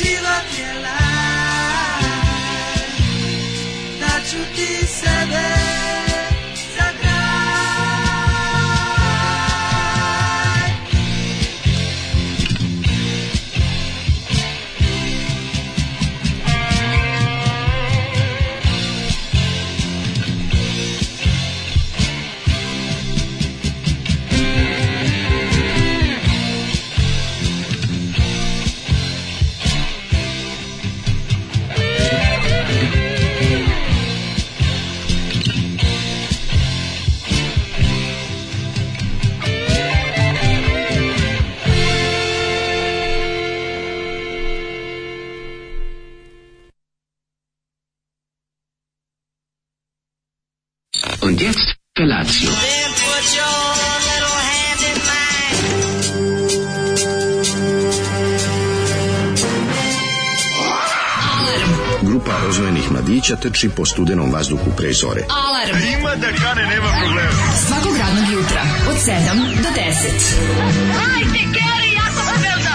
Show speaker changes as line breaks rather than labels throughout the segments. you up your life Da ću ti sebe za kraj
Und jetzt Felatio.
Then put your little hand in mine
Grupa rozvojenih mladića teči po studenom vazduhu pre zore.
Alarm. Ima da kane, nema problema. Svakog radnog jutra, od 7 do 10. Hajde, Geri, jako se velda.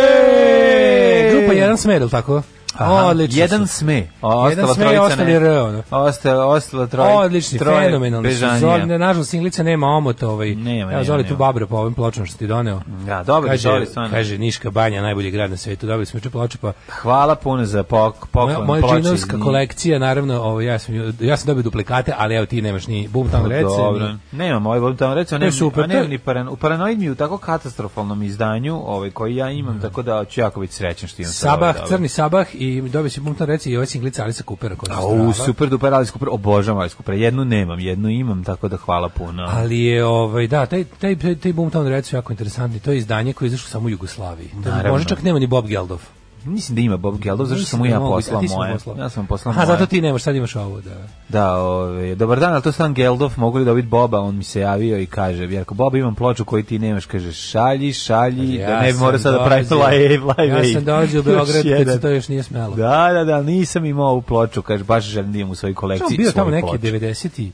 E, grupa jedan smer, ili tako? Odlično su.
jedan sme. O,
Jedan
ostala
sme,
trojica
ostali
ne.
R, ono.
Ostala, ostala troje.
Odlični,
troje
fenomenalni su.
bežanija.
Zoli, na- nažalost, singlica nema omota. Ovaj.
Nema,
Evo,
nema,
Zoli tu
nema.
babra po ovim pločama što ti doneo.
Da, dobro,
kaže,
dobro, stvarno.
kaže, Niška banja, najbolji grad na svetu. Dobili smo juče ploče, pa
Hvala puno za pok,
moja,
poklon.
moja
ploče.
džinovska kolekcija, naravno, ovo, ja, sam, ju- ja sam dobio duplikate, ali evo ti nemaš ni bum tamo rece.
Dobro.
ni-
Nemam ovaj volim tamo reći, a
To je
nemam,
super,
a nemam
to je-
ni paran, u paranoid mi je u tako katastrofalnom izdanju ovaj, koji ja imam, tako da ću jako biti srećen što imam sad ovaj
Mm. Sabah,
dobro.
crni sabah i dobio si bum tamo rece i ovaj singlica Alisa Coopera. koja je
Au,
strava.
super duper Alice Cooper, obožavam Alice Cooper. Jednu nemam, jednu imam, tako da hvala puno.
Ali je ovaj da taj taj taj, taj Boomtown Reds je jako interesantni. To je izdanje koje je izašlo samo u Jugoslaviji. To
Naravno.
Možda čak nema ni Bob Geldof.
Mislim da ima Bob Geldof, zašto sam mu ja poslao moje. Ja sam mu poslao
Aha,
moje.
zato ti nemaš, sad imaš ovo da.
Da, ove, dobar dan, ali to sam Geldof, mogu li dobiti Boba? On mi se javio i kaže, Jerko, Boba imam ploču koju ti nemaš, kaže, šalji, šalji, da ne bi
sam
morao sad da pravim
dolazio-
live, live.
Ja
aid.
sam dolazio u
Još
Beograd kad
jedan.
se to još nije smelo. Da.
Da, da, da, nisam imao ovu ploču, kaže, baš želim da imam u svojoj kolekciji
bio tamo
svoju
neki
ploču.
90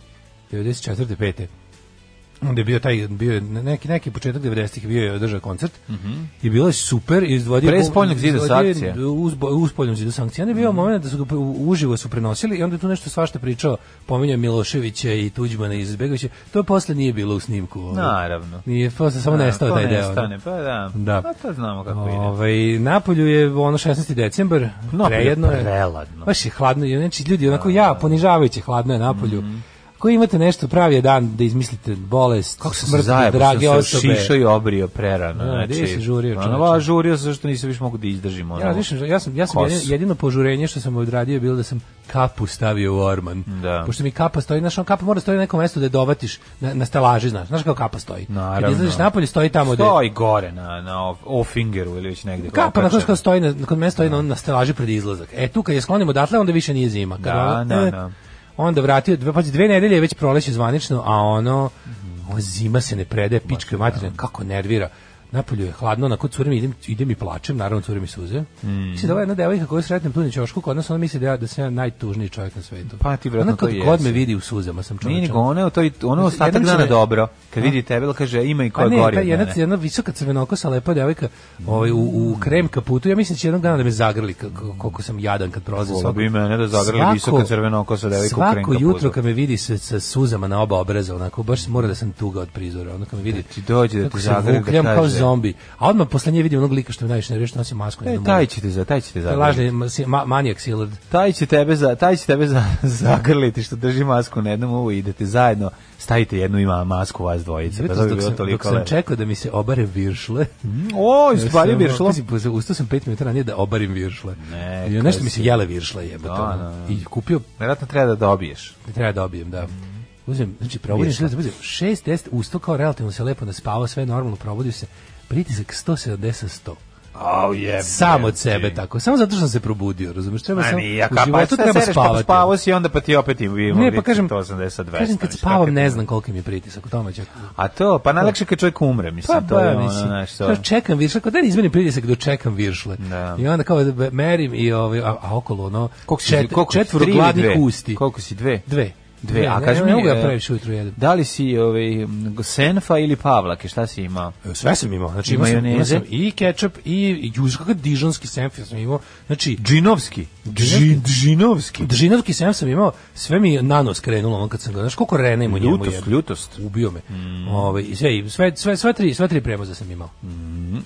94. 5. Onda je bio taj bio je neki neki početak 90-ih bio je održao koncert. I bilo je super i izvodio
Mhm. Pre spoljnog zida
izvodio je
sankcija. Mhm.
Uz uz spoljnog zida sankcija. Onda je bio moment da su ga u- uživo su prenosili i onda je tu nešto svašta pričao, pominjao Miloševića i Tuđmana i Izetbegovića. To posle nije bilo u snimku. ovaj.
Naravno.
Nije posle samo
Da,
nestao
to
taj deo.
Nestane, pa da,
Da.
A to znamo kako ide.
Ovaj Napolju je ono 16. decembar,
Napolju je
prejedno je.
preladno.
Baš je hladno, je, znači ljudi onako ja ponižavajuće hladno je Napolju.
Mhm.
Ako imate nešto pravi je dan da izmislite bolest, kako
Smrt zajebo,
drage
sam se
osobe.
šišao i obrio prerano.
Da,
znači,
gdje si žurio,
ono,
čoveče?
a, žurio sam što nisam više mogu da izdržim. ono.
Ja, viš, ja sam, ja sam
Kos.
jedino, jedino požurenje što sam odradio je bilo da sam kapu stavio u orman.
Da.
Pošto mi kapa stoji, znaš, on kapa mora stoji na nekom mestu da je dovatiš na, na stalaži, znaš, znaš kao kapa stoji. Kad
Naravno.
izlaziš napolje, stoji tamo gde-
Stoji gore na, na o- o fingeru ili već negde.
Kapa na
okačena.
koska pa, stoji na kod mene stoji na, na stelaži pred izlazak. E tu kad je sklonimo odatle onda više nije zima. Kad
Da,
ono,
da,
e,
da.
Onda vratio dve pazi dve nedelje je već proleće zvanično, a ono o, zima se ne predaje pička materina kako nervira. Napolju je hladno, na kod curim idem, idem i plačem, naravno curim i suze. Mm. Mislim da ova jedna devojka koju sretnem tu na ćošku, kod nas ona misli da, ja, da sam ja najtužniji čovjek na svetu.
Pa ti vjerojatno
Ona kad
to
god
jesi.
me vidi u suzama sam čovjek.
Nije nego ono, je to i- ono je ostatak
Jednom će
dana
me-
dobro. Kad vidi tebe, kaže ima i
Pa
koja
ne,
gori
ta
od
jedna,
mene.
jedna visoka crvenokosa lepa devojka ovaj, u, u krem kaputu, ja mislim da će jednog dana da me zagrli kako, koliko sam jadan kad prolazi
Volao
svako.
bi i mene da zagrli visoka crvenokosa devojka u krem
Svako
kaputu.
jutro kad me vidi sa, sa suzama na oba obraza, onako, baš se mora da sam tuga od prizora, ono kad me vidi.
ti dođe da
kako
ti
se
zagrli, da
vukljam kao
kaže.
zombi. A odmah posle nje vidim onog lika što me najviše nervira što nosi masku. na
E,
jednom
taj
uhu.
će te za, taj će te
To je
zagrliti.
lažni ma- ma- manijak Silard.
Taj će tebe za, taj će tebe za, zagrliti što drži masku na jednom uvu i idete zajedno, stavite jednu ima masku vas dvojice. Pa to
Dok
bi bilo
sam, dok
toliko
sam
lepo. Mm.
čekao da mi se obare viršle,
O, iz stvari
Sam,
bi išlo.
pazi, pazi, Ustao sam 5 minuta ranije da obarim viršle.
Ne,
I nešto mi se
krasno.
jele viršle jebote.
Da,
ono.
da, da.
I kupio
Verovatno treba da dobiješ.
treba da dobijem, da. Uzem, znači probudim se, uzem, šest test, usto kao relativno se lepo naspavao, sve normalno, probudio se, pritisak 170 100.
Au je.
Sam od sebe tako, samo zato što sam se probudio, razumeš, treba
Ma
sam,
nije,
u
kako pa
životu
šta
treba
sereš, kako
spavati. ono.
spavao si onda pa ti opet im imamo
Ne, pa kažem,
80 200.
kažem kad
mislim,
spavam
kako ti-
ne znam koliki mi je pritisak, u tome će.
A to, pa najlakše kad čovjek umre, mislim, to je ono, znaš, to.
Pa Kao čekam viršle, kao da ne izmenim pritisak dok čekam viršle.
Da.
I onda kao da merim i ovaj, a, a okolo ono,
Koliko si-
čet,
koliko si-
četvoro
tri ili
gladnih
dve?
usti.
Koliko si, dve?
Dve.
Dve, a
ne,
kaži
ne,
mi,
ne mogu ja
e,
previše ujutru jedem.
da li si ovaj, m, Senfa ili Pavlake, šta si imao?
Sve sam imao, znači imao sam, imao
Majoneze.
sam i ketchup i juž kakav dižonski senf sam imao. Znači
Džinovski. Dži, džinovski.
Držinovski sem sam imao, sve mi je na nos krenulo, on kad sam ga, znaš koliko rena ima u njemu
Ljutost,
jebe.
ljutost.
Ubio me. Ovaj, i sve, i sve, sve, sve, tri, sve tri premoza sam imao.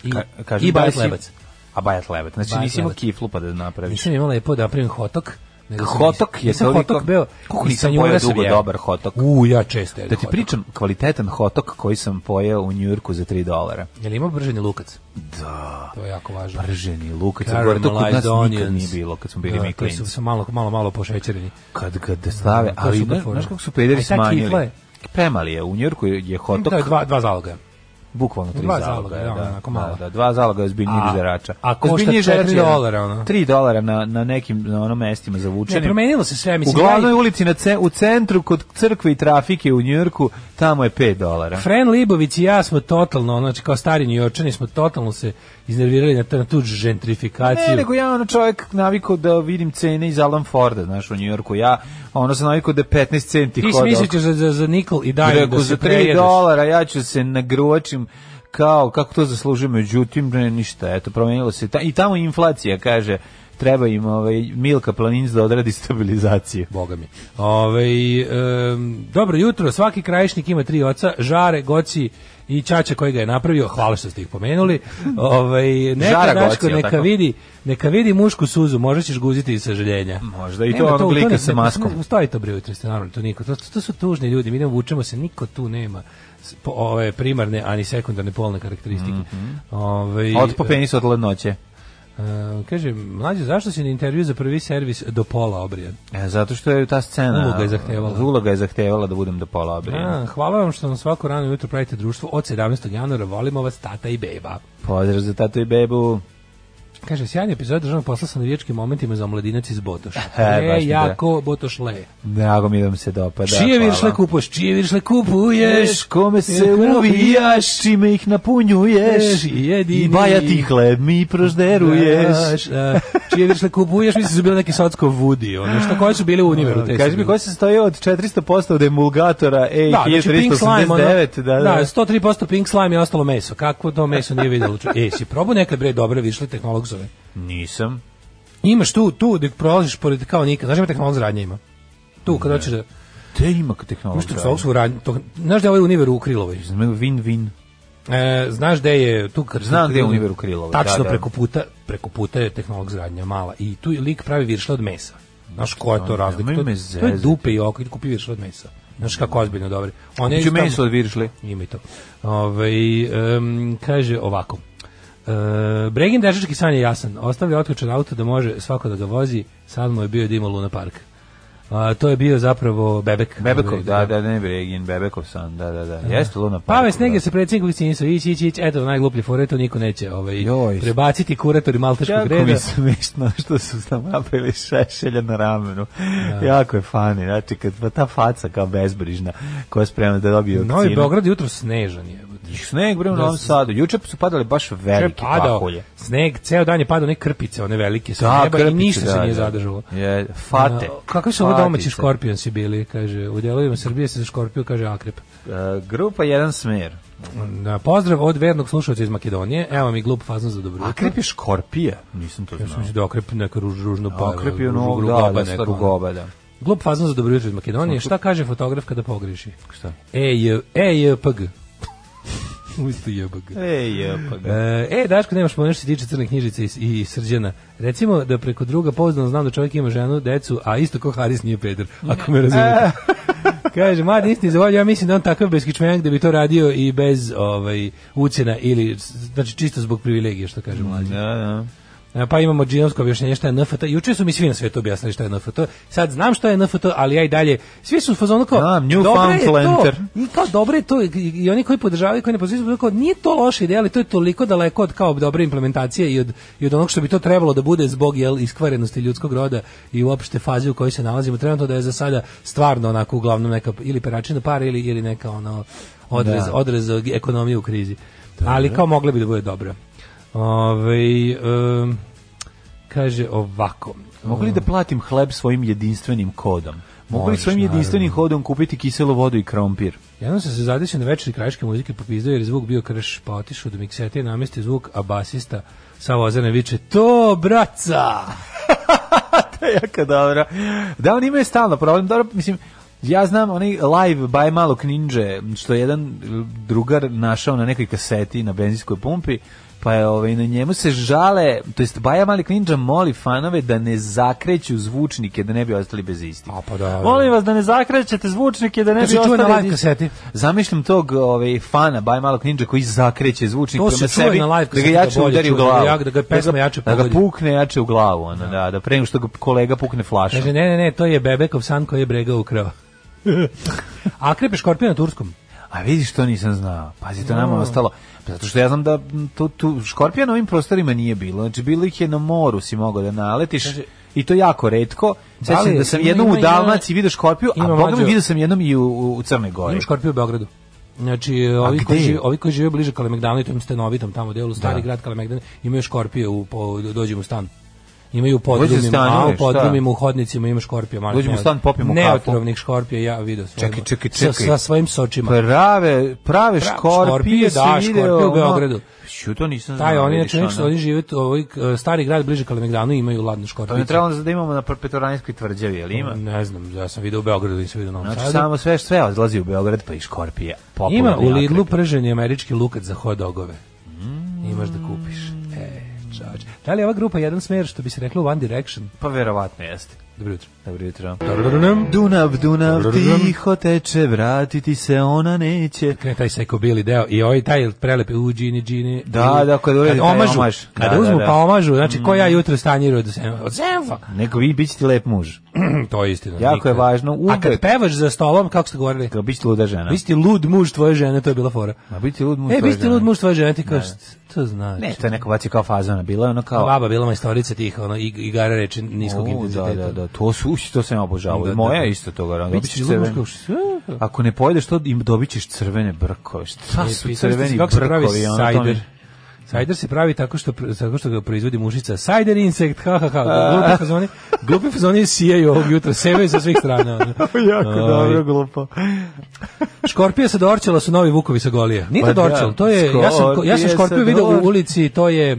I,
Ka-
Ka,
kaži mi,
i
da li
bajat
si-
lebac.
A bajat lebac. Znači
Bajat
nisi imao
lebac.
kiflu pa da napraviš.
Nisam imao lepo da napravim hotok. nego sam-
Hotok je
nisam
toliko-
hotok bio.
Koliko
i
nisam
sanjura
pojeo
sam
dugo
jeo.
dobar hotok.
U, ja često jedem
Da ti
hotok.
pričam kvalitetan hotok koji sam pojeo u Njujorku za 3 dolara.
Jel ima brženi lukac? Da. To je jako važno.
Prženi luk, kad sam gore, to kod nas
Caramelized
nikad nije
onions.
bilo kad smo bili
Da,
mi
koji su,
klinci.
su malo, malo, malo pošećereni.
Kad ga da stave,
Da, to je
ali
super
znaš-
fora.
znaš kako su
A
pederi
i ta kifla
smanjili?
je-
Premali je, u Njujorku je je hotok,
Da, dva, dva zaloga.
bukvalno tri
dva
zaloga.
zaloga, da, onako malo.
da, da, dva zaloga je zbiljnijih
A-
žerača.
a košta
Ozbiljniji
četiri
žerač je na-
dolara, ono.
Tri dolara na, na nekim na onom mestima za
Ne,
vučenje.
promenilo se sve,
U
mislim.
glavnoj
ja i-
ulici na ce, u centru kod crkve i trafike u Njujorku, tamo je 5 dolara.
Fren Libović i ja smo totalno, ono, znači kao stari njujorčani smo totalno se iznervirali na, t- na tu žentrifikaciju.
Ne, nego ja ono čovjek navikao da vidim cene iz Alan Forda, znaš, u Njujorku. Ja ono sam navikao da je 15 centi
Ti
hot dog.
smisliš za, za, za nikl i daj
Rekao,
da
za
se
3
prejedeš.
dolara ja ću se nagruvačim kao kako to zaslužujem, međutim ne, ništa, eto promenilo se. Ta, I tamo je inflacija kaže treba im ovaj, Milka Planinc da odradi stabilizaciju.
Boga mi. Ove, em, dobro jutro, svaki krajišnik ima tri oca, Žare, Goci i Čača koji ga je napravio, hvala što ste ih pomenuli. Ove, neka,
Žara Goci,
Daško,
jel
neka
tako?
vidi, neka vidi mušku suzu, možda ćeš guziti iz sažaljenja.
Možda i to onog lika
ne-
sa
ne-
maskom.
Ne, stoji to bre jutro, ste naravno, to niko, to, to su tužni ljudi, mi ne vučemo se, niko tu nema s- po- ove primarne, ani sekundarne polne karakteristike.
Mhm.
Ovaj,
Od po penisu od ladnoće.
e, kaže, mlađe, zašto si na intervju za prvi servis do pola obrijan?
E, zato što je ta scena...
Uloga je zahtijevala.
Uloga je zahtevala da budem do pola obrijan.
A, hvala vam što nam svako rano jutro pravite društvo od 17. januara. Volimo vas tata i beba.
Pozdrav za tatu i bebu.
Kaže, sjajan epizod državnog posla sa navijačkim momentima za mladinac iz Botoša.
E, baš mi
E,
da.
jako Botoš le.
Drago mi da vam se dopada.
čije
hvala.
viršle kupuješ, čije viršle kupuješ,
Ješ, kome se uvijaš, čime ih napunjuješ,
Ješ, jedini.
i bajati hleb mi prožderuješ.
Znaš, e, čije viršle kupuješ, mislim da su bili neki socko Woody, ono što koji su bili u univeru. te su
Kaži mi,
bili.
koji se sastoji od 400% od emulgatora E1389?
Da, znači Pink Slime, ono,
da, da.
da, 103% Pink Slime je ostalo meso. Kako to meso nije vidjelo? E, si probao nekad bre dobre višle tehnologzove?
Nisam.
Imaš tu, tu gde prolaziš pored kao nikad. Znaš ima tehnolog radnje ima? Tu kad hoćeš da...
Te ima
Imaš
tehnologija.
tehnolog radnje. To, znaš da je ovaj univer u Krilovoj?
Znam, Win, win.
E, znaš gde je tu kad...
Znam gde je univer u Krilovoj,
Tačno
da, da.
preko puta, preko puta je tehnolog radnja mala. I tu je lik pravi viršle od mesa. Znaš koja je to
Nemoj
razlika? To,
me
to je
zezati.
dupe i oko, ili kupi viršle od mesa. Znaš kako ozbiljno dobro. On
Neću
iz tamo-
meso Znači, od viršli.
Ima i to. Ove, em, kaže ovako. E, Bregin Dežički san je jasan. Ostavlja otključen auto da može svako da ga vozi. Sad mu je bio da ima Luna Park. A, to je bio zapravo Bebek.
Bebekov,
Ovaj,
da, da, ne, Bregin, Bebekov san, da, da, da. Jeste Luna Park.
Pave snege Pa,
da.
se predsjednik vakcinisao, ići, ići, ići, eto, najgluplje fore, to niko neće ovaj,
Joj.
prebaciti kuratori malteškog
Jako mi
reda.
je smešno što su nam napravili šešelja na ramenu. Jako je fani, znači, kad, pa ta faca kao bezbrižna, koja je spremna da dobije vakcinu.
Novi Beograd jutro snežan je.
Sneg bre u Novom Sadu. Juče su padale baš
Sve
velike
padao,
pakolje.
sneg, ceo dan je padao one krpice, one velike, sa neba i
krpice,
ništa se
da,
nije
da.
zadržalo.
Je, fate.
A, Kakvi su ovo domaći
Fatice.
škorpionsi bili, kaže, u delovima Srbije se za škorpiju, kaže Akrep.
E, grupa jedan smer.
Da, pozdrav od vernog slušalca iz Makedonije, evo mi glup fazno za dobro.
Akrep je škorpija. Nisam to znao.
Mislim da je Akrep neka ruž, ružno pa.
Akrep je
ruž-
ono,
rugoba
da, da,
neka,
sta rugoba, da.
ono. Glup fazno za dobro jutro iz Makedonije, šta kaže fotograf kada pogreši?
Šta?
E, j, e, j, p, g. Usto jebg.
Ej, je, pa ga.
E, e, Daško, nemaš pojma što se tiče crne knjižice i, i srđana. Recimo da preko druga pouzdano znam da čovjek ima ženu, decu, a isto ko Haris nije peder, ako me razumete. Kaže, mlad isti zavolj, ja mislim da on takav beskičmenjak da bi to radio i bez ovaj, ucjena ili, znači čisto zbog privilegije, što kaže mlađe.
Da, da.
E, Pa imamo džinovsko objašnjenje šta je NFT. Juče su mi svi na svetu objasnili šta je NFT. Sad znam šta je NFT, ali ja i dalje svi su u fazonu kao
Znam,
dobro je to.
Newfoundlander.
I kao dobro je to i, i oni koji podržavaju i koji ne podržavaju kao nije to loša ideja, ali to je toliko daleko od kao dobre implementacije i od i od onog što bi to trebalo da bude zbog jel iskvarenosti ljudskog roda i uopšte faze u kojoj se nalazimo trenutno da je za sada stvarno onako uglavnom neka ili peračina para ili ili neka ono odrez
Da.
odrez ekonomije u krizi. Ali kao mogla bi da bude dobra. Ovaj em, kaže ovako.
Mogli da platim hleb svojim jedinstvenim kodom. Mogu li
Možeš,
svojim
naravno.
jedinstvenim hodom kupiti kiselu vodu i krompir?
Jednom sam se zadesio na večeri krajiške muzike popizdao jer je zvuk bio krš, pa otišao do miksete i namestio zvuk, a basista sa vozane viče, to braca!
To je jako dobro. Da, on imaju stalno problem. Dobro, mislim, ja znam onaj live by malog ninja, što je jedan eh, drugar našao na nekoj kaseti na benzinskoj pumpi, pa je ovaj, na njemu se žale, to jest Baja Malik Ninja moli fanove da ne zakreću zvučnike da ne bi ostali bez istih.
A, pa da.
Molim vas da ne zakrećete zvučnike da ne
To
bi
se čuje
ostali
na
bez
live
istih.
kaseti.
Zamišljam tog ovaj, fana Baja Malog Ninja koji zakreće zvučnik
To se
prema
čuje
sebi
na live
da ga
kaseti,
jače
da bolje
udari u
čuje, da
glavu.
ga- da ga pesma jače
Da ga
pogodi.
pukne jače u glavu, ono, da, da pre nego što ga kolega pukne flašom.
Kaže, ne, ne, ne, to je Bebekov san koji je brega ukrao. Akrep je škorpion na turskom.
A vidiš, to nisam znao. Pazi, to nama ostalo. Pa Zato što ja znam da m, tu, tu škorpija na ovim prostorima nije bilo. Znači, bilo ih je na moru, si mogao da naletiš. I to jako redko.
Da li-
Sećam da sam
ima-
jednom
ima-
u
ima-
Dalmaciji vidio škorpiju, a
ima
boga mi
mlađo-
vidio sam jednom Pa i u, u, u Crnoj Gori.
Ima škorpio u Beogradu. Znači, ovi
gde
koji,
je?
žive, ovi koji žive bliže Kalemegdanu i tom stanovitom tamo delu, stari grad Kalemegdan, imaju škorpije u, po, dođemo u stan. Imaju u
Dođe u
podrumima,
stan,
a
ili
u
šta?
podrumima, u hodnicima ima škorpija. Mali,
Dođemo u stan, popijemo kafu.
Neotrovnih škorpija, ja vidio. svojim-
Čekaj, čekaj,
Sa,
čekaj.
sa
Pa,
svojim sočima.
Prave, prave
Pra-
škorpije,
škorpije,
sam
da,
video,
škorpije u
ono-
Beogradu.
Ću, to nisam znao.
Taj oni
vidiš,
znači
ono.
nešto što oni žive tu, ovaj eh, stari grad bliže Kalemegdanu imaju ladne
To ne
škorpice.
trebalo da imamo na Petoranijskoj tvrđavi, jel ima?
Ne znam, ja sam video u Beogradu, nisam video u Novom
Znači,
Sadu.
samo sve, sve odlazi u Beograd, pa i škorpije.
Ima u
popularni
Lidlu
akrepi.
prženi američki lukat za hot dogove. Imaš da kupiš. E, čač. Da li je ova grupa jedan smer, što bi se reklo One Direction?
Pa verovatno jeste.
Dobro jutro.
Dobro jutro. Dunav, Dunav, tiho teče, vratiti se ona neće.
Krene taj sekobili deo i ovaj taj prelepi u džini džini.
Da, da, kad uredi taj
omažu,
omaž.
Kada
Da, da,
uzmu
da. Mm.
pa omažu, znači ko ja jutro stanjiru od Zenfa? Od Zenfa.
Nego vi bit ćete lep muž.
to je istina.
Mm. Jako
nikad.
je važno,
A kad
uvek.
pevaš za stolom, kako ste govorili?
Kao bit ćete luda žena.
Vi ste lud muž tvoje žene, to je bila fora.
A bit ćete lud muž.
E, vi
tvoje
ste
žene.
lud muž tvoje žene, ti kao, "Šta to znači?
Ne, to je neko baci kao fazona. Bila je ono kao...
Baba bila majstorica tih ono, ig- igara reči niskog
U,
intenziteta.
Da, da, da, to su, uš, to sam ja obožavao.
Da, da.
Moja je isto toga.
Bit
Dobit
će
ćeš
lud muž
crvene-
kao, "Šta?"
Ako ne pojedeš to, im dobit ćeš crvene brkove. Šta
E,
Pa su
pitali ste
crveni
se kako se pravi
brkovi? ono, to mi-
sajder? Sajder se pravi tako što pr- tako što ga proizvodi mušica. Sajder insekt, ha ha ha. Glupi fazoni, glupi fazoni sijaju ovog jutra, sevaju sa svih strana. ono.
jako
Aj.
dobro, glupo.
Škorpije sa Dorčela su novi vukovi sa Golije. Nije
Pa
to
da,
Dorčel, to je, ja sam, ko- ja
Škorpije
sam
sa
Škorpiju video
Dorč-
u ulici, to je,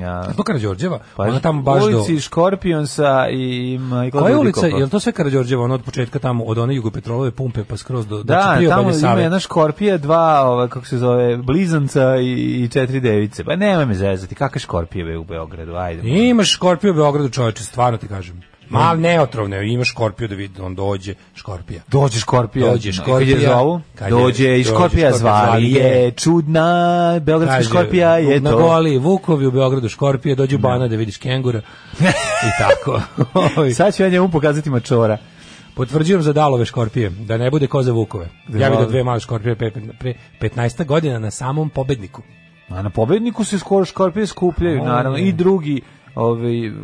Ja. Pa
to Karadžorđeva, Pa ona tamo baš do...
ulici pa. Škorpionsa i Michael
Koja je ulica,
Dudikopa.
je li to sve Karadžorđeva, ono od početka tamo, od one jugopetrolove pumpe pa skroz do, do
Da,
priobalje
tamo ima
Save?
jedna škorpija, dva, ova, kako se zove, blizanca i, i četiri device. Pa nemoj me zezati, kakve škorpije be u Beogradu, ajde.
E, Imaš Škorpiju u Beogradu, čoveče, stvarno ti kažem. Mal neotrovne, imaš Škorpiju da vidi, on dođe, Škorpija.
Dođe škorpija.
Dođe
No,
škorpija.
Kad je zovu,
Kad je-
dođe i
dođe
škorpija
škorpija
zvari je
zvali.
čudna, beogradska
Kaže,
škorpija je
na
to.
goli Vukovi u Beogradu Škorpije, dođu bana da vidiš kengura i tako. Ovaj,
Sad ću ja njemu pokazati mačora.
Potvrđujem za dalove Škorpije, da ne bude ko za Vukove. Ja vidio dve male Škorpije pre, pre 15 godina na samom pobedniku.
A na pobedniku se skoro škorpije skupljaju, naravno, i drugi ovaj, uh,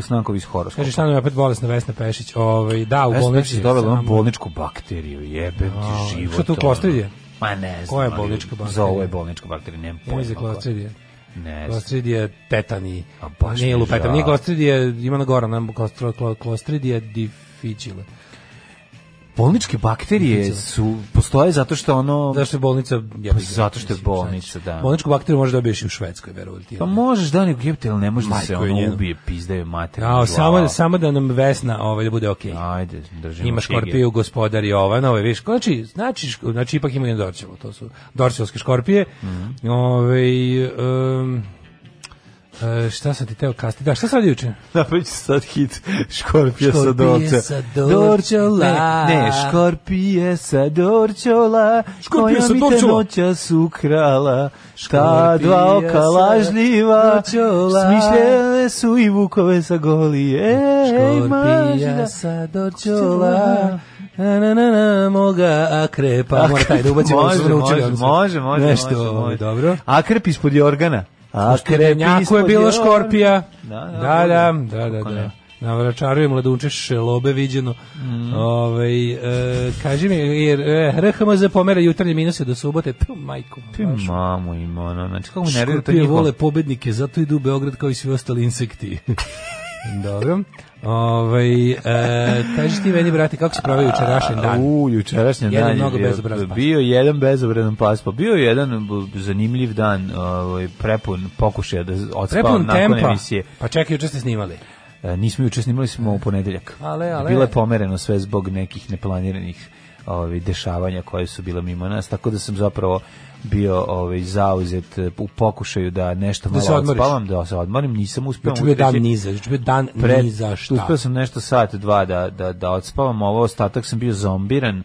snakovi iz horoskopa.
Kaže, šta nam je opet bolesna Vesna Pešić? Ovaj, da, u
Ja sam znači
bolnici.
dobila
samo-
onu bolničku bakteriju, jebem
A,
ti život.
što to u
ono.
klostridije?
Ma ne znam.
Koja je
ali
bolnička bakterija?
Za ovo je bolnička bakterija, nemam
Ima za
pojma. koja.
klostridije.
Ne znam.
Klostridija tetani.
A baš mi
Nije
je
lupetan,
žao.
nije klostridija, ima na gore, nam klostro- klo- klostridija difficile.
Bolničke bakterije su, postoje zato što ono...
Zašto je bolnica? Ja
Pa zato što je bolnica, da.
Bolničku bakteriju možeš dobiješ i u Švedskoj, verovali ti.
Pa možeš da nego jebite, ali ne može da se
Majko je
ono
njeno.
ubije, pizdaju mater.
Jao, samo, samo da nam Vesna ovaj, da bude okej.
Ajde, držimo
Ima škorpiju, gospodar Jovana, ove, viš, znači, znači, ško- znači ipak ima jedan dorčevo, to su dorčevske škorpije.
Mhm.
Ove, um, e, šta sam ti teo kasti? Da, šta sam radio juče?
Napravit ću sad hit Škorpije sa
Škorpije
Dorča.
sa Dorčola.
Ne, ne, Škorpije sa Dorčola,
Škorpije
koja
sa
mi te
Dorčola.
noćas ukrala, ta
Škorpije
dva oka
sa
lažljiva,
Dorčola.
smišljene su i vukove sa golije. E, Ej, mažda.
Škorpija sa dorčola, na, na, na, na, moga akrepa. Mora taj da ubacimo,
može,
su naučili,
može,
ono su-
može, može,
Nešto,
može,
ovaj,
može.
dobro.
Akrep ispod jorgana.
A Škrbenjaku je bilo škorpija.
Da,
Da,
da,
da, da, da,
bude.
da.
Kako ne.
Na vračaru je mladunče šelobe viđeno.
Mhm.
Ovaj, e, kaži mi, jer e, RHMZ pomera jutarnje minuse do subote. Tu, majku.
Ti
vašu.
mamu ima, ono, znači kako me nervira to
Škorpije
njihovo.
vole pobednike, zato idu u Beograd kao i svi ostali insekti. Dobro. Ovaj e, kaži ti meni, brate, kako se pravi jučerašnji dan?
U, jučerašnji
Jedan
dan je
mnogo
bio,
bezobrazan pas.
bio jedan bezobrazan pas, pa bio je jedan b- zanimljiv dan, ovaj, prepun pokušaja da z- odspavam
Prepun
nakon
tempa.
emisije.
Pa čekaj, juče ste snimali.
E, nismo juče snimali smo u ponedeljak.
Mm. Ale, ale.
Bilo je pomereno sve zbog nekih neplaniranih ovaj, dešavanja koje su bila mimo nas, tako da sam zapravo bio ovaj zauzet e, u pokušaju da nešto
Da se
malo
odmoriš.
odspavam, da se odmorim, nisam uspeo.
Juče je bio dan
utreći-
niza, juče je bio dan
pre,
niza šta.
Uspeo sam nešto sat, dva da, da, da odspavam, ovo ostatak sam bio zombiran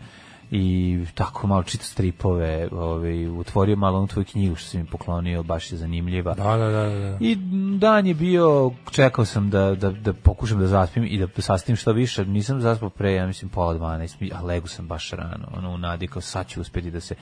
i tako malo čitao stripove, ovaj, utvorio malo onu tvoju knjigu što si mi poklonio, baš je zanimljiva.
Da, da, da, da.
I dan je bio, čekao sam da, da, da pokušam da zaspim i da sastim što više, nisam zaspao pre, ja mislim, pola 12, mi- a legu sam baš rano, ono, u nadi kao sad ću uspjeti da se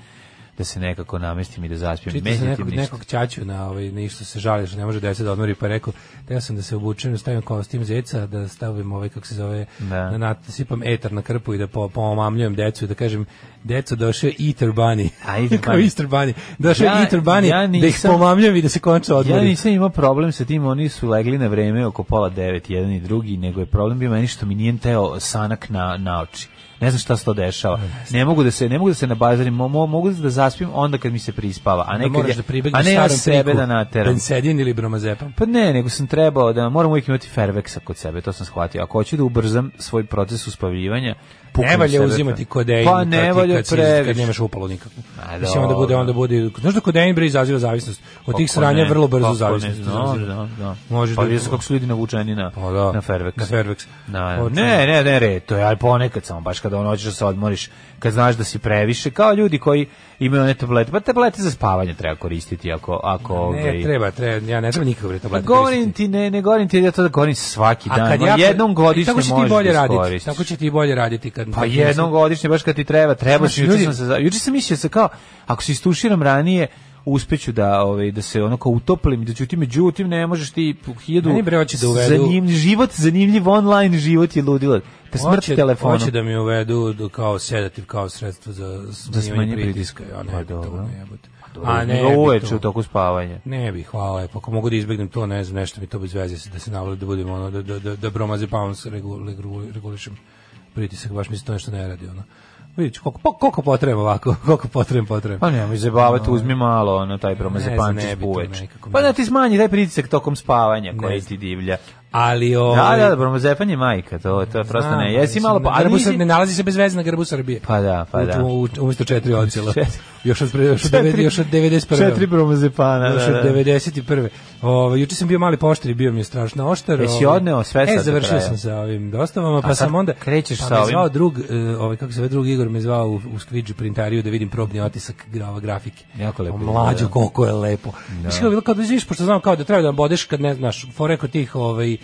da se nekako namestim i da zaspim.
Čitao sam
Međutim,
nekog,
ništa.
nekog ćaću na ovaj, nešto se žali što ne može deset da odmori, pa je rekao, teo sam da se obučem, da stavim kostim zeca, da stavim ovaj, kako se zove,
Da.
da, nasipam etar na krpu i da po, pomamljujem decu i da kažem, deco, došao je Eater Bunny.
A, Eater
Kao
Bunny.
Eater Bunny. Došao
Ja-
je Eater Bunny
ja
da ih
nisam-
pomamljujem i da se konča odmori.
Ja nisam imao problem sa tim, oni su legli na vreme oko pola devet, jedan i drugi, nego je problem bio meni što mi nije teo sanak na, na oči. Ne znam šta se to dešava. Ne mogu da se ne mogu da se nabazarim, mo, mo- mogu da zaspim onda kad mi se prispava, a ne
da
kad
moraš
ja-
da
a
pribegneš
ne ja
starom
sebe
triku,
da nateram.
Bensedin ili bromazepam.
Pa ne, nego sam trebao da moram uvijek imati Fairvexa kod sebe, to sam shvatio. Ako hoću da ubrzam svoj proces uspavljivanja, puknem
Ne valja
sebe.
uzimati kodein
Pa
pa
ne
ne
valja
kad, si- kad
previše.
nemaš upalu nikakvu.
A,
Mislim, onda bude,
dobro.
onda bude, znaš da kodein bre izaziva zavisnost. Od tih
Kako
sranja
Pa ne,
vrlo brzo
kako
zavisnost.
ne,
izaziva.
Da, da, da.
Može
pa
da-
vidio sam kako su ljudi navučeni na,
Pa da.
na Fairvex.
Na Fairvex.
Na,
Pa,
ne, ne, ne, re, to je ali ponekad samo, baš kada ono hoćeš da se odmoriš, kad znaš da si previše, kao ljudi koji imaju one tablete, pa tablete za spavanje treba koristiti ako... ako
Ne,
ovaj,
treba, treba, ja ne treba nikakve bre tablete.
Pa Govorim
koristiti.
ti, ne, ne govorim ti da to da govorim svaki
Pa A
dan,
kad
no,
ja
jednom
I
godišnje
tako će ti
možeš
bolje
da
raditi.
iskoristiš.
Tako će ti bolje raditi kad
Pa
kad
jednom godišnje, baš kad ti treba, treba
Znaš,
će, juče
ljudi-
sam se, za- juče sam mislio se kao, ako se istuširam ranije, uspeću da ovaj da se onako utoplim i da ćutim međutim ne možeš ti po hiljadu
Meni bre hoće da uvedu-
zanim- život zanimljiv online život je ludilo te smrt
Hoće-
telefonom
Hoće da mi uvedu do- kao sedativ, kao sredstvo za
smanjenje
smanjivanje pritiska.
pritiska.
Ja
Pa
ne bi
dobro.
to, ne bi to.
a
A ne
ne
bi
uveče
to.
u toku spavanja
Ne bih, hvala lepo. Ako mogu da izbegnem to, ne znam, nešto mi to bez veze da se navale da budem ono, da, da, da, da bromaze pounds regu- regu- regulišem pritisak, baš mi se to nešto ne radi, ono. Vidjet ću, koliko, po- koliko potrebam ovako, koliko potrebam, potrebam.
Pa nemoj zabavati, uzmi malo ono, taj
Ne
promazepančić
znam, ne bi to
uveče.
nekako
Pa
meni.
da ti smanji taj pritisak tokom spavanja koji
znam.
ti divlja.
Ali o...
Da, da, da, promazepan je majka, to, to je prosto ne. Jesi malo, pa, ali nisi-
ne nalazi se bez veze na grbu Srbije.
Pa da, pa
U-
da.
u- Umesto četiri ocela.
Četiri.
još od pre, još od,
Četiri-
devet- još od 91.
Četiri bromazepana,
Još
da, da.
od 91. Ovo, Ovaj, juče sam bio mali poštar i bio mi je strašno oštar.
Jesi
ovaj.
odneo sve sad
E,
do
završio
kraja?
sam sa ovim dostavama,
A
pa
sad
sam onda...
krećeš
pa
sa
me
ovim?
zvao drug, e, ovaj, kako se zove, drug Igor me zvao u, u Squidge printariju da vidim probni otisak grava grafike.
Jako lepo
O,
izgleda.
Mlađo, koliko je lepo. Da. Mislim, kao je bilo kao da vidiš, pošto znam kao da treba da bodeš kad ne znaš, fore kod tih, ovaj,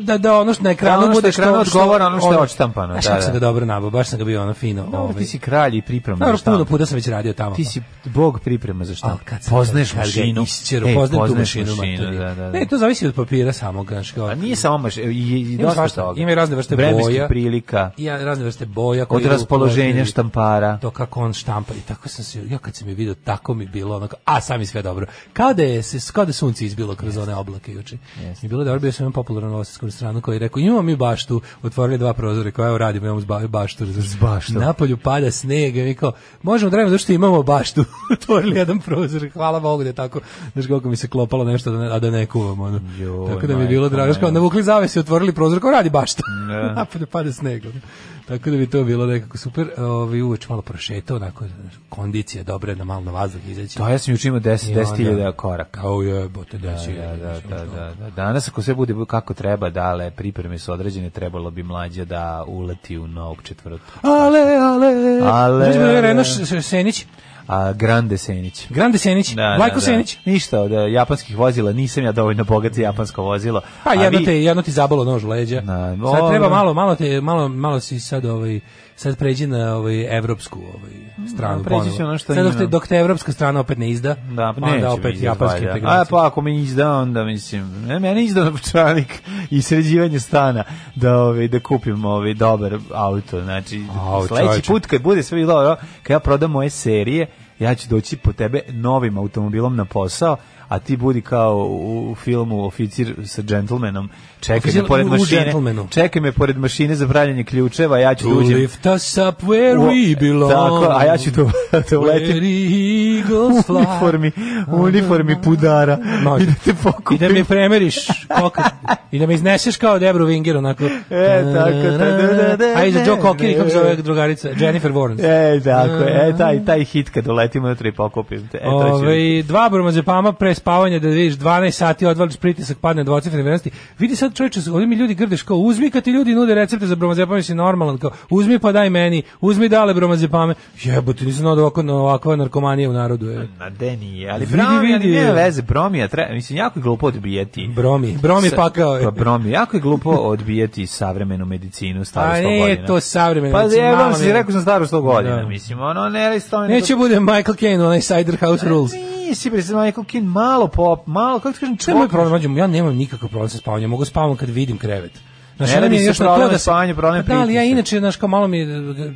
da da ono što na ekranu
ono što
bude
ekranu odgovara onom što je odštampano,
Znaš
da,
kako
da.
sam ga dobro nabao, baš sam ga bio ono fino.
Dobro,
ovaj.
ti si kralj i priprema
Dobro,
za
puno
štampu.
puta sam već radio tamo.
Ti si bog priprema za
Al
štampu.
Pa kad sam-
poznaješ
kad ga
mašinu.
Isćeru,
Ej,
poznajem tu
poznaješ
E, mašinu. matori.
da, da, da.
Ne, to zavisi od papira samog. Znaš, kao,
A pa nije samo maš, i, i dosta
svašta,
toga.
ima i razne vrste
Vremenskih
boja.
prilika,
I ja razne vrste boja. koje
od
idu u
raspoloženja
papir i
štampara.
To kako on štampa i tako sam se, ja kad sam je vidio, tako mi je bilo onako, a sam je sve dobro. Kao da je, se, kao da je sunce izbilo kroz one oblake juče. I bilo je dobro, bio sam jedan popularan u Osetskom restoranu koji je rekao, imamo mi baštu, otvorili dva prozore, koja evo radimo, imamo zba- baštu. S
baštom.
Napolju pada sneg, i mi kao, možemo da radimo zato što imamo baštu. otvorili jedan prozor, hvala Bogu da je tako, znaš koliko mi se klopalo nešto, da ne, a da ne kuvam. Ono.
Joj,
tako da mi je bilo
majko
drago, znaš kao,
moja.
navukli zaves i otvorili prozor, kao radi bašta.
Da.
Napolju pada sneg. ono. Tako da bi to bilo nekako super. Ovaj uveč malo prošetao, onako kondicija dobra, na malo na vazduh izaći.
To ja sam juče imao 10
I onda-
10.000 koraka.
Kao je, bote da,
Da, da, da, da, da. Danas ako sve bude kako treba, dale, pripreme su određene, trebalo bi mlađa da uleti u novog četvrtka.
Ale, ale.
Ale,
Znaš,
ale.
Reno Š- Š- Senić,
A Grande Senić.
Grande Senić, Lajko Senić.
Ništa od e, japanskih vozila, nisam ja dovoljno bogat za japansko vozilo.
Pa
A
jedno
vi-
te jedno ti zabalo nož u leđa.
Da, ono-
sad treba
ovo-
malo malo te malo malo si sad ovaj sad pređi na ovaj evropsku ovaj stranu.
da, pređi
ponovo.
si ono što
sad dok te,
imam.
dok te evropska strana opet ne izda,
Da, pa
pa onda
neće
opet
mi
japanske
izda, valjda. A
integracije.
pa ako mi izda, onda mislim, ne, meni izda novčanik i sređivanje stana da, ovaj, da kupim ovaj, dobar auto. Znači,
Au,
sledeći
čoveče.
put kad bude sve bilo, dobro, kad ja prodam moje serije, ja ću doći po tebe novim automobilom na posao, a ti budi kao u u filmu oficir sa gentlemanom, čekaj
Oficir
me pored
u- u
mašine,
džentlmenu.
čekaj me pored mašine za pravljanje ključeva, a ja ću da
To
uđem.
lift us up where
u-
we belong.
Tako, a ja ću da, da
Where
uletim
eagles
u
fly.
uniformi, u uniformi pudara
Može.
i da te
I da
pokupim.
me premeriš koka, i da me izneseš kao Debru Winger onako.
E, tako, da, da, da, da,
A i za
da,
Joe Cocker i kako se
da, da.
zove drugarica, Jennifer Warren.
E, tako, je, e, taj, taj hit kad uletim unutra i pokupim te. E, to će...
Ove, dva bromazepama pre spavanja da vidiš 12 sati odvališ pritisak padne do dvocifrene vrednosti. Vidi sad čoveče, ovdje mi ljudi grdeš kao uzmi kad ti ljudi nude recepte za bromazepame si normalan kao uzmi pa daj meni, uzmi dale bromazepame. Jebote, nisam znao da ovako ovakva narkomanija u narodu je.
Na de nije, ali
Vidi,
Bromi, ali
vidi.
nema veze, Bromija, treba, mislim, jako je glupo odbijeti.
Bromi, bromi
Sa-
pakao je.
Pa Bromi, jako je glupo odbijeti savremenu medicinu staru
A
100 pa, godina.
nije e, to savremena
Pa
medicina,
jebam
malo mi
se,
je.
rekao sam staru 100 godina,
Da.
mislim, ono, ne, ali sto... E,
Neće bude Michael Caine, onaj Cider House Rules.
Nisi, bre, sam Michael Keane, malo pop, malo, kako ti kažem,
To je moj
čvok.
problem, mlađe, ja nemam nikakav problem sa spavanjem, mogu spavam kad vidim krevet. Znaš,
Ne
onda mi
radi
je
se
još na
problem
to da
sa spavanjem, problem
Pa Da, ali ja
pritisak.
inače, znaš, kao malo mi, je,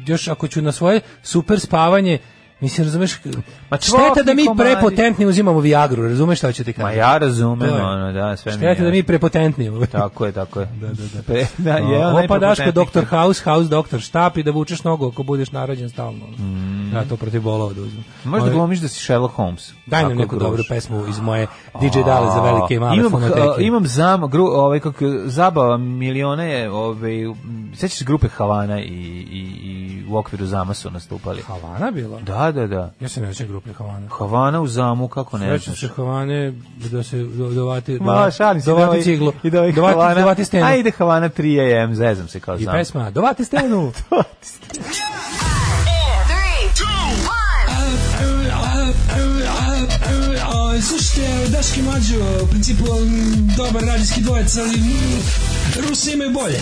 još ako ću na svoje super spavanje, mislim, razumeš,
Ma
šteta da mi
čvokni komadi.
prepotentni uzimamo Viagru, razumeš šta ću ti
Ma
kažem?
ja razumem,
To je.
ono, da, sve mi je
Šteta da mi prepotentni.
Tako je, tako je. Da, da, da. Pe, da, je,
Ja,
onaj
Opa Daško,
prepotentnik.
doktor House, House, doktor Štap i da vučeš nogu ako budeš narađen stalno. Ja to protiv bolova da uzmem.
Mm. Možda
Ali-
glumiš da si Sherlock Holmes.
Daj
Tako
nam
je
neku
grož.
dobru pesmu iz moje DJ Dale za velike i male
imam,
fonoteke.
a, imam zam, gru, ovaj, kako, zabava miliona je, ovaj, m, sećaš se grupe Havana i, i, i u okviru zama su nastupali.
Havana bila?
Da, da, da.
Ja se ne sećam grupe Havana.
Havana u zamu, kako ne
Sećam
znaš.
se Havane da se do- dovati da,
Ma, šalim se,
dovati
ovaj-
ciglu.
I da ovaj
dovati,
Havana,
dovati stenu.
a ide Havana 3 AM, zezam se kao
I
zam.
pesma, dovati stenu.
Slušajte, Daški Mađo, u principu m, dobar radijski dvojec, ali m, Rusi imaju bolje.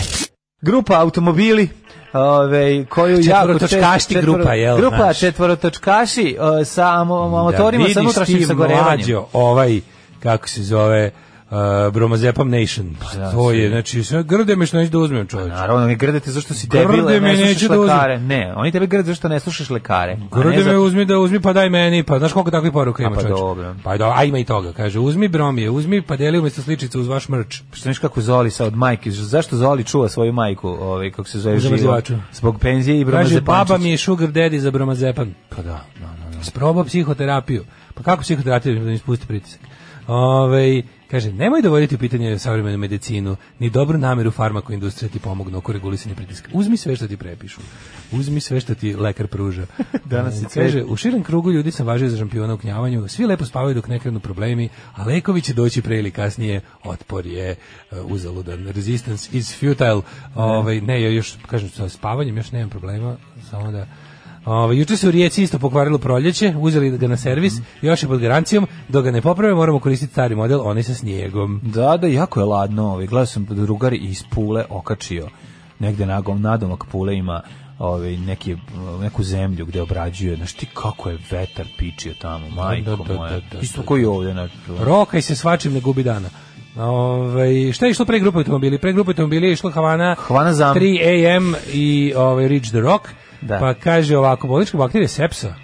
Grupa automobili Ove, koju jako
Četvorotočkašti
četvoro-
grupa, jel,
grupa
znaš.
četvorotočkaši o, sa amo- motorima
vidiš
sa unutrašnjim
ti,
sagorevanjem.
mlađo, ovaj, kako se zove, uh, Bromazepam Nation.
Pa da,
to je,
sve.
znači, sve grde me što neću da uzmem čoveče.
Naravno, oni grde te zašto si
Grde
debil, a
me
ne
neću
slušaš
da uzmem.
lekare. Ne, oni tebe grde zašto ne slušaš lekare. A ne
Grde
za-
me uzmi da uzmi pa daj meni, pa znaš koliko takvih poruka ima
pa
čoveče.
dobro.
Pa dobro, a ima i toga, kaže, uzmi bromije, uzmi pa deli umesto sličice uz vaš mrč.
Što neš kako Zoli sa od majke, zašto Zoli čuva svoju majku, ovaj, kako se zove
U
živo?
zamrzivaču.
Zbog penzije i
Kaže,
bromaze
baba mi je sugar daddy za bromazepam. Pa da, no, no, no. Sproba psihoterapiju. Pa kako psihoterapiju da mi spusti pritisak? Ove, kaže, nemoj dovoditi u pitanje savremenu medicinu, ni dobru nameru farmako industrije ti pomognu oko regulisanja pritiska. Uzmi sve što ti prepišu. Uzmi sve što ti lekar pruža.
Danas
E,
je
kaže, u širem krugu ljudi sam važio za šampiona u knjavanju, svi lepo spavaju dok ne krenu problemi, a lekovi će doći pre ili kasnije, otpor je e, uzaludan. Resistance is futile. Ovaj, ne, ja još, kažem, sa spavanjem još nemam problema, samo da... Ovaj, juče se u Rijeci isto pokvarilo proljeće, uzeli ga na servis, još je pod garancijom, dok ga ne poprave moramo koristiti stari model, onaj sa snijegom.
Da, da, jako je ladno. Ovaj. Gledao sam drugar iz Pule okačio. Negde nagom nadomak Pule ima ovaj, neki, neku zemlju gde obrađuje. Znaš ti kako je vetar pičio tamo, majko
da, da,
moja.
da, da,
Isto koji ovdje. Na,
Rokaj se svačim ne gubi dana. Ovaj šta je išlo pre grupe automobili? Pre grupe automobili je išlo Havana,
Havana Zam.
3 AM i ovaj Reach the Rock.
Da.
Pa kaže ovako, bolnička bakterija sepsa.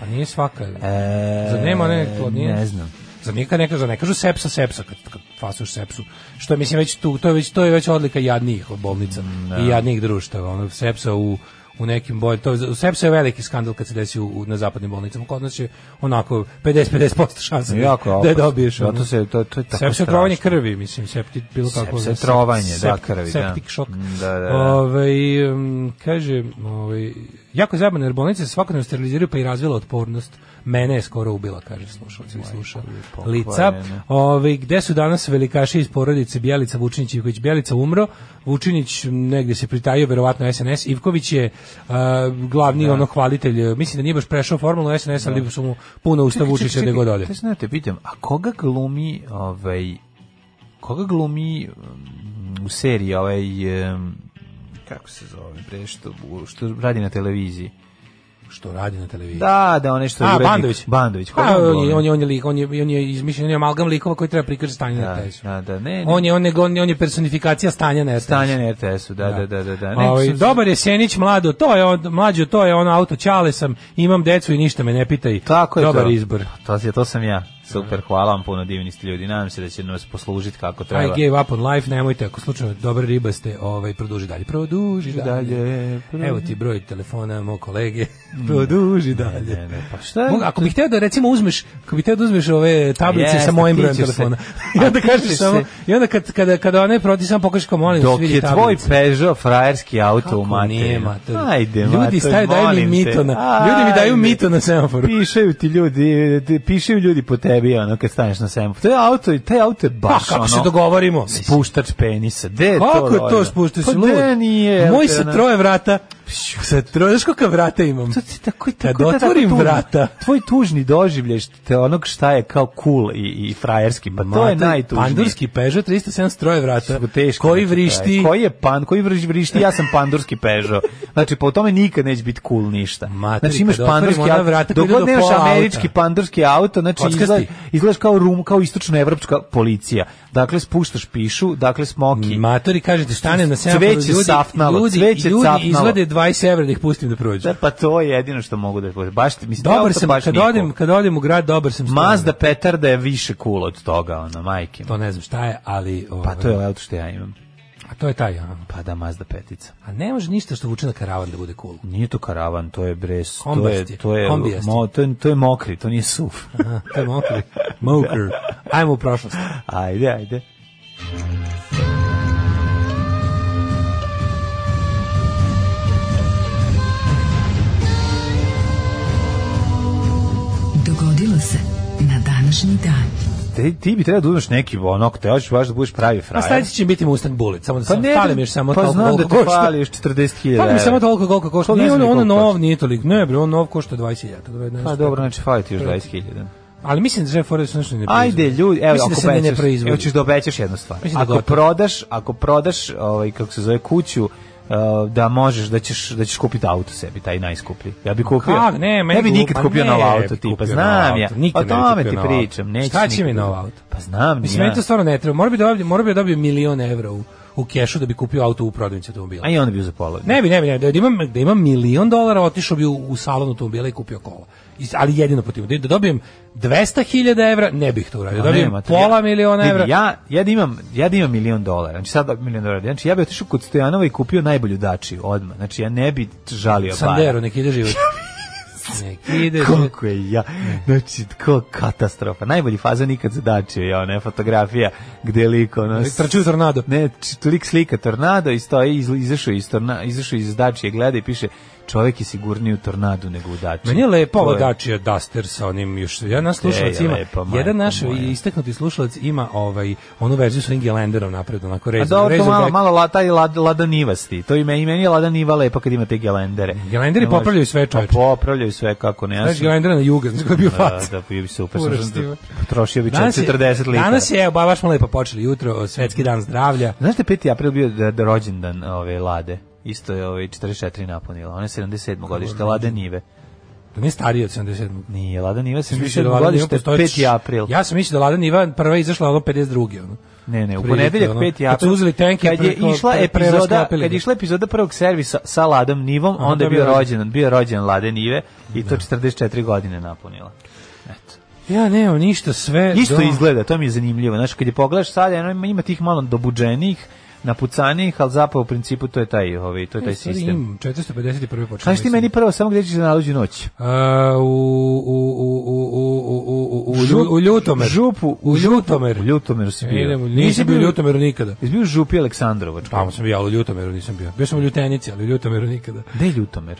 Pa nije svaka.
E,
Zar nema one plodnije?
Ne znam.
Za neka ne kažu, ne kažu sepsa sepsa kad, kad fasuš sepsu. Što je mislim već tu, to je već to je već odlika jadnih bolnica
Mm,
i jadnih društava. Ono sepsa u u nekim bolj, to je, sepsa je veliki skandal kad se desi u, u- na zapadnim bolnicama. Kod nas je onako 50-50% šanse da-
Jako je
da je
opasno.
dobiješ.
Zato
ono.
se- to- to je tako
Sepsa je
strašno.
trovanje krvi, mislim, septi, bilo kako.
Sepsa je
Sept-
trovanje, da,
sept-
krvi, da. Mm,
Septic šok.
Da, da, da.
Ovaj, em, kaže, ovaj, jako je zabavno, jer bolnice se svakodnevno steriliziraju pa i razvila otpornost. Mene je skoro ubila, kaže slušalac ili sluša lica.
pokvarena.
Ove, gde su danas velikaši iz porodice Bjelica, Vučinić, Ivković? Bjelica umro, Vučinić negde se pritajio, verovatno SNS. Ivković je a, glavni ono hvalitelj, mislim da nije baš prešao formalno SNS, ali su mu puno usta Vučića gde god ode.
Te znam da Pa te pitam, a koga glumi, ovaj, koga glumi um, u seriji ovaj, um, kako se zove, bre, što, što radi na televiziji?
Što radi na televiziji?
Da, da, one što
A,
uredi-
Bandović.
Bandović,
Pa,
koga on
on,
glumi?
je, on, je, on, je lik, on, je, on je izmišljen, on je amalgam likova koji treba prikaže stanje na
Da,
RTS-u.
da, da, ne, ne.
On je, on je, on je, on je personifikacija stanja na RTS-u.
Stanja na RTS-u, da, da, da, da. da. Ne,
Ovaj,
sam-
dobar je Senić mlado, to je on, mlađo, to je ono auto, čale sam, imam decu i ništa me ne pitaj.
Tako je
dobar
to.
izbor.
To, je, to sam ja. Super, hvala vam puno, divni ste ljudi. Nadam se da će nas poslužiti kako treba.
I gave up on life, nemojte, ako slučajno dobra riba ste, ovaj, produži dalje. Produži dalje.
Dalje, produži.
Evo ti broj telefona mog kolege. produži dalje.
ne, ne, pa šta je
Mogu- ako bih hteo da recimo uzmeš, ako bih hteo da uzmeš ove tablice
Jeste,
sa mojim
ti
brojem
ćeš se.
telefona. I
A
onda
ti ćeš
kažeš samo,
se.
i onda kad, kada, kada ona je proti, samo pokažeš kao molim,
Dok
vidi
je tvoj
tablice.
Peugeot frajerski auto
Kako
u materiju.
nije, mater?
Ajde,
Ljudi,
mater,
stavi, daj mi
molim
mito
te.
na- ljudi mi daju
Ajde.
mito na semaforu.
Pišaju ti ljudi, ti- pišaju ljudi po tebi, ono, kad staneš na semaforu. To je auto, taj auto je
Pa,
baš,
kako se
ono,
dogovorimo?
spuštač penisa. Gde je to?
Kako je to
rođeno?
spušta se
Pa gde nije?
Moj
te,
sa
ono?
troje vrata. Sa troje, znaš kolika vrata imam?
To ti tako,
Kad
tako,
otvorim
tako tužno.
vrata.
Tvoj tužni doživljaj što te onog šta je kao cool i, i frajerski, pa to je
Mater,
najtužnije.
Pandurski Peugeot 307 s troje vrata.
Teško
koji
mi to traje.
vrišti?
Koji je pan, koji vriš- vrišti, ja sam pandurski Peugeot. Znači, po tome nikad neće biti cool ništa.
Materi,
znači, imaš
kad otvorim
pandurski
ona
auto,
vrata koja
dok
idu
god
do
nemaš
pola
američki
auta.
pandurski auto, znači,
Kockasti.
izgled, izgledaš kao, rum, kao istočnoevropska policija. Dakle, spuštaš pišu, dakle, smoki.
Matori kažete stanem na semaforu
Cveće
ljudi,
safnalo,
ljudi,
cveće
ljudi
safnalo.
izvade 20 evra da ih pustim da prođu.
Da, pa to je jedino što mogu da kažem. Baš, mislim, taj
Dobar
auto
sam,
baš
kad
nije cool.
odem, kad odem u grad, dobar sam. s toga.
Mazda petarda je više cool od toga, ono, majke. mi.
To ne znam šta je, ali... Ovaj,
Pa to je ovaj auto što ja imam.
A to je taj, aha.
Pa da, Mazda petica.
A ne može ništa što vuče na karavan da bude cool.
Nije to karavan, to je bres, to je
Kombijast je,
to je
kombijast je.
mo, to je to je mokri, to nije suv.
Aha, to je mokri. Moker. Ajmo u prošlost.
ajde, ajde.
Dogodilo se na današnji dan.
Ti, ti bi trebao da uzmeš neki onog, te hoćeš baš da budeš pravi
A
frajer.
Pa sledeći će biti Mustang Bullet, samo da sam
ne,
fali mi još samo
pa
toliko
znam da
koliko
ti
košta.
fali još 40.000.
Fali mi
evra.
samo toliko koliko košta.
To ne
Nije
znam
ono,
ni
ono
koliko košta.
nov, nije toliko. Ne bre, on nov košta 20.000. to je nešto.
Pa dobro, znači fali ti još 20.000.
Ali mislim da je fora da se nešto ne proizvodi.
Ajde ljudi, evo
mislim da
ako
se ne, ne
obećaš, evo
proizvodi.
ćeš da obećaš jednu stvar.
Mislim da
Ako
gotovo.
prodaš, ako prodaš ovaj kako se zove kuću uh, da možeš da ćeš da ćeš kupiti auto sebi taj najskuplji. Ja bih kupio.
Kak, ne, meni
ne bi
glupo,
nikad
pa
kupio
ne
novo
bi
auto tipa,
kupio
znam
novo
ja.
auto, nikad
o
ne bi
tome
kupio
ti
novo auto.
pričam, nećeš.
Šta će
nikad
mi novo
kupiti.
auto?
Pa znam,
Mislim,
ja.
meni to stvarno ne treba. Mora bi da dobio, mora bi da dobio milion evra u, u kešu da bi kupio auto u prodavnici automobila.
A i onda bi uzeo pola.
Ne bi, ne bi, ne bi. Da imam, da imam milion dolara, otišao bi u, u salon automobila i kupio kola. I- ali jedino po tim. Da, da dobijem 200.000 evra, ne bih to uradio. Da
Pa
dobijem
nema, to
pola
ja-
miliona
vidi,
evra.
Ja, ja da imam, ja da imam milion dolara, znači sad dobijem milion dolara, znači ja bih otišao kod Stojanova i kupio najbolju dačiju odmah, znači ja ne bi žalio bara.
Sandero, nek ide život. nek ide život.
Koliko je ja, znači, ko katastrofa. Najbolji faza nikad zadačio je ona fotografija gde lik ono... s-
Trči u tornado.
Ne, č- lik slika tornado i stoji, iz, izašao iz torna, izašao iz zadačije, gleda i piše čovjek je sigurniji u tornadu nego u dačiji.
Meni je lepo
To
ovo Dačija Duster sa onim još jedan naš slušalac
je
ima
lepo, majko
jedan naš
moja.
istaknuti slušalac ima ovaj onu verziju sa Ingelanderom napred onako
A
rezu.
dobro, to malo, malo la, taj lad, ladanivasti. To i meni, meni je ladaniva lepa kad ima te gelendere.
Gelenderi
Ne može-
popravljaju sve,
Pa
čoveče.
Popravljaju sve kako ne. ja
Znaš
sam-
Ingelandera na jugu, znači koji je bio
Da,
fac.
da, bio bi super. sam-
Urastivo.
Potrošio bi
Danas je-
40 litara.
Danas je, evo, ba- baš smo lepo počeli jutro, svetski dan zdravlja.
Znaš da je 5. april bio da, da rođendan ove Lade? Isto je ove 44 napunila. Ona je 77. godište, Lada Nive.
To nije stariji od 77.
Nije, Lada Nive
Mislim
77.
da Ladan Ivan
godište,
postoji-
5. april.
Ja sam mislio da Ladan Ivan prva je izašla ono 52. Ono.
Ne, ne, u
Otprilike,
ponedeljak
ono,
5. april.
Kad su uzeli tenke,
kad je
preko-
išla
pre- pre-
epizoda,
rasklapili
kad
ga.
je išla epizoda prvog servisa sa Ladom Nivom,
Aha,
onda je
to je
bio
bio
rođendan, bio je rođendan Lade Nive i to 44 godine napunila.
Ja nemam ništa sve.
Isto
do-
izgleda, to mi je zanimljivo. Znaš, kad je pogledaš sad, eno, ima, ima tih malo dobuđenijih, napucanijih, ali zapravo u principu to je taj, ovaj, to je taj
E, stvari
sistem.
imam, 451. počinje.
Kaži ti
mislim.
meni prvo, samo gdje ćeš da nalođu noć?
A, u, u, u, u, u, u, u, u, u,
Žup-
u Ljutomer.
Župu,
u Ljutomer.
U Ljutomeru si bio.
Idem, nisam bio u Ljutomeru nikada.
Jesi bio u Župi Aleksandrovačka?
Tamo sam bio, ali u Ljutomeru nisam bio. Bio sam u Ljutenici, ali u Ljutomeru nikada.
Gde je Ljutomer?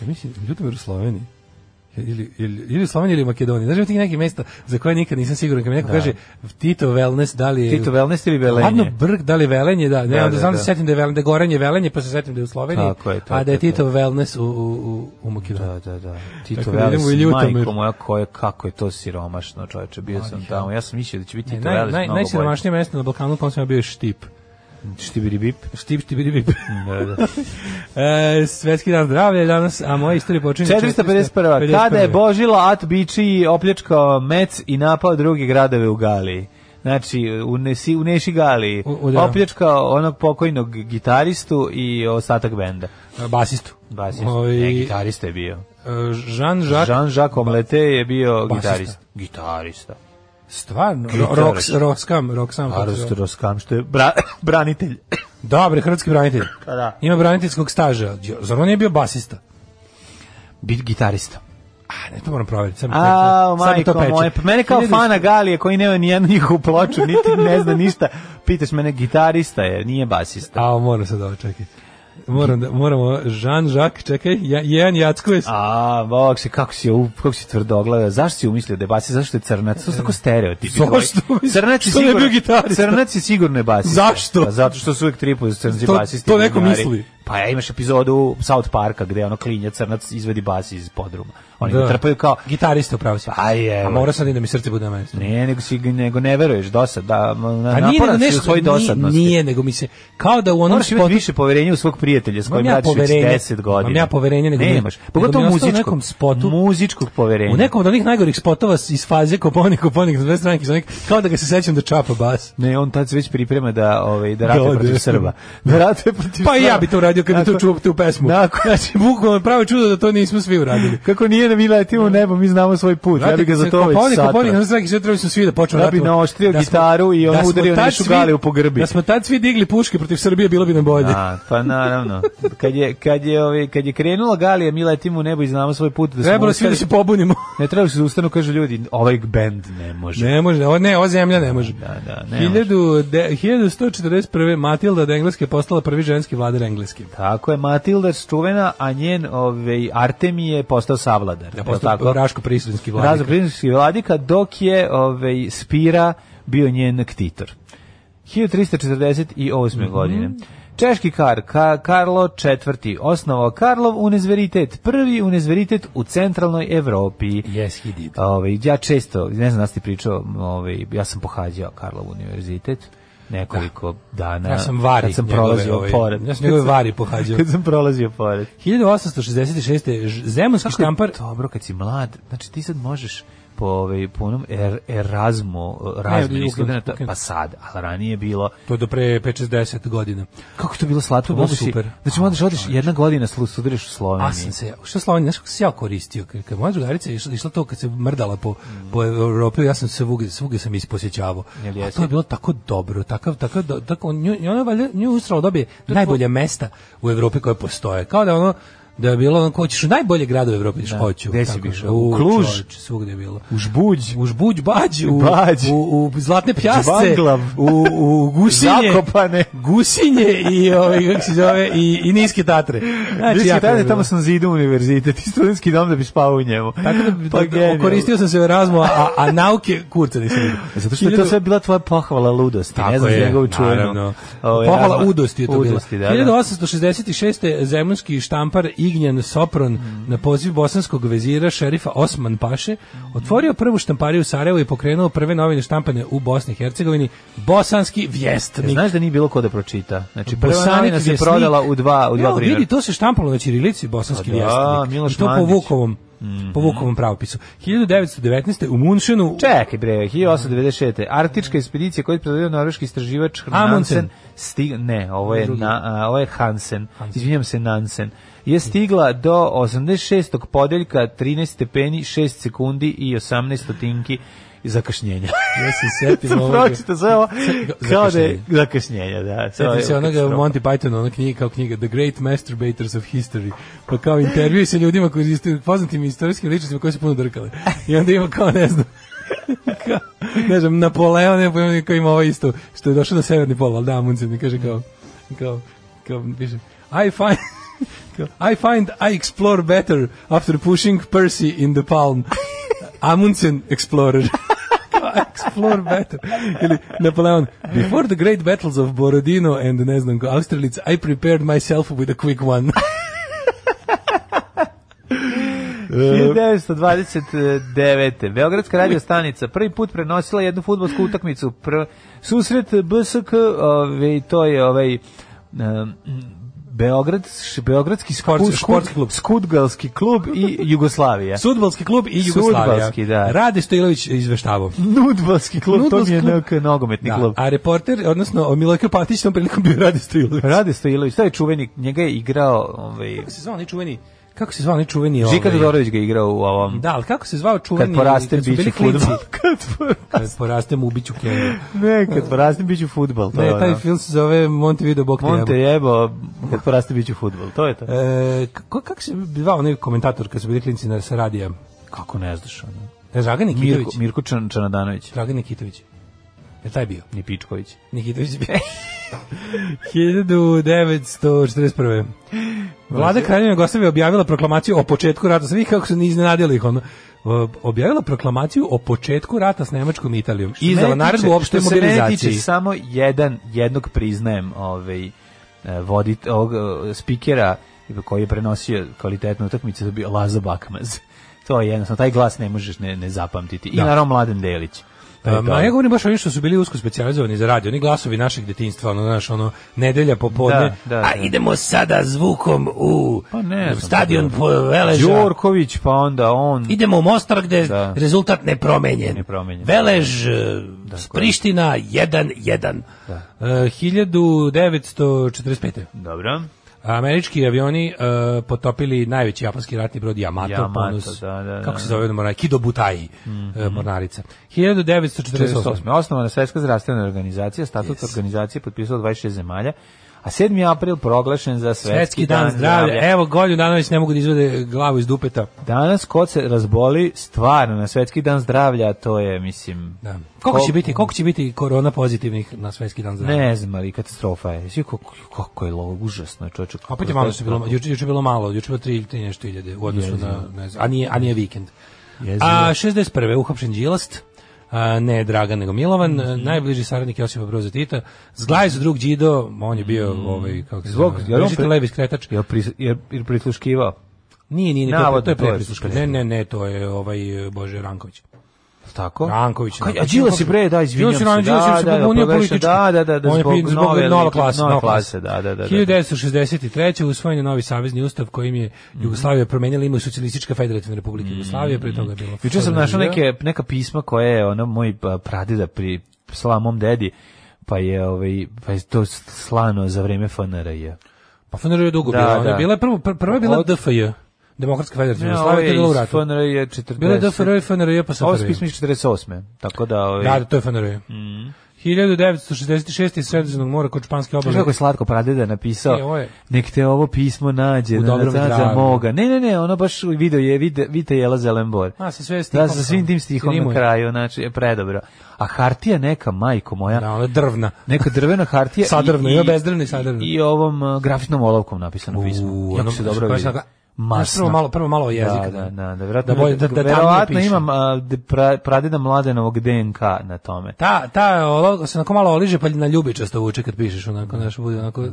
Ja mislim, Ljutomer u Sloveniji. Ili, ili, ili u Sloveniji ili u Makedoniji. Znaš, ima tih nekih mesta za koje nikad nisam siguran. Kad mi neko kaže Tito Wellness, da li je...
Tito Wellness ili Velenje?
Ladno brg, da li je velenje, da. Ne,
Da,
da,
da,
onda znam da,
da.
se setim da je velenje, da je gorenje velenje, pa se setim da je u Sloveniji,
Tako je, to je
a da je
to, to je.
Tito Wellness u, u, u, u Makedoniji.
Da, da, da. Tito
Tako da idemo u
Veles,
Ljutomer.
majko moja, koje, kako je to siromašno, čoveče, bio sam tamo. Ja sam mislio da će biti
Ne,
Tito
naj,
Veles
naj,
mnogo bolje.
najsiromašnije mesto na Balkanu, kom sam ja bio je Štip.
Štibiri bip.
Štip, štip, štip, štip.
Da, da.
E, svetski dan zdravlja je danas, a moja istorija počinje
451.
451.
Kada je Božila At Biči opljačkao Mec i napao druge gradove u Galiji. Znači, u, Nesi, u Neši Galiji
U- u- da.
opljačkao onog pokojnog gitaristu i ostatak benda.
E, Basistu.
Basist,
Ovaj,
ne, gitarista je bio.
e, Jean-Jacques
Jean-Jacques Omelete je bio
Basista.
gitarista. Gitarista.
Stvarno,
Klitorac.
Roks, Roskam, Roksam. kako se zove.
Arostor Roskam, što je bra, branitelj.
Dobre, hrvatski branitelj.
Pa da.
Ima braniteljskog staža. Zar on je bio basista?
Bit gitarista.
A, ne, to moram provjeriti. Sam
A,
sad mi to
majko
peče.
moje, pa mene kao
1900
fana Galije koji nema nijednu njihovu ploču, niti ne zna ništa, pitaš mene, gitarista je, nije basista.
A, moram sad ovo, čekaj. Moram da, moramo, Jean, Jacques, čekaj, ja, jedan jacko je...
A, bog se, kako si, ovu- kako si tvrdoglava, zašto si umislio da je basista, zašto je crnac, to su tako stereotipi. tvoji.
Zašto?
Crnac je
Što ne
sigurno,
bio gitarista?
crnac je sigurno je basista.
Zašto?
Pa zato što su uvek tripuju crnci
To-
basisti.
to
i
neko
bubnjari.
misli.
Pa ja imaš epizodu South Parka gde ono klinja crnac izvedi bas iz podruma. Oni
Da.
ga trpaju kao,
Gitarista, upravo si.
Pa je,
A mora sad i da mi srce bude na mestu.
Ne, nego si nego ne veruješ dosad, da na,
A nije nego
naporan si u
nešto,
svoj dosadnosti.
Nije, nije, nego mi se, kao da u onom
Moraš imati
spotu,
više poverenja u svog prijatelja s
Imam
kojim
ja
radiš već
poverenje.
10 godina.
Imam ja poverenje, nego mi-
nemaš.
nego mi
Pogotovo
je ostalo
muzičkog.
u nekom spotu.
Muzičkog poverenja.
u nekom od onih najgorih spotova iz faze Koponik, Koponik, s dve strane, Kizonik, kao da ga se sećam da čapa bas.
Ne, on tad se već priprema da, ovaj,
Da
da rate
ode.
protiv Srba. Da rate protiv
Pa i
Srba.
ja bi to uradio kad bi to
Ako-
čuo tu pesmu.
Nakon-
Znači, bukvalno pravo čudo da to nismo svi uradili.
Kako nije da mi letimo u nebo, mi znamo svoj put. Ja
Vrati, pa
bih ga za to već
Koponik,
satrao.
Koponik, na svaki sve trebali smo svi da počnemo.
Ja bi
ratovati.
naoštrio
Da smo-
gitaru i on
da smo
udario
tad
Nešu
svi-
Galiju po grbi.
Da smo tad svi digli puške protiv Srbije, bilo bi nam bolje.
A, pa naravno. Kad je, kad je, ovaj, kad je krenula Galija, mi letimo u nebo i znamo svoj put. Da smo
Trebalo svi da se
ustali-
pobunimo.
Ne trebalo se da ustanu, kažu ljudi, ovaj bend ne može.
Ne može, ovo ne, ova zemlja ne može.
Da, da, ne može.
1000 de- 1141. Matilda od Engleske postala prvi ženski vladar Engleske.
Tako je, Matilda je čuvena, a njen ovaj, Artemij je postao savladar.
Da
Da,
postao
tako?
Raško Prisrenski vladar.
Razoprinski vladika, dok je ovaj, Spira bio njen ktitor. 1348.
Mhm.
godine. Češki kar, Ka- Karlo IV. osnovao Karlov unezveritet, prvi unezveritet u centralnoj Evropi.
Yes, he did.
Ovaj, ja često, ne znam da ste pričao, ovaj, ja sam pohađao Karlov univerzitet nekoliko dana.
Ja sam vari
Kad sam
njegove,
prolazio
ovaj,
pored.
ja sam njegove vari pohađao.
Kad sam prolazio pored.
1866. Ž- Zemunski štampar
Dobro, kad si mlad, znači ti sad možeš po, ovaj, po onom er, Erasmu,
Ne,
razmeni
ukinut,
studenta,
ukinut.
pa sad, ali ranije je bilo,
To je do pre 5-60 godina.
kako je to bilo slatko,
To je bilo
mogu si-
super.
Znači, onda odeš jedna godina, slu- studiraš u Sloveniji.
A sam se, što Slovenija, znaš kako sam se ja koristio, kad, kad moja drugarica je išla, išla to kad se mrdala po, po Evropi, ja sam se svugde, svugde sam isposjećavao.
Jel
A
jesi?
to je bilo tako dobro, takav, takav, do- tako, nju, i ona valjda, nju ustralo dobije najbolja mesta u Evropi koje postoje. Kao da ono, da je bilo, ono, ko ćeš u najbolje grado u Evropi, da. hoću.
Gde si
tako,
išao? U Kluž?
čovječe, svugde je bilo.
U Žbuđ.
U Žbuđ, Bađ, u,
Bađ.
u, u Zlatne pjasce,
Žvanglav.
u, u Gusinje,
Zakopane.
Gusinje i, ovaj, kako se zove, i, i Niske Tatre. Znači,
Znači,
jako je bilo.
tamo sam zidu univerzitet i studentski dom da bi spavao u njemu.
Tako da, bi- da, da
Pa genijalno.
koristio Pa sam se razmo, a, a nauke kurca nisam vidio.
E, Zato što je to sve bila tvoja pohvala ludosti.
Tako
ne znam za
je,
njegovu čuvenu.
naravno.
Ovaj,
Pohvala
razma-
udosti je to
udosti,
bila.
Da, da.
1866. zemunski štampar Ignjan Sopron na poziv bosanskog vezira šerifa Osman Paše otvorio prvu štampariju u Sarajevu i pokrenuo prve novine štampane u Bosni i Hercegovini Bosanski vjestnik.
Znaš da nije bilo ko da pročita. Znači, prva
Bosanik
novina se
vjesnik.
prodala u dva, u dva
Evo,
primjera.
Vidi, to se štampalo na ćirilici bosanski
Pa da,
vjesnik.
Miloš
I to po
Mandić. Mhm.
Vukovom, po Vukovom pravopisu. 1919. u Munšenu
Čekaj bre, 1896.
Mm.
Arktička ekspedicija koju je predvodio norveški istraživač
Amundsen.
Nansen. Stig, ne, ovo je, na, a, ovo je Hansen. Izvinjam se, Nansen. Je stigla do 86. podeljka 13 stepeni, 6 sekundi i 18 stotinki zakašnjenja.
Ja se setim
Sam
ovoga.
pročito sve ovo kao da je
Zakašnjenja.
zakašnjenja, da. to je
Sjetim se onoga
katastrofa.
Monty Python, ona knjiga kao knjiga The Great Masturbators of History. Pa kao intervju sa ljudima koji su isto- poznatim istorijskim ličnostima koji su puno drkali. I onda ima kao ne znam. kao, ne znam, Napoleon je pojma koji ima ovo isto, što je došao na severni pol, ali da, Amundsen mi kaže kao, kao, kao, piše, I find, kao, I find I explore better after pushing Percy in the palm. Amundsen explorer. Explore better. Ili Napoleon, before the great battles of Borodino and ne znam, Austerlitz, I prepared myself with a quick one.
1929. Beogradska radio stanica prvi put prenosila jednu futbolsku utakmicu. Pr susret BSK, ovaj, to je ovaj... em, Beograd, š- Beogradski
Šport-
sku-
športski klub.
Skudgalski klub i Jugoslavija.
Sudbalski klub i Jugoslavija.
Sudbalski, da.
Rade Stojilović izveštavao.
Nudbalski klub,
Nudbalski
to mi je
klub.
nek- nogometni
Da,
klub.
a reporter, odnosno Milojko Patić, tom prilikom bio Rade Stojilović.
Rade Stojilović, taj je čuveni, njega je igrao ovaj,
Kako se zvao onaj čuveni kako se zvao onaj čuveni ovaj...
Žika Todorović ga igra u ovom...
Da, ali kako se zvao čuveni...
Kad porastem
su bili
biću
klinci?
fudbal. Kad porastem
Kad porastem ubiću Kenju.
ne, kad porastem biću fudbal, to
Ne,
je.
taj
ono.
film se zove Montevideo Bog te jebo.
Monte jebo, kad porastem biću fudbal, to je to.
E, kako, kako se zvao onaj komentator kad su bili klinci na sa radija?
Kako ne znaš ono?
Ne, Dragan Nikitović.
Mirko, Mirko Čan, Čanadanović,
Dragan Nikitović. Je taj bio?
ni Pičković.
Nikitović je bio. 1941. Vlada Kraljevine Jugoslavije objavila proklamaciju o početku rata. Svi kako su ni iznenadili ih ono. Ob- Objavila proklamaciju o početku rata s Nemačkom i Italijom.
Što
Izdala
mene
naredbu
tiče-
o opštoj
što se mene
mobilizaciji.
tiče, samo jedan, jednog priznajem ovaj, e, vodit, ovog e, spikera koji je prenosio kvalitetnu utakmicu, to je bio Lazo Bakmaz. To je jednostavno, taj glas ne možeš ne, ne zapamtiti. I naravno Mladen Delić. Taj
Pa, ma
to-
ja govorim baš o što su bili usko specijalizovani za radio, oni glasovi našeg detinjstva, ono, znaš, ono, nedelja popodne,
Da, da,
a
da.
idemo sada zvukom u
Pa ne
u
znam,
stadion
pa
po Veleža,
Đorković, pa onda on...
idemo u Mostar gde
Da.
rezultat nepromenjen.
Nepromenjen.
Velež, e, Priština, 1-1. E, 1945.
Dobro.
Američki avioni e, potopili najveći japanski ratni brod Yamato,
Yamato,
Ponus,
da, da, Mhm. da.
kako se zove od mornarica, Kido Butai, e, mornarica. 1948.
1948. Osnovana svetska zdravstvena organizacija, statut organizacije potpisao 26 zemalja, a 7. april proglašen za svetski,
Svetski dan zdravlja. E- Evo, Golju Danović ne mogu da izvode glavu iz dupeta.
Danas ko se razboli stvarno na svetski dan zdravlja, to je, mislim...
Da. Koliko
Ko-
će biti, koliko će biti korona pozitivnih na Svetski dan zdravlja?
Ne znam, ali katastrofa je. Svi kako, kako je lovo, užasno je čoče.
Opet je malo što je bilo, juče juče je bilo malo, juče je bilo 3 3 nešto hiljade u odnosu na ne znam, a nije a nije vikend.
Jezivo.
A 61. uhapšen Đilast, a, ne Dragan nego Milovan,
Mhm.
najbliži saradnik Josipa Broza Tita, zglajz drug Đido, on je bio ovaj kako se
Mhm. Zbog-
zove,
jer on
držitelj
pre-
levi skretač.
Jel, pri, jel, jel prisluškivao?
Nije, nije, nije, to je-
Navodno,
to je
to je
prepisluška. Ne, ne, ne, to je ovaj e, Bože Ranković.
Tako?
Ranković.
Kaj, a Đilas je pre, da, izvinjam
Đilas
se.
je ranije, Đilas je se
da, da,
pobunio
da, pogrešio,
politički.
Da, da, da, da,
On je pin- zbog
nove,
nova klasa,
nove
nova
klase,
klasa.
da, da, da. da.
1963. usvojen je novi savezni ustav kojim je
Mhm.
Jugoslavija promenila ime u Socijalistička federativna republika Jugoslavije, pre toga je bilo.
Juče sam našao
FNJ.
neke neka pisma koje je ono moj pa, pradeda pri slao mom dedi pa je ovaj pa je to slano za vreme FNRJ.
Pa FNR je dugo
Da,
da, bila. Ona
da.
je bila prvo pr- prva je bila
Od-
DFJ. Demokratska federativna
Ne, ovo
Jugoslavija, to je bila u
iz
ratu.
FNRJ je 40.
Bila je DFR i FNR, pa
Ovo
sad
je
prvi.
pismo iz 48. Tako da ovaj
Da, da, to je FNR.
Mhm.
1966. iz Sredozemnog mora kod Španske
Znaš
obale.
kako je slatko pradeda napisao,
E, ovo je-
nek te ovo pismo nađe,
U
na,
dobrom
na, za
zdravlju.
moga. Ne, ne, ne, ono baš video je, vide, vite jela zelen bor.
A, sa sve stihom.
Da, sa svim tim stihom na
Rimuje.
kraju, znači, je predobro. A hartija neka, majko moja,
Da, ona je drvna.
neka drvena hartija
Sadrvna, ima bezdrvna i sadrvna.
i ovom uh, grafičnom olovkom napisano pismo.
U,
Jako
ono
se dobro
baš
vidi.
onako- Znaš, prvo malo, prvo malo jezika.
Da, da, da, da, verovatno,
bolje- da, da,
verovatno
tamnije piše.
imam uh, de- pra, pradeda mladenovog DNK na tome.
Ta, ta olovka se onako malo oliže, pa na ljubičasto vuče kad pišeš, onako, znaš, bude onako...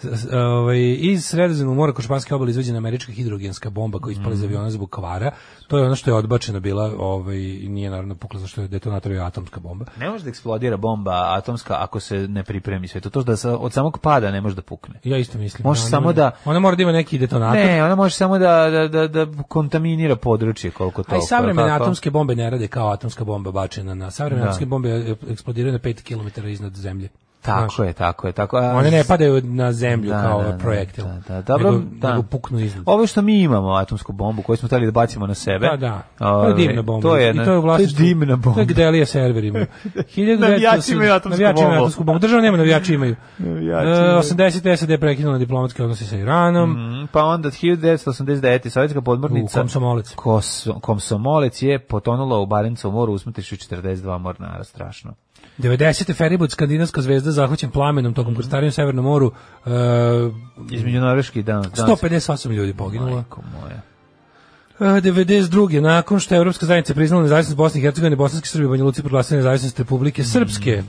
s- s- Ovaj, iz sredozemnog mora kod španske obale izvađena američka hidrogenska bomba koja je ispala iz aviona zbog kvara. To je ono što je odbačena bila, ovaj, i nije naravno pukla, zato što je detonator je atomska bomba.
Ne može da eksplodira bomba atomska ako se ne pripremi sve to. To što da sa, od samog pada ne može da pukne.
Ja isto mislim.
Može
ona
samo
ima-
da-
Ona mora da ima neki detonator.
Ne, ona može samo da, da, da, da kontaminira područje koliko to.
A i savremene atomske bombe ne rade kao atomska bomba bačena na savremene
Da.
atomske bombe eksplodiraju na 5 km iznad zemlje.
Tako je, tako je, tako. A,
One ne padaju na zemlju
Da,
kao ovaj
da, da,
projektil.
da, da. Dobro,
nego,
da.
nego puknu iznad.
Ovo što mi imamo, atomsku bombu, koju smo hteli da bacimo na sebe. Ovaj,
Da, da. To je divna bomba.
To je,
I to je, u vlasništvu-
dimna bomba.
To je Gdelija server imaju. 1900
Navijači imaju atomsku
navijači imaju
bombu.
atomsku bombu. Država nema, navijači imaju.
Navijači
E,
imaju.
80. SAD prekinula diplomatske odnose sa Iranom.
Mhm, Pa onda 1989. sovjetska podmornica
U, Komsomolec.
Kos- Komsomolec je potonula u Barencovom moru usmrtivši 42 mornara, strašno.
90. feribut skandinavska zvezda zahvaćen plamenom
Mm.
tokom krstarenja u Severnom moru. E,
Između Norveške i dan. dan-
158 ljudi poginulo.
Majko moja.
E, 92. nakon što je Evropska zajednica priznala nezavisnost Bosne i Hercegovine, Bosanski Srbi i Banja Luci proglasili nezavisnost Republike Srpske.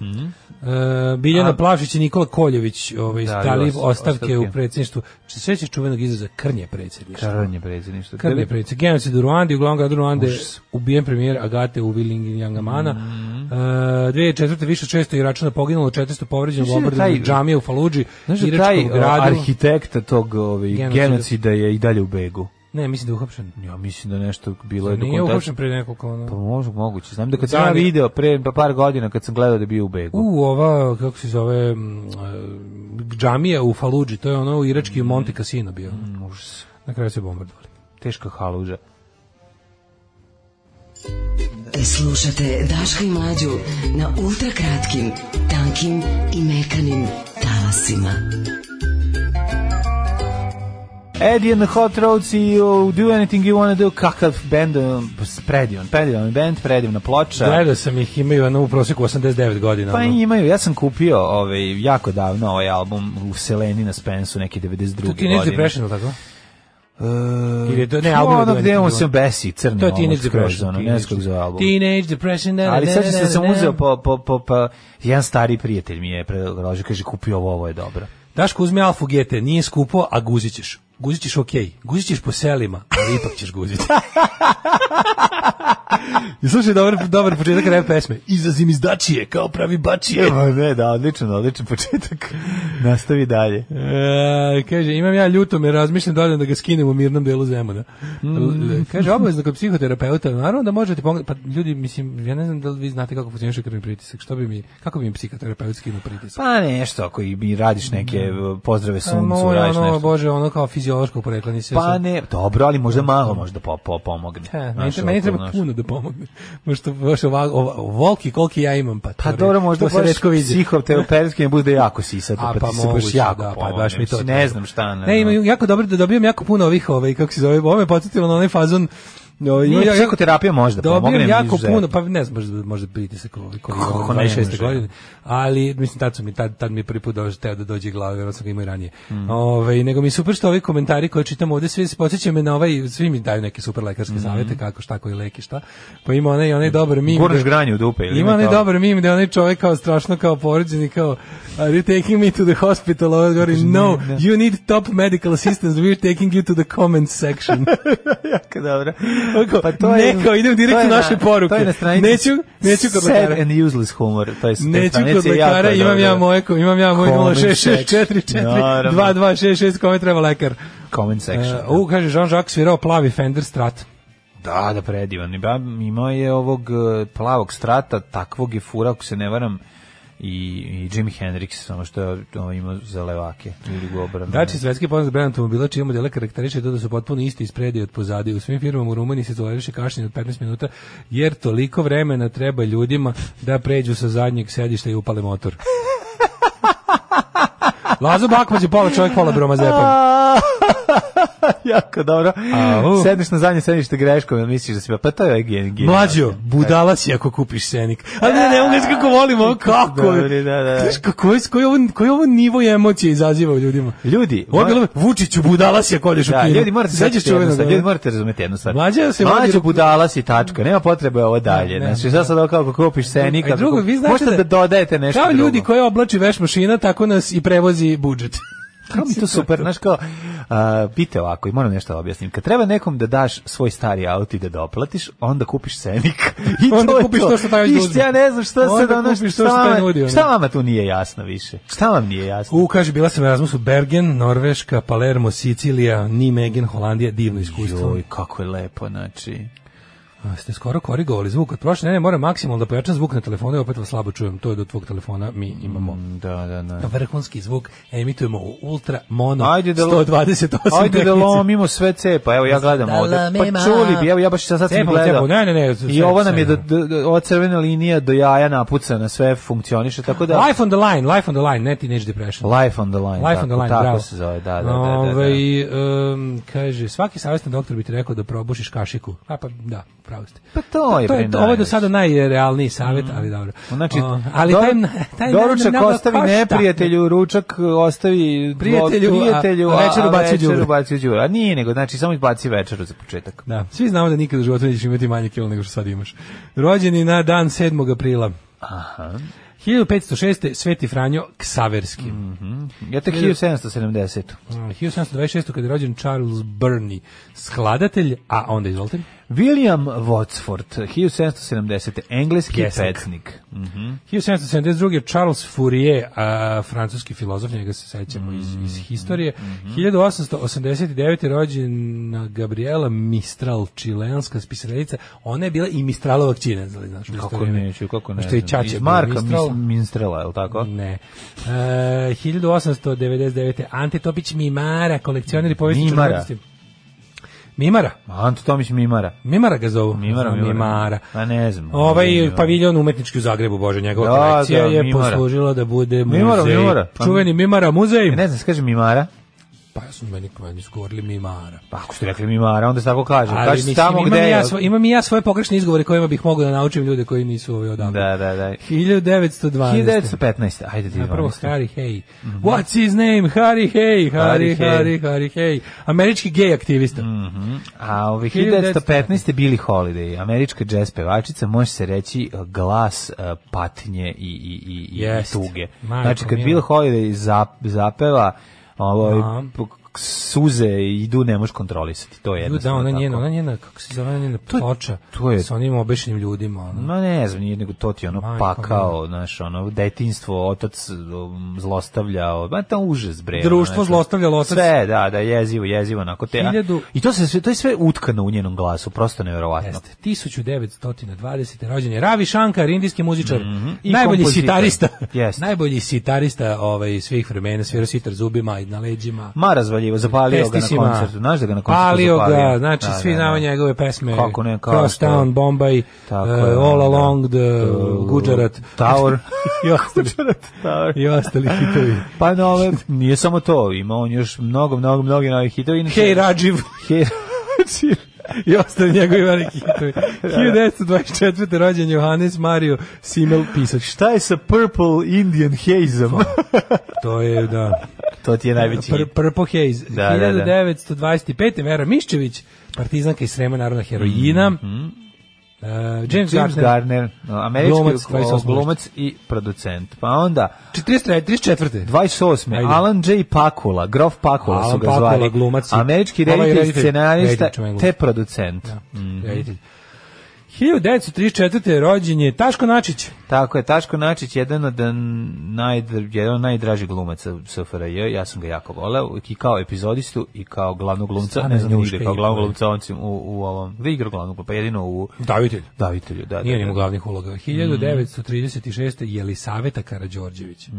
E, Biljana
Mhm. A-
Plavšić i Nikola Koljević ovaj,
Da,
dali
os-
ostavke,
ostavke.
u predsjedništvu. Če se sećaš čuvenog izraza krnje predsjedništva.
Krnje predsjedništvo.
Krnje predsjedništvo. Genocid u Ruandi, u glavnom gradu Ruande
Užas. Mhm.
ubijen premijer Agate u Jangamana. Mm. E, 2004. više od 600 Iračana poginulo, 400 povređeno u
Znaš da
bombardiranju
taj-
džamije u Faludži,
Znaš da taj
Iračkom
o,
gradu.
arhitekta tog ovaj, genocida.
Genocida.
je i dalje u begu?
Ne, mislim da je uhapšen.
Ja mislim da nešto bilo je
Nije
dokumentacija.
uhapšen pre nekoliko ono.
Pa može, moguće. Znam da kad sam
Da,
ja
ni-
video pre pa par godina kad sam gledao da je bio u begu.
U, ova, kako se zove,
Mhm.
m, e, džamija u Faludži, to je ono u irački Monte Casino bio.
Užas.
Na kraju se bombardovali.
Teška haluđa.
E, Slušate Daška i Mlađu na ultrakratkim, tankim i mekanim talasima.
Eddie and the Hot Rods i uh, Do Anything You Wanna Do, kakav band, um, predivan, predivan band, predivna ploča.
Gledao sam ih, imaju ono u prosjeku 89 godina.
Pa
ono.
i imaju, ja sam kupio ovaj, jako davno ovaj album u Seleni na Spensu, neke 92.
To ti Teenage
godine.
Depression, ili tako?
Uh,
Ili je to- ne,
ne,
album
album
je Do
ono gde
Anything
on
You
se
Want.
besi, crni
To je Teenage
skroz,
Depression.
ono, ne znam kako se zove album.
Teenage Depression. na, na,
Ali
na,
sad
na,
što
na,
sam
na.
uzeo, po, po, po, pa, jedan stari prijatelj mi je predložio, kaže, kupi ovo, ovo je dobro.
Daško, uzmi Alfu GT, nije skupo, a guzit ćeš. Guzit ćeš okej. Guzit ćeš po selima, ali ipak ćeš guziti. I slušaj, dobar, dobar početak rap pesme. Izazim iz dačije, kao pravi bačije.
O, ne, da, odličan, odličan početak. Nastavi dalje.
E, kaže, imam ja ljuto, me razmišljam da odem da ga skinem u mirnom delu Zemuna. L- l- kaže, obavezno kod psihoterapeuta, naravno da možete pomoći, pa ljudi, mislim, ja ne znam da li vi znate kako funkcioniše krvni pritisak, što bi mi, kako bi mi psihoterapeut skinuo pritisak?
Pa nešto, ako i mi radiš neke
Mm.
eh, pozdrave
A
suncu,
moj,
radiš
ono,
nešto.
bože, ono kao fiziološko porekla, nisi
Pa ne, dobro, ali možda malo možda po, po, pomogne.
Ha, E, meni,
Znaš,
treba, meni
ovako,
treba
znaš.
puno da pomogne. Možda baš ovako, ova- ovoliki koliki ja imam, pa to,
Pa
re-
dobro, možda
to se
baš
redko vidi.
psihoterapeutski ne bude jako sisat,
A,
pa,
pa
ti se
moguće,
baš jako
da, pa
pomogne.
baš mi to
Mislim, Ne
treba.
znam šta.
Ne,
znam.
imaju jako dobro da dobijem jako puno ovih, ovaj, kako se zove, ovo me podsjetilo na onaj fazon ovaj, o, ima
Nije,
ja-
psihoterapija možda pomogne,
Dobijem
mi
jako
izuzetno.
puno, pa ne znam, možda, možda pritisak ovaj koji je
Kako
ono
ne
26.
može?
godine, ali mislim tad su mi tad, tad mi je prvi put došao teo da dođe glave, vjerojatno sam ga imao i ranije.
Mm.
Ovaj nego mi je super što ovi komentari koje čitam ovde svi se podsjećaju me na ovaj svi mi daju neke super lekarske
Mm-hmm.
savete kako šta koji leki šta. Pa ima onaj onaj dobar mim.
Gurneš
gde-
granje u dupe ili
Ima
ne
onaj
toga?
dobar mim da onaj čovjek kao strašno kao poređeni kao are you taking me to the hospital? Ovo govori no, you need top medical assistance. We're taking you to the comments section.
Jako dobro.
Ovako, ne, kao idem direktno
to je
naše poruke.
To je na stranici
Neću- neću kod lekara.
Sad and useless humor. To je s te
Neću
stranice,
kod
jako je
lekara, imam
dobro.
ja moje, ko- imam ja moje
Comment
06644
Naravno.
2266 kome treba lekar.
Comment section.
Uh, u, kaže, Jean-Jacques svirao plavi Fender Strat.
Da, da, predivan. I ba- Imao je ovog eh, plavog strata, takvog je fura, ako se ne varam, i, i Jimi Hendrix, samo što je ono, imao za levake ili gobrane.
Dači svetski poznat brand automobila čije modele karakteriše to da su potpuno isti iz predije od pozadi. U svim firmama u Rumuniji se toleriše kašnjenje od 15 minuta jer toliko vremena treba ljudima da pređu sa zadnjeg sedišta i upale motor. Lazo Bakmać je pola čovjek, pola broma zepan.
A, jako dobro.
Au.
Sedneš na zadnje sedište greškom, jel misliš da si... Pa to je gen, gen.
Mlađo, budala si ako kupiš senik. Ali ne, ne, ne, kako volim ovo, kako.
Dobri, da, da.
Znaš, kako- koji, koji, ovo, koji ovo nivo emocije izaziva u ljudima?
Ljudi,
Ovo je
mora-
bilo, Vučiću, budala si ako odeš u
Da,
kino.
ljudi morate
Sećaš
shvatiti jednu
čuvenog,
stvar,
ono?
ljudi morate razumeti jednu stvar.
Mlađe se
Mlađe
vodi-
budala si tačka, nema potrebe ovo dalje.
Ne, ne,
znači, sad sad ovo kako kupiš senika,
A drugo, vi znate
možete da,
da
dodajete nešto
Kao
drugo.
ljudi koje oblači veš mašina, tako nas i prevozi budžet.
Kao mi to super, znaš kao, a, pite ovako i moram nešto da objasnim. Kad treba nekom da daš svoj stari auto i da doplatiš, onda kupiš senik. I
Onda
je
kupiš to što taj već
I
nudi.
Ja ne znam šta
Onda
se da ono,
kupiš to
šta,
što taj
vama-
nudi, ono.
šta vama tu nije jasno više? Šta vam nije jasno?
U, kaže, bila sam na Erasmusu Bergen, Norveška, Palermo, Sicilija, Nimegen, Holandija, divno iskustvo.
Joj, kako je lepo, znači.
A, Ste skoro korigovali zvuk od prošle, ne, ne, moram maksimalno da pojačam zvuk na telefonu, opet vas slabo čujem, to je do tvog telefona, mi imamo.
Da, da, da.
Vrhunski zvuk emitujemo u ultra mono
Ajde da,
128
ajde da
tehnici.
lomimo sve cepa. Evo ja gledam
Da
ovde.
lomimo.
Pa čuli bi, evo ja baš sad sam
Cepo,
gledao.
cepo, ne, ne, ne, sve,
I ovo nam je
sve.
do, do, do, ova crvena linija do jaja napucana, sve funkcioniše, tako da
Life on the line, life on the line, ne teenage depression.
Life on the line.
Life
tako,
on the line,
tako
bravo.
se zove, da, da, da, da, da.
Ovaj, em, kaže, svaki savjestan doktor bi ti rekao da probušiš kašiku. A pa da, pravo ste.
Pa to je,
to je ovo
bre,
je do
najveće.
sada najrealniji savjet, ali dobro.
Znači,
O, ali
do-
taj, taj Pa
doručak
nama
ostavi
košta.
neprijatelju, ručak ostavi
Prijatelju, a-
prijatelju,
a večeru baci u đubre.
večeru baci u đubre. A nije nego, znači samo baci večeru za početak.
Da, svi znamo da nikad u životu nećeš imati manje kilo nego što sad imaš. Rođeni na dan 7. aprila.
Aha.
1506. Sveti Franjo Ksaverski.
Mhm. Ja tek 1770.
Mm, 1726. kada je rođen Charles Burney, skladatelj, a onda izvolite.
William Wadsford, 1770. Engleski
Pjesnik.
pesnik.
1772. Charles Fourier, a, francuski filozof, njega se sećamo iz,
Mhm.
iz historije. 1889. rođena Gabriela Mistral, čileanska spisateljica. Ona je bila i Mistralova kćina, znači, znaš. u isto
Kako
vrijeme.
neću, kako ne.
Pošto je
znam.
Čače
Iz
bio
Marka
Mistral.
Mis- Minstrela, je li tako?
Ne. E, 1899. Ante Topić Mimara, kolekcioner i povijesti
Mimara.
Mimara.
Anto Tomić Mimara.
Mimara ga zovu.
Mimara,
Mimara.
Mimara. Pa ne znam.
Ovaj
Mimara.
paviljon umetnički u Zagrebu, bože, njegova
Da,
kolekcija
da,
je
Mimara.
poslužila da bude muzej.
Mimara, Mimara. Pa-
Čuveni Mimara muzej.
Ne znam, se kaže Mimara.
Pa ja sam meni, meni su govorili Mimara.
Pa ako ste rekli Mimara, onda se tako kaže.
Ali
Kaže se
mislim,
Pa tamo
imam,
gde
i ja
je.
svo, imam i ja svoje pogrešne izgovore kojima bih mogao da naučim ljude koji nisu ovi odavde.
Da, da, da.
1912.
1915. Ajde ti.
Na prvo
dvanaeste.
Harry Hay. What's his name? Harry Hay, Harry,
Mhm. Harry Hay. Mm,
Harry, Harry Hay. Američki gej aktivista.
A ove 1915. Billie Holiday, američka jazz pevačica, može se reći uh, glas eh, patnje i, i, i, i
Jest.
tuge.
Majko
znači, kad
mila.
Billie Holiday zap- zapeva, ovo,
Da.
suze idu, ne možeš kontrolisati. To je
Ju, Da,
jednostavno
ona
tako.
njena, ona njena, kako se zove, ona njena
je-
ploča
to je-
sa onim obešenim ljudima. ono. Ona.
Ma ne znam, nije nego to ti ono
Majko
pakao, znaš, ono, detinstvo, otac um, zlostavljao, ma ta užas bre. ono,
Društvo
znaš,
zlostavljalo otac.
Sve, da, da, jezivo, jezivo, onako te. a-
Hiljadu-
I to, se, sve- to je sve utkano u njenom glasu, prosto nevjerovatno.
Jeste. 1920. rođen je Ravi Shankar, indijski muzičar,
Mhm. I
najbolji
kompozitor.
sitarista,
Jeste.
najbolji sitarista ovaj, svih vremena, svirao sitar zubima i na leđima.
Ma razvaljivo, zapalio ga na
Pestisima.
koncertu, znaš da ga na koncertu
Palio
zapalio.
Pa, ga, znači
Da,
svi
da,
znamo
da.
njegove pesme.
Kako ne, kao što-
Crosstown, Bombay,
Tako
eh,
je,
All
da. Uh,
Along the Gujarat.
Tower.
I ostali, i ostali hitovi.
Pa nove, nije samo to, ima on još mnogo, mnogo, mnogo novih hitova. inače-
Hej Rajiv
Hej,
i ostali njegovi veliki hitovi. 1924. rođen Johannes Mario Simel Pisač.
šta je sa Purple Indian Hazem?
Pa, To je, da.
to ti je najveći
Pr
hit.
Prpo Hayes,
Da, da, da.
1925. Vera Miščević, partizanka iz Srema, narodna heroina. Uh, James,
Mhm. James
Garner,
Garner, američki
Glumac,
glumac,
28.
glumac i producent. Pa onda
43, 34.
28.
Ajde.
Alan J. Pakula, Grof Pakula
Alan
su ga
Pakula,
zvali.
glumac i-
Američki
Ovaj
reditelj,
reditelj,
scenarista
reditelj, čuven
te
glumac.
producent.
Reditelj. 1934. rođen je Taško Načić.
Tako je, Taško Načić jedan od najdr, jedan od najdražih glumaca SFRJ, ja sam ga jako voleo i kao epizodistu i kao glavnog glumca,
Stvarno
ne znam
je
nigde,
Ljuška
kao glavnog
igra.
glumca on si- u, u ovom, gde igra glavnog glumca, pa jedino u
Davitelj.
Davitelju, da, da,
Nije
da.
njemu glavnih uloga. 1936. Jelisaveta Karađorđević.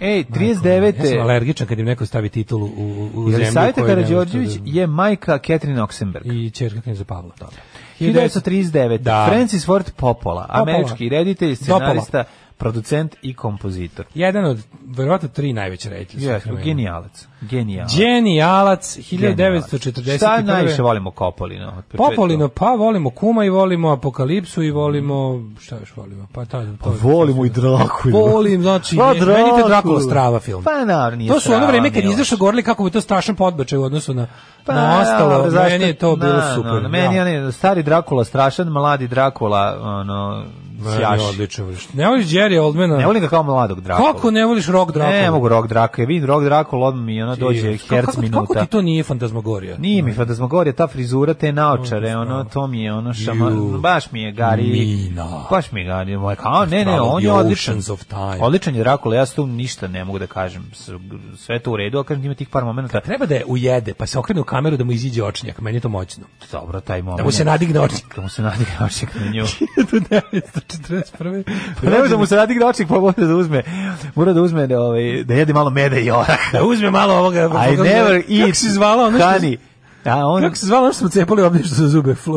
Ej,
Ja sam
39.
alergičan kad im neko stavi titulu u, u, u zemlju.
Jelisaveta
koju ne možete
Karađorđević
da-
je majka Catherine Oxenberg.
I Čerka Kneza Pavla. Dobro.
1939.
Da.
Francis Ford Popola, američki reditelj, scenarista, producent i kompozitor.
Jedan od, verovatno, tri najveće reditelja.
Je,
svih vremena.
genijalac. Genijalac.
Genijalac,
Genijalac.
1941.
Šta najviše volimo Kopolino? od početka?
Popolino, pa volimo Kuma i volimo Apokalipsu i volimo, šta još volimo? Pa, ta, to,
Volimo i Drakulu.
Volim, znači, meni te Drakula strava film.
Pa naravno, nije
To su ono
strava,
vreme kad je
Miloš.
izašao govorili kako bi to strašan podbačaj u odnosu na,
Pa,
na ostalo.
dobro, zašto-
Meni je to
na,
bilo
na,
super.
na, meni je onaj stari Drakula strašan, mladi Drakula, ono,
Sjaš.
sjaši.
Odlično. Ne voliš Jerry Oldmana?
Ne volim ga kao mladog Drakula.
Kako ne voliš Rock Drakula?
Ne mogu rock draka, ja vidim rock Drakula, odmah mi ona dođe
Kako-
herc
kako-
minuta.
Kako ti to nije fantazmagorija?
Nije mi fantazmagorija, ta frizura, te naočare,
Ovo je
ono,
strava.
to mi je ono šama,
Ju.
baš mi je gari.
Mina.
Baš mi je gari. Moj, kao, ne, ne,
Travel
on
the
je odličan.
oceans of time.
Odličan je Drakula, ja s tu ništa ne mogu da kažem. S- Sve je to u redu, a kažem ima tih par momenta.
Treba da je ujede, pa se okrene u kameru da mu iziđe očnjak. Meni je to moćno.
Dobro, taj moment.
Da mu se nadigne očnjak.
Da mu se nadigne oček na nju.
1941.
Pa ne može da mu se nadigne oček, pa mora da uzme, mora da uzme, da, ovaj, da jede malo mede i oraha.
Da uzme malo ovoga.
I
ovoga-
never eat
Kako se zvala ono što...
honey. A on,
Kako se zvala ono što smo cepali ovdje što za zube? Flu,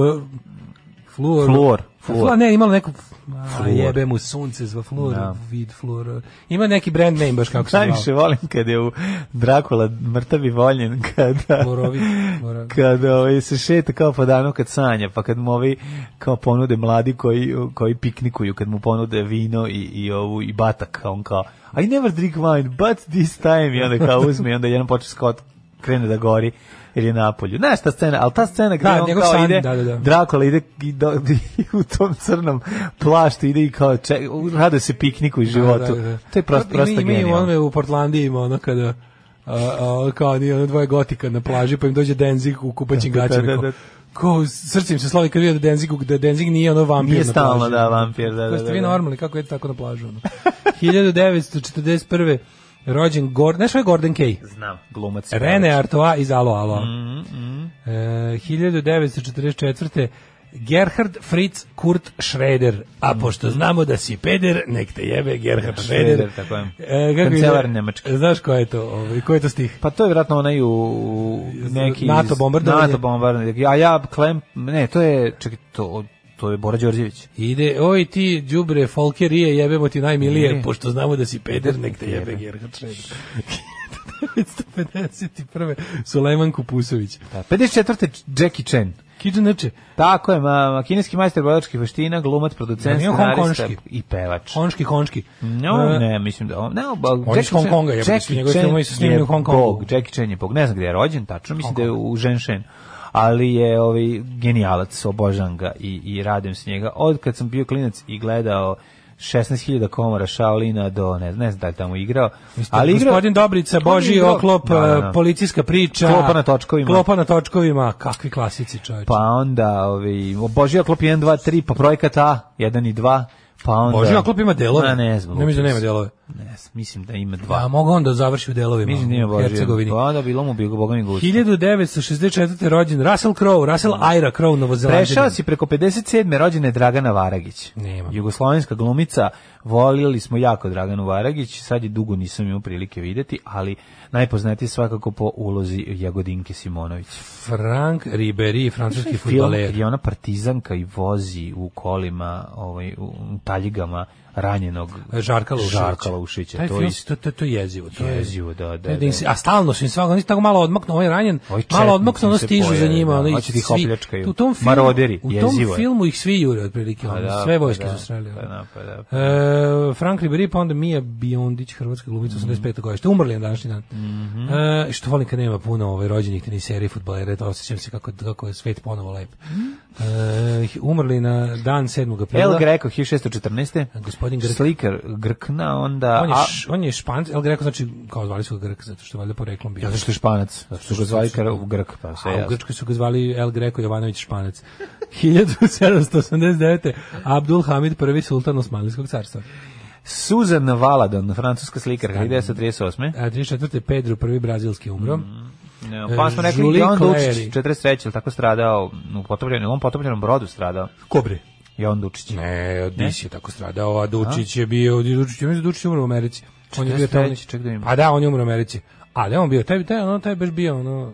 fluor.
Fluor, fluor.
Fluor, ne, imalo neku... A
Fluor.
jebe mu sunce zva fluor,
Da.
vid fluor. Ima neki brand name baš kako se
Najviše
zvala.
volim kad je u Drakula mrtav i voljen, kada...
Fluorovid. fluorovid.
kad ovaj, se šeta kao po danu kad sanja, pa kad mu ovi kao ponude mladi koji, koji piknikuju, kad mu ponude vino i, i, ovu, i batak, a on kao, I never drink wine, but this time, i onda kao uzme, i onda jedan počne skot, krene da gori, jer je napolju. Znaš ta scena, ali ta scena gde
Da,
on
njegov
kao
san,
ide,
da, da, da.
Dracula ide i do, i u tom crnom plaštu ide i kao ček, raduje se pikniku i
Da,
životu.
da, da.
To je prosto,
Ima-
prosto
ima, ima,
genijalno.
onome u Portlandiji ima ono kada a, a, kao oni ono dvoje gotika na plaži pa im dođe Denzig u kupaćim
Da, da,
gaćama.
da,
i
da.
Ko, ko srcem se slavi kad vidi da Denzig da Denzig nije ono vampir
Nije
na
stalno,
plaži.
da, vampir, da,
Ko
da,
ste
da,
vi
da.
normalni kako je tako na plažu ono. 1941. rođen Gordon, znaš ko je Gordon Kay?
Znam, glumac. Mhm,
Rene Artois iz Alo Alo. E, 1944. Gerhard Fritz Kurt Schroeder. A
Mhm.
pošto znamo da si peder, nek te jebe Gerhard Schroeder.
Schroeder, tako je.
E, kako
Kancelar
ide?
Nemačke.
Znaš ko je to? Ovaj, ko je to stih?
Pa to je vjerojatno onaj u, u neki... iz-
NATO bombardovanje.
NATO bombardovanje. Ja, ja, Klem... Ne, to je... Čekaj, to, to je Bora Đorđević.
Ide, oj ti, đubre, folkerije, jebemo ti najmilije,
Ne.
pošto znamo da si peder, nek te jebe Gerhard Schroeder. 1951. Sulejman Kupusović.
Da. 54. Jackie Chan.
Kiđanače,
Tako je, mama, kineski majster brodičkih veština, glumac,
Da
producent,
nije
scenarista
hongkonški?
i pevač.
Honški, Honški.
No,
E,
ne, mislim da on... Ne, ba,
je iz Hong Konga, jebote, svi njegovi filmovi su snimljeni u Hong Kongu.
Bog, Jackie Chan je Bog. Ne znam gdje je rođen, tačno, mislim da je u Shenzhen. Ali je ovaj, genijalac, obožavam ga i, i radim s njega. Od kad sam bio klinac i gledao 16.000 komora Shaolina do, ne znam, ne znam da li tamo igrao.
Ali
Ali igrao,
gospodin Dobrica,
Gospodin
Boži
igrao-
oklop,
Da, da, da.
eh, policijska priča.
Klopa na točkovima.
Klopa na točkovima, kakvi klasici čovječe.
Pa onda, ovaj, Božija klop 1, 2, 3, pa projekat A, 1 i 2, pa onda...
Boži oklop ima delove.
A, ne znam.
Ne mislim da
lupio
nema
sam.
delove.
Ne znam, mislim da ima dva.
Pa mogu onda završi u delovima.
Mislim da ima
u Hercegovini.
Božija. Pa onda bilo mu bilo Boga mi gusto.
1964. rođen Russell Crowe, Russell Ira Crowe, Novozelanđanin.
Prešao si preko 57. rođene Dragana Varagić.
Nemam.
Jugoslovenska glumica, voljeli smo jako Draganu Varagić, sad je dugo nisam imao prilike videti, ali najpoznatiji je svakako po ulozi Jagodinke Simonović.
Frank Ribery, francuski
Film
futbaler.
gdje ona partizanka i vozi u kolima, ovaj, u taljigama ranjenog
Žarka Lušića.
Žarka Lušića.
Taj
To
film,
is-
to, to, to je jezivo. To je
Jezivo, da, da,
to je
da.
im se- A stalno su im svaga, oni se tako malo odmaknu, ovaj je ranjen,
Ovi
malo
četnici
odmaknu, ono
se
stižu za
pojave,
njima.
da,
ono,
hoće
ih
ti ih
svi-
opljačkaju.
U tom filmu,
Maroderi,
u tom
jezivo je.
filmu ih svi jure, otprilike. ono,
da,
sve
pa
vojske
da,
su strelile.
pa da, pa da.
E, Frank Ribery, pa onda Mija Biondić, hrvatska glumica,
Mhm.
85. godište. Umrli je na današnji dan. E, što volim kad nema puno ovaj, rođenih teniseri, futbalera, to osjećam se kako, kako je svet ponovo lep. E, umrli na dan 7. aprila.
El Greco 1614.
Gospodin Grk.
Slikar Grkna, onda...
On je,
a-
š, on je španc, El Greco znači, kao zvali su ga Grk, zato što je valjda poreklom bio.
Ja zašto je španac? Zato što ga zvali kar u Grk, pa sve
A u
jasno.
Grčkoj su ga zvali El Greco Jovanović Španac. 1789. Abdul Hamid, prvi sultan Osmanlijskog carstva.
Susan Valadon, francuska slikarka, 1938.
A 34. E, Pedro, prvi brazilski umro.
Ne, Pa smo rekli
Julie
i on
Clary.
Dučić, 43. ili tako stradao, u potopljenom, u ovom potopljenom brodu stradao.
Kobri.
Jovan Dučić.
Ne, Dis je tako stradao, a Dučić je bio, Dučić je, mislim, Dučić je umro u Americi. On je bio tamo.
43., ček da vidim.
Pa da, on je umro u Americi. Ali on bio, taj, taj, ono, taj je baš bio, ono,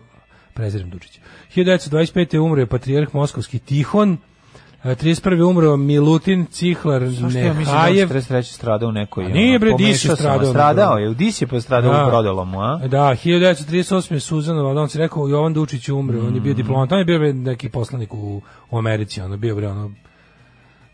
prezirem Dučić. 1925. je umro patrijarh moskovski Tihon, E, 31. umro Milutin Cihlar
Zašto Pa ja mislim da je
Nehajev.
43. stradao u nekoj...
A nije,
ono,
bre, Dis je
pomešao sam, a
stradao na
Stradao
brodu.
je, u Dis je postradao
Da.
u brodolomu, a?
Da, 1938. je Suzan Valdonac rekao Jovan Dučić je umre, on je
Mm.
bio diplomat, on je bio bre neki poslanik u, u Americi, ono bio bre ono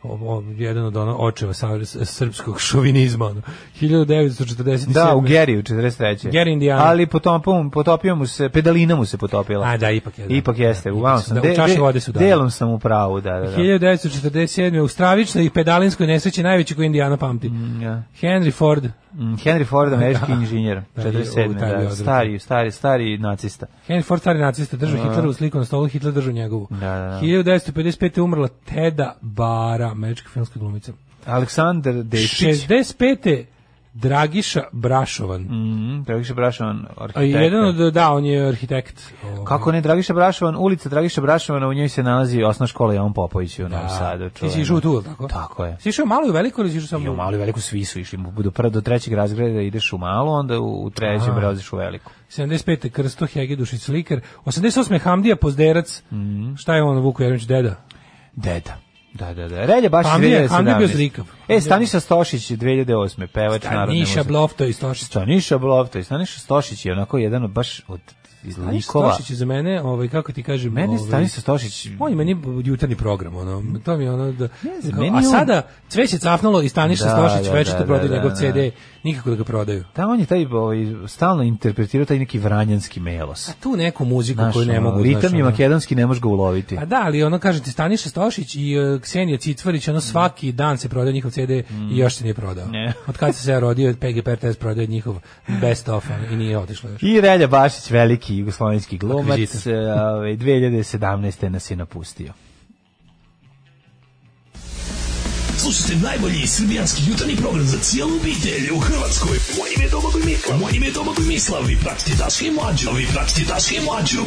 o- o- jedan od ono očeva sa- s- srpskog šovinizma ono. 1947.
Da, u Geriju, 43.
Geri, Indijana.
Ali potom, potopio mu se, pedalina mu se potopila.
A da, ipak je. Da.
Ipak jeste, uglavnom sam.
Da,
de-
u čaši
de-
vode su dali.
Delom sam u pravu, da, da, da.
1947. u stravičnoj i pedalinskoj nesreći najveći koji Indijana pamti.
Ja.
Henry Ford.
Mm, Henry Ford, američki inženjer,
Da,
47.
u, taj bio
Da,
odvratan.
stari, stari, stari nacista.
Henry Ford, stari nacista, držao Hitlerovu sliku na stolu, Hitler držao njegovu.
Da, da, da.
1955. je umrla Teda Bara, američka filmska glumica.
Aleksandar Dešić,
65. Dragiša Brašovan.
mm, Dragiša Brašovan,
A
arhitekt.
jedan od, da, on je arhitekt. Ovaj.
Kako ne, Dragiša Brašovan, ulica Dragiša Brašovana, u njoj se nalazi osna škola Jovan Popović u Novom Sadu.
Ti si išao u tu, jel tako?
Tako je.
Si išao malo i u veliko ili si išao samo?
I u malu i veliku svi su išli. Do, prvo, do trećeg razgreda ideš u malu, onda u, u trećem prelaziš u veliku.
75. Krsto Hegedušić Slikar. 88. Hamdija Pozderac.
Mhm.
Šta je on Vuko Jeremić deda?
Deda. Da, da, da. Relje baš
Hamdija-
2017.
Hamdija bio zrikav.
E, Staniša Stošić, 2008. pevač narodne
Niša
muzike.
Blofto i Stošić.
Staniša Blovto i Staniša Stošić je onako jedan od baš od iz likova.
Stošić je za mene, ovaj, kako ti kažem...
Mene
ovaj,
Staniša Stošić...
On je meni jutarnji program, ono, to mi je ono da...
znam,
kao,
meni
a
on-
sada cveće cafnulo i Staniša
Da,
Stošić
da,
već
da,
to prodaju
da,
njegov
da,
CD,
da.
nikako da ga prodaju.
Da, on je taj, ovaj, stalno interpretirao taj neki vranjanski melos.
Tu neku muziku koju ne
ono,
mogu... znaš,
Ritam je
ono.
makedonski, ne možeš ga uloviti.
Pa da, ali ono kaže ti Staniša Stošić i e, Ksenija Citvarić, ono svaki dan se prodaje njihov CD i još se nije prodao.
Mm. Ne.
Od kad sam se ja rodio, PG Pertez prodaje njihov best of ono, i nije otišlo još.
I Relja Bašić, veliki jugoslovenski glumac,
Akvizitor.
e, ovaj, 2017. nas je napustio.
Slušajte najbolji srbijanski jutarnji program za cijelu obitelj u Hrvatskoj. Moje ime je Domagoj Mislav. Moje ime je Domagoj Mislav. Vi pratite Daška i Mlađu. Vi pratite Daška i Mlađu.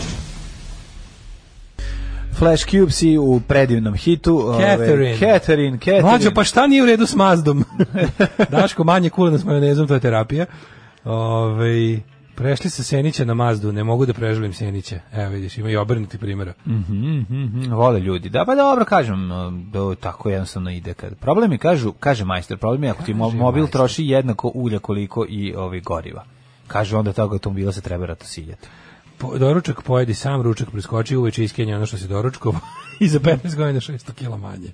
Flash Cubes i u predivnom hitu. ove,
Catherine.
Catherine, Catherine.
Mlađo, pa šta nije u redu s mazdom? Daško, manje kulena s majonezom, to je terapija. Ove, prešli sa Senića na mazdu, ne mogu da preželim Senića. Evo vidiš, ima i obrnuti primjera.
Mm. Mhm, vole ljudi. Da, pa dobro, kažem, do, tako jednostavno ide. Kad. Problem je, kažu, kaže majster, problem je ako ti mo- mobil troši jednako ulja koliko i ovi goriva. Kaže, onda tog automobila se treba ratosiljati.
Po, doručak pojedi sam, ručak preskoči, uveče iskenja ono što si doručkovo i za 15 godina 600 kila manje.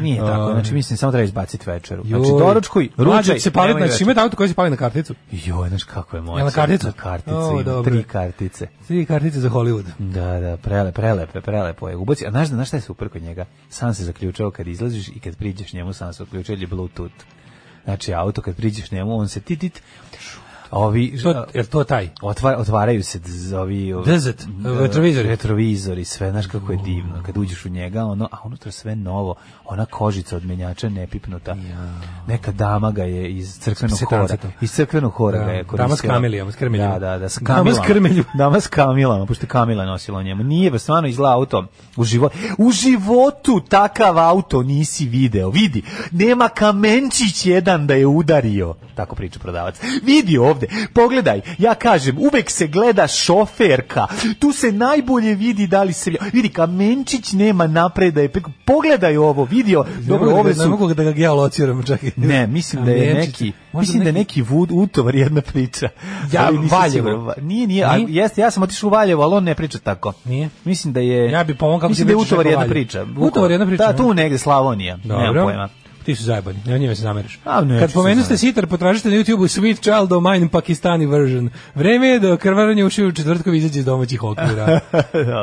Nije tako, znači mislim, samo treba izbaciti večeru. Znači,
Joj.
doručkuj,
Mlađo
ručaj,
se pali,
nemoj
znači
večer.
imate auto koji se pali na karticu.
Joj, znaš kako je moć.
Jel na karticu?
Na karticu,
O,
ima,
dobro.
tri kartice.
Svi kartice za Hollywood.
Da, da, prele, prelepe, prelepo je. Ubaci, a znaš, znaš šta je super kod njega? Sam se zaključao kad izlaziš i kad priđeš njemu, sam se uključio ili Bluetooth. Znači, auto kad priđeš njemu, on se titit, a ovi...
To, je to taj?
Otvar, otvaraju se z- ovi... ovi-
Dezet,
Da,
retrovizori.
Retrovizori, sve, znaš kako je divno. Kad uđeš u njega, ono, a unutra sve novo, ona kožica od menjača nepipnuta. Neka dama ga je iz crkvenog
S
hora.
psetancetom.
Iz crkvenog hora
Da,
ga je
dama s
koristila.
kamelijom, s krmeljom.
Da, da, da, s
Dama s
kamilama.
krmeljom.
Dama s kamilama, pošto je Kamila nosila njemu. Nije, ba, stvarno izla auto. U, živo, u životu takav auto nisi video. Vidi, nema kamenčić jedan da je udario. Tako priča prodavac. Vidi ovde, pogledaj, ja kažem, uvek se gleda šoferka. Tu se najbolje vidi da li se... Vidi, kamenčić nema napreda. je preko- Pogledaj ovo, vidio. Dobro,
ne mogu,
ove
da, ne
su...
mogu da ga geolociram, čekaj.
Ne, mislim da je
Kamenčić.
neki,
Možda
mislim da je neki Vud Utovar jedna priča.
Ja,
Ali nisam
Valjevo.
siguran. Va- Nije, nije, a,
Nije?
jeste, ja sam otišao u Valjevo, ali on ne priča tako.
Nije?
Mislim da je
Ja bi pomogao kako
Mislim
ti
da je
pričaš
Utovar
kako
jedna
Valjevo.
priča.
Utovar jedna priča,
Da, tu
ne?
negde Slavonija. Nemam pojma.
Dobro. Ti su zajebani, ne o njima se zameriš.
A, neću
Kad
se
pomenuste
zameriti.
sitar, potražite na YouTubeu Sweet Child O' Mine Pakistani version. Vreme je da krvaranje uši u četvrtkovi izađe iz domaćih okvira.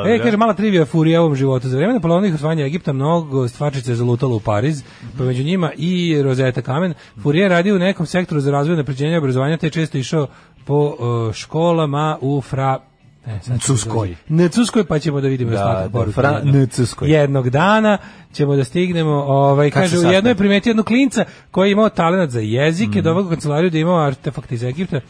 e, kaže, mala trivija furija u ovom životu. Za vreme Napoleonovih osvajanja Egipta mnogo stvarčica je zalutalo u Pariz, pa među njima i Rozeta Kamen. Furija radi u nekom sektoru za razvoj napređenja i obrazovanja, te je često išao po e, školama u Fra... Ne, sad ću
Cuskoj.
da- Na Cuskoj, pa ćemo da vidimo
Da,
ostatak
da,
poruke.
Fra- na Cuskoj.
Jednog dana ćemo da stignemo, ovaj,
Kako
kaže,
se
u jednoj je
sastaje? Mhm.
primetio jednog klinca koji je imao talenat za jezike, mm. doveo ga u kancelariju da je imao artefakt iz Egipta,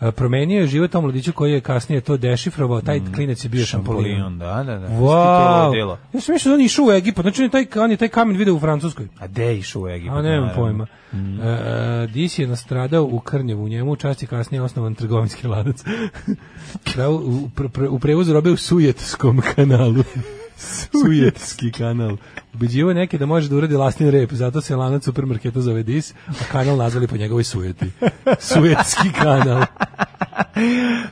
e, promenio je život tom mladiću koji je kasnije to dešifrovao, taj klinac je bio šampolion.
Šampolion, da, da, da. Ispitalo
Wow.
Mhm. delo.
Ja sam mislio da on je išao u Egipat, znači on je taj, on je taj kamen video u Francuskoj.
A gde je išao u Egipat?
A nemam
naravno?
pojma. Mm. E, Dis je nastradao u Krnjevu, u njemu čast je kasnije osnovan trgovinski lanac. Prav- u, pre- pre- u prevozu robe u Sujetskom kanalu. Sujetski kanal. Ubeđivo neke da može da uradi lastin rep, zato se lanac supermarketa zove Dis, a kanal nazvali po njegovoj sujeti. Sujetski kanal.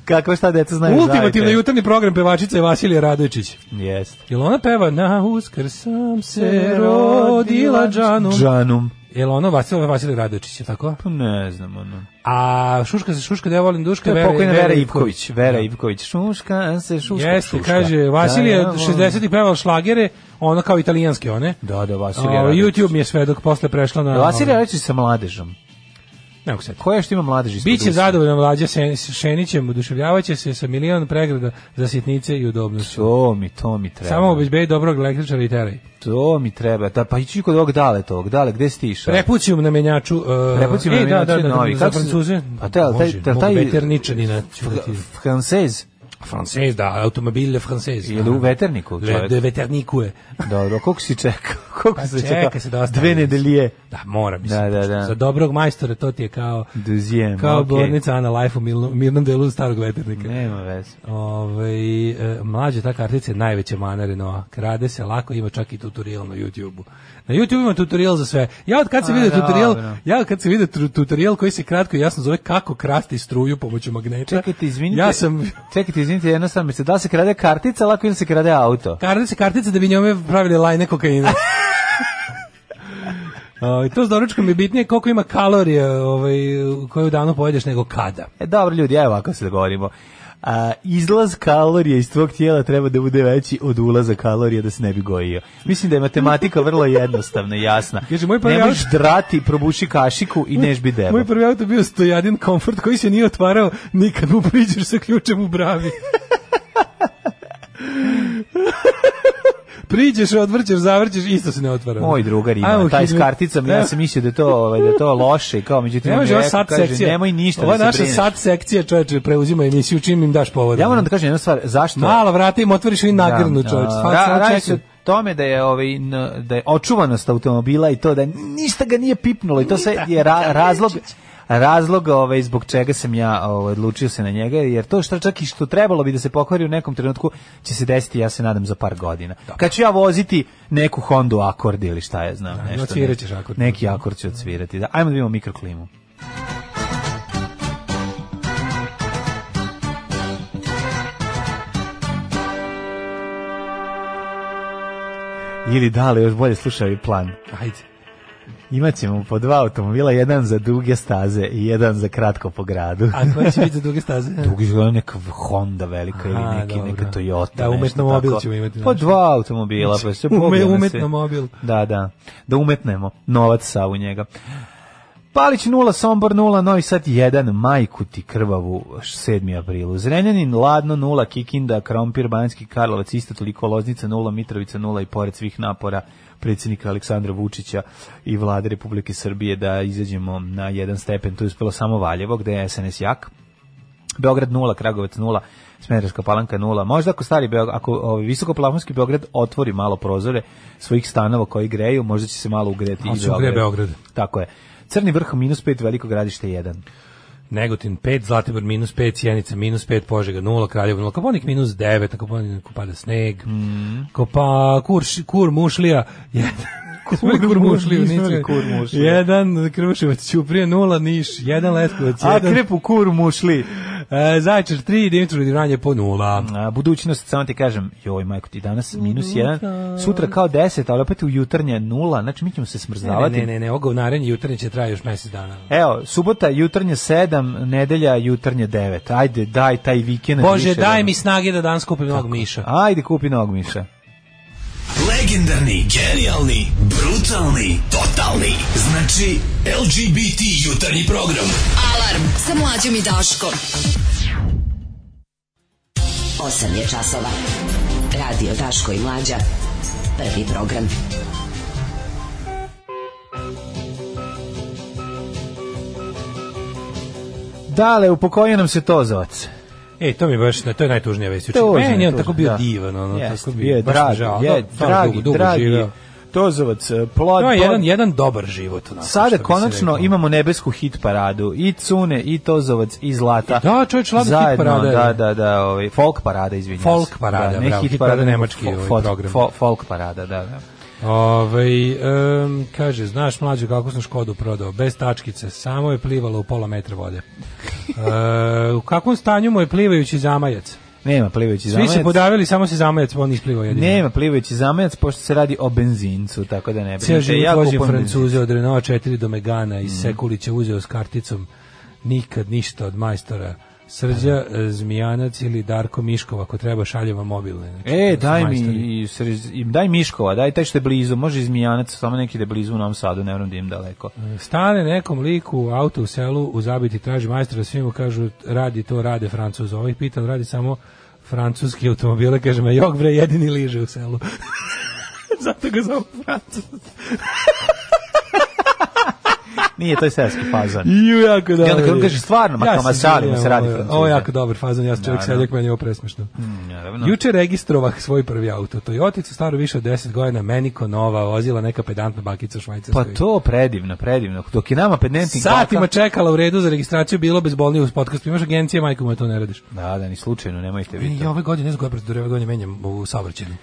Kako šta deca znaju
Ultimativno
zajedno?
jutarnji program pevačica je Vasilija Radojčić.
Jeste.
Jel ona peva Na uskr sam se rodila džanum.
Džanum.
Jel ono Vasilija Vasilija Radojčić, je tako?
Pa ne znam, ono.
A šuška se šuška, da ja volim duška,
To je
Vera,
pokojna Vera Ivković. Vera Ivković. Šuška, e, se šuška,
Jeste,
šuška.
kaže, Vasilije
Da,
da,
ja,
60 i pevala šlagere, ono kao italijanske one.
Da, da, Vasilija
A,
Radojčić.
YouTube mi je svedok, posle prešla na...
Vasilija
ovaj,
reći sa mladežom.
Ne mogu setiti.
Koja što ima mladež ispod
Biće
usta?
zadovoljna mlađa Sen- s Šenićem, oduševljavaće se sa milion pregrada za sitnice i udobnost.
To mi, to mi treba.
Samo obezbedi dobrog električara i teraj.
To mi treba. Da, pa ići kod ovog dale tog. Dale, gde si ti išao?
Prepucijum na menjaču. Uh,
Prepucijum na
e,
menjaču
da,
je
da, da,
novi.
Za
Kako se-
francuze.
Pa te, ali taj-
Može,
te, ali
mogu
taj-
veterničani na...
Francez.
Francez, da, automobil le francez.
Ili u veterniku
Le,
čovjek.
de veternikuje.
Dobro, koliko si čekao? Koliko
Pa
si
čeka
čekao?
se dosta.
Dve nedelje.
Da, mora, mislim.
Da, da, da.
Za dobrog majstora to ti je kao,
Duzijem,
kao
okej.
bolnica Ana Life u milno- mirnom delu starog veternika.
Nema veze.
Ove, e, mlađe ta kartica je najveća mana Renaulta. Krade se lako, ima čak i tutorial na YouTubeu. Na YouTubeu ima tutorial za sve. Ja od kad se
A,
vidio tutorial,
dobro.
ja od kad se vidio tru- tutorial koji se kratko i jasno zove kako krasti struju pomoću magneta.
Čekajte, izvinite.
Ja sam
Čekajte, izvinite, jedna stvar mi se, da li se krade kartica, lako ili se krade auto?
Karde se kartice da bi njome pravili lajne kokaina. Ovaj to s doručkom je bitnije koliko ima kalorija ovaj, koje u danu pojedeš nego kada.
E, dobro ljudi, evo ovako se dogovorimo. A, izlaz kalorije iz tvog tijela treba da bude veći od ulaza kalorija da se ne bi gojio. Mislim da je matematika vrlo jednostavna i jasna.
Kaže, moj prvi
Nemoš
auto-
drati, probuši kašiku i neš bi debo.
Moj pa- prvi auto je bio stojadin komfort koji se nije otvarao nikad mu priđeš sa ključem u bravi. Priđeš, odvrćeš, zavrćeš, isto se ne otvara.
Moj drugar ima
Ajmo,
taj s
hitno.
karticom, ja sam mislio da je to, ovaj, da je to loše, kao međutim,
Ne
on mi
može,
je
ova
rekao,
sad
kaže,
sekcija.
nemoj ništa
Ova
da se
naša
brineš.
sad sekcija, čoveče, preuzima emisiju čim im daš povod.
Ja moram da kažem jednu stvar, zašto?
Mala vrata im otvoriš i nagrnu, čoveče.
Da,
Sad
ra-
samo
radi se
čekaj.
o tome da je ovaj n- da je očuvanost automobila i to da ništa ga nije pipnulo i to sve je ra- razlog razlog ovaj zbog čega sam ja ovaj, odlučio se na njega jer to što čak i što trebalo bi da se pokvari u nekom trenutku će se desiti ja se nadam za par godina. Kad ću ja voziti neku Hondu Accord ili šta je znam nešto.
odsvirat ćeš
neki-
Accord.
Neki Accord će odsvirati. Da. Ajmo da vidimo mikroklimu. Ili da li još bolje slušaj plan.
Ajde.
Imaćemo po dva automobila, jedan za duge staze i jedan za kratko po gradu.
A koja će biti za duge staze?
Drugi izgleda neka Honda velika
Aha,
ili neki,
dobro.
neka Toyota.
Da, umetno
nešto
mobil
tako.
ćemo imati,
Pa
znači.
dva automobila, pa se
Ume-
Bog da nas
umetno
je-
mobil.
Da, da. Da umetnemo novac sa u njega. Palić 0, Sombor 0, Novi Sad 1, Majku ti krvavu 7. aprilu. Zrenjanin, Ladno 0, Kikinda, Krompir, Banjski, Karlovac, isto toliko, Loznica 0, Mitrovica 0 i pored svih napora predsjednika Aleksandra Vučića i vlade Republike Srbije da izađemo na jedan stepen, to je uspjelo samo Valjevo gde je SNS jak. Beograd 0, Kragovac 0, Smederska Palanka 0. Možda ako stari Beograd, ako ovaj visokoplafonski Beograd otvori malo prozore svojih stanova koji greju, možda će se malo ugreti
Ali
i
se ugreje
Beograd.
Beograd.
Tako je. Crni vrh minus 5, veliko gradište 1.
Negotin 5, Zlatibor minus 5, Sjenica minus 5, Požega 0, Kraljevo 0, Koponik minus 9, na Koponiku pada sneg, mm. Kopa, kur, kur mušlija, jedan, Kur, kur mušliju,
nismo imali
nisam.
kur mušliju.
Jedan Krvuševac Ćuprije, nula Niš, jedan Leskovac,
A
jedan
krepu kur mušli.
e, Zajčar, tri, Dimitru Diranje po nula.
A, budućnost, samo ti kažem, joj majko ti danas minus 1, sutra kao 10, ali opet u jutarnje 0, znači mi ćemo se
Ne,
smrzavati.
ne, ne, ne, ovo govnarenje jutarnje će traje još mesec dana.
Evo, subota jutarnje 7, nedelja jutarnje 9. Ajde, daj taj vikend.
Bože,
više
daj
da-
mi snage da dan skupim novog miša.
Ajde, kupi nog miša.
Legendarni, genijalni, brutalni, totalni. Znači LGBT jutarnji program.
Alarm sa mlađom i Daškom. 8 je časova. Radio Daško i Mlađa. Prvi program.
Dale, upokojio nam se Tozovac.
E, to mi je baš, to je najtužnija vest. juče.
Tužno je,
Meni je on
tužno,
tako bio
da.
divan, ono,
Jest,
tako
bio je
baš mi
dragi,
žao.
je,
Da, stvarno
dragi,
dugo, dugo
dragi.
živeo.
Tozovac, eh, plod,
To je
plod.
jedan, jedan dobar život. Onako, što
Sada
bi se
konačno
reklo.
imamo nebesku hit paradu. I Cune, i Tozovac, i Zlata.
Da, čovječ, Lada hit
Zajedno,
parada je.
Da, da, da, ovaj, folk parada, izvinjam
Folk
se.
parada,
da, ne
bravo,
hit
hit
parada,
parada
nego
nemački
fo-
ovaj
fo-
program.
fo- folk parada, da, da.
Ovaj, em, kaže, znaš mlađe kako sam Škodu prodao, bez tačkice, samo je plivala u pola metra vode. E, u kakvom stanju mu je plivajući zamajac?
Nema plivajući
Svi
zamajac.
se podavili, samo se zamajac, on isplivao jedin.
Nema plivajući zamajac, pošto se radi o benzincu, tako da ne brinite.
Cijel život
Ja
vozim
kupujem benzin.
Francuze od Renault 4 do Megana
Mhm.
i Sekulića uzeo s karticom nikad ništa od majstora. Srđa
Mhm.
e, Zmijanac ili Darko Miškov, ako treba šaljem vam mobilne. Znači,
E,
to su
daj mi,
majstori.
i srez- i daj Miškova, daj taj što je blizu, može iz Mijanaca, samo neki da je blizu u Novom Sadu, ne moram da im daleko.
Stane nekom liku u auto u selu, u zabiti traži majstora, svi mu kažu radi to, rade Francuz. Ovaj pitan, radi samo francuski automobile, kaže me, jok bre, jedini liže u selu. Zato ga zovu Francuz.
Nije, to je selski fazan.
Ju, jako dobro.
onda kad on
je.
kaže, stvarno, ma kao, ma
se
šalim
izvinjam,
se, radi
ovo je-
Francuze.
ovaj, Ovo je jako dobar fazon, ja sam čovjek
Da, da.
seljak, meni je ovo presmešno.
Mm, Naravno.
Juče registrovah svoj prvi auto. Toyoticu staru više od 10 godina, meni ko nova, vozila neka pedantna bakica u
Pa
Švajcarskoj.
to predivno, predivno. Dok je nama pedentni
Satima čekala u redu za registraciju, bilo bezbolnije uz podcast. Imaš agencije, majko moja, to ne radiš.
Da, da, ni slučajno, nemojte
I
vidjeti.
ja ove godine, ne znam koja je predureva godine, menjam ovu saobraćenu.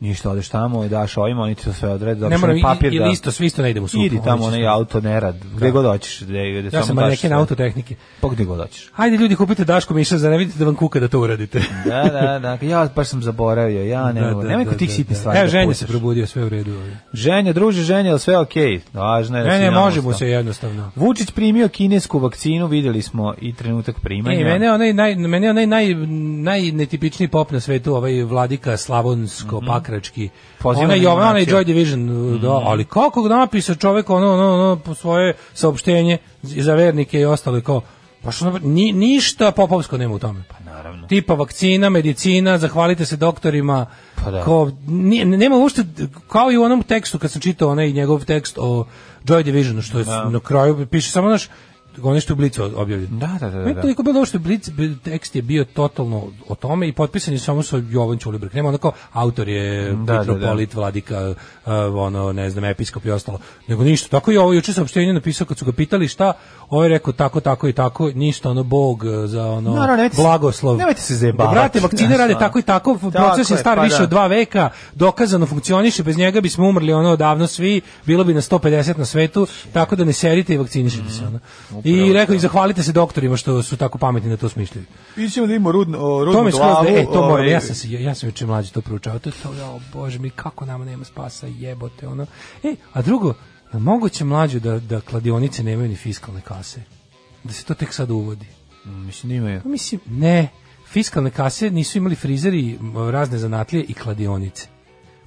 Ništa, odeš tamo, daš ovima, oni ti to sve odrede,
Ne
dobiš
moram,
onaj
i,
papir da...
ili isto, svi isto ne idem u supu.
Idi tamo,
hoćeš.
onaj auto nerad, gde god hoćeš. Gde, gde
Ja
samo
sam
daš
maneken
sve.
autotehnike.
Pa gde god hoćeš.
Hajde ljudi, kupite Daško Miša, za ne vidite da vam kuka da to uradite.
Da, da, da, ja baš sam zaboravio, ja ne
Da,
mogu,
da,
nemoj
da,
kod tih
da,
sitnih
da.
stvari
Evo,
da
ženja se
pucaš.
probudio, sve u redu. ovaj.
Ženja, druže, ženja, jel sve okej? Važno je da
Ne,
si
ne,
na
možemo
mostu.
se jednostavno.
Vučić primio kinesku vakcinu, videli smo i trenutak primanja.
E, mene je onaj naj mene je onaj naj najnetipičniji pop na svetu, ovaj vladika slavonsko pakrački. Onaj
Pozivam Mhm. na Mhm.
Jovana onaj
nominaciju.
Joy Division, e, da, ali kako ga napisao čovjek ono ono ono po svoje saopštenje za vernike i ostalo kao baš ono, ni, ništa popovsko nema u tome. Pa
naravno.
Tipa vakcina, medicina, zahvalite se doktorima,
Pa da.
Kao, nije, nema uopšte, kao i u onom tekstu kad sam čitao onaj njegov tekst o Joy Divisionu, što je na kraju, piše samo naš, ono što je u Blicu objavljeno.
Da, da, da, da.
Meni je toliko bilo što Blic, tekst je bio totalno o tome i potpisan je samo sa Jovan Ćulibrk. Nema onako, autor je
da, da.
mitropolit, vladika, eh, ono, ne znam, episkop i ostalo. Nego ništa. Tako i ovo juče saopštenje napisao kad su ga pitali šta, ovo je rekao tako, tako i tako, ništa, ono, Bog eh, za ono,
Naravno, nemojte se-
blagoslov.
nemojte se zajebavati.
Brate, vakcine
Znaš,
rade
ono.
tako i tako, proces je
je,
star
pa
više
da.
od dva veka, dokazano funkcioniše, bez njega bismo umrli ono odavno svi, bilo bi na 150 na svetu, tako da ne serite i vakcinišite se. Ono.
Mm,
I rekao i zahvalite se doktorima što su tako pametni da to smišljaju.
Ićemo da imamo rudnu, o, rudnu
To mi je skroz,
glavu.
e, to moram,
ovaj,
ja sam, se- ja sam juče mlađi to proučavao, to je to, jao, bože mi, kako nama nema spasa, jebote, ono. E, a drugo, jel moguće mlađu da, da kladionice nemaju ni fiskalne kase? Da se to tek sad uvodi?
Mm, Mislim, da imaju.
Pa mislim, ne, fiskalne kase nisu imali frizeri, m, razne zanatlije i kladionice.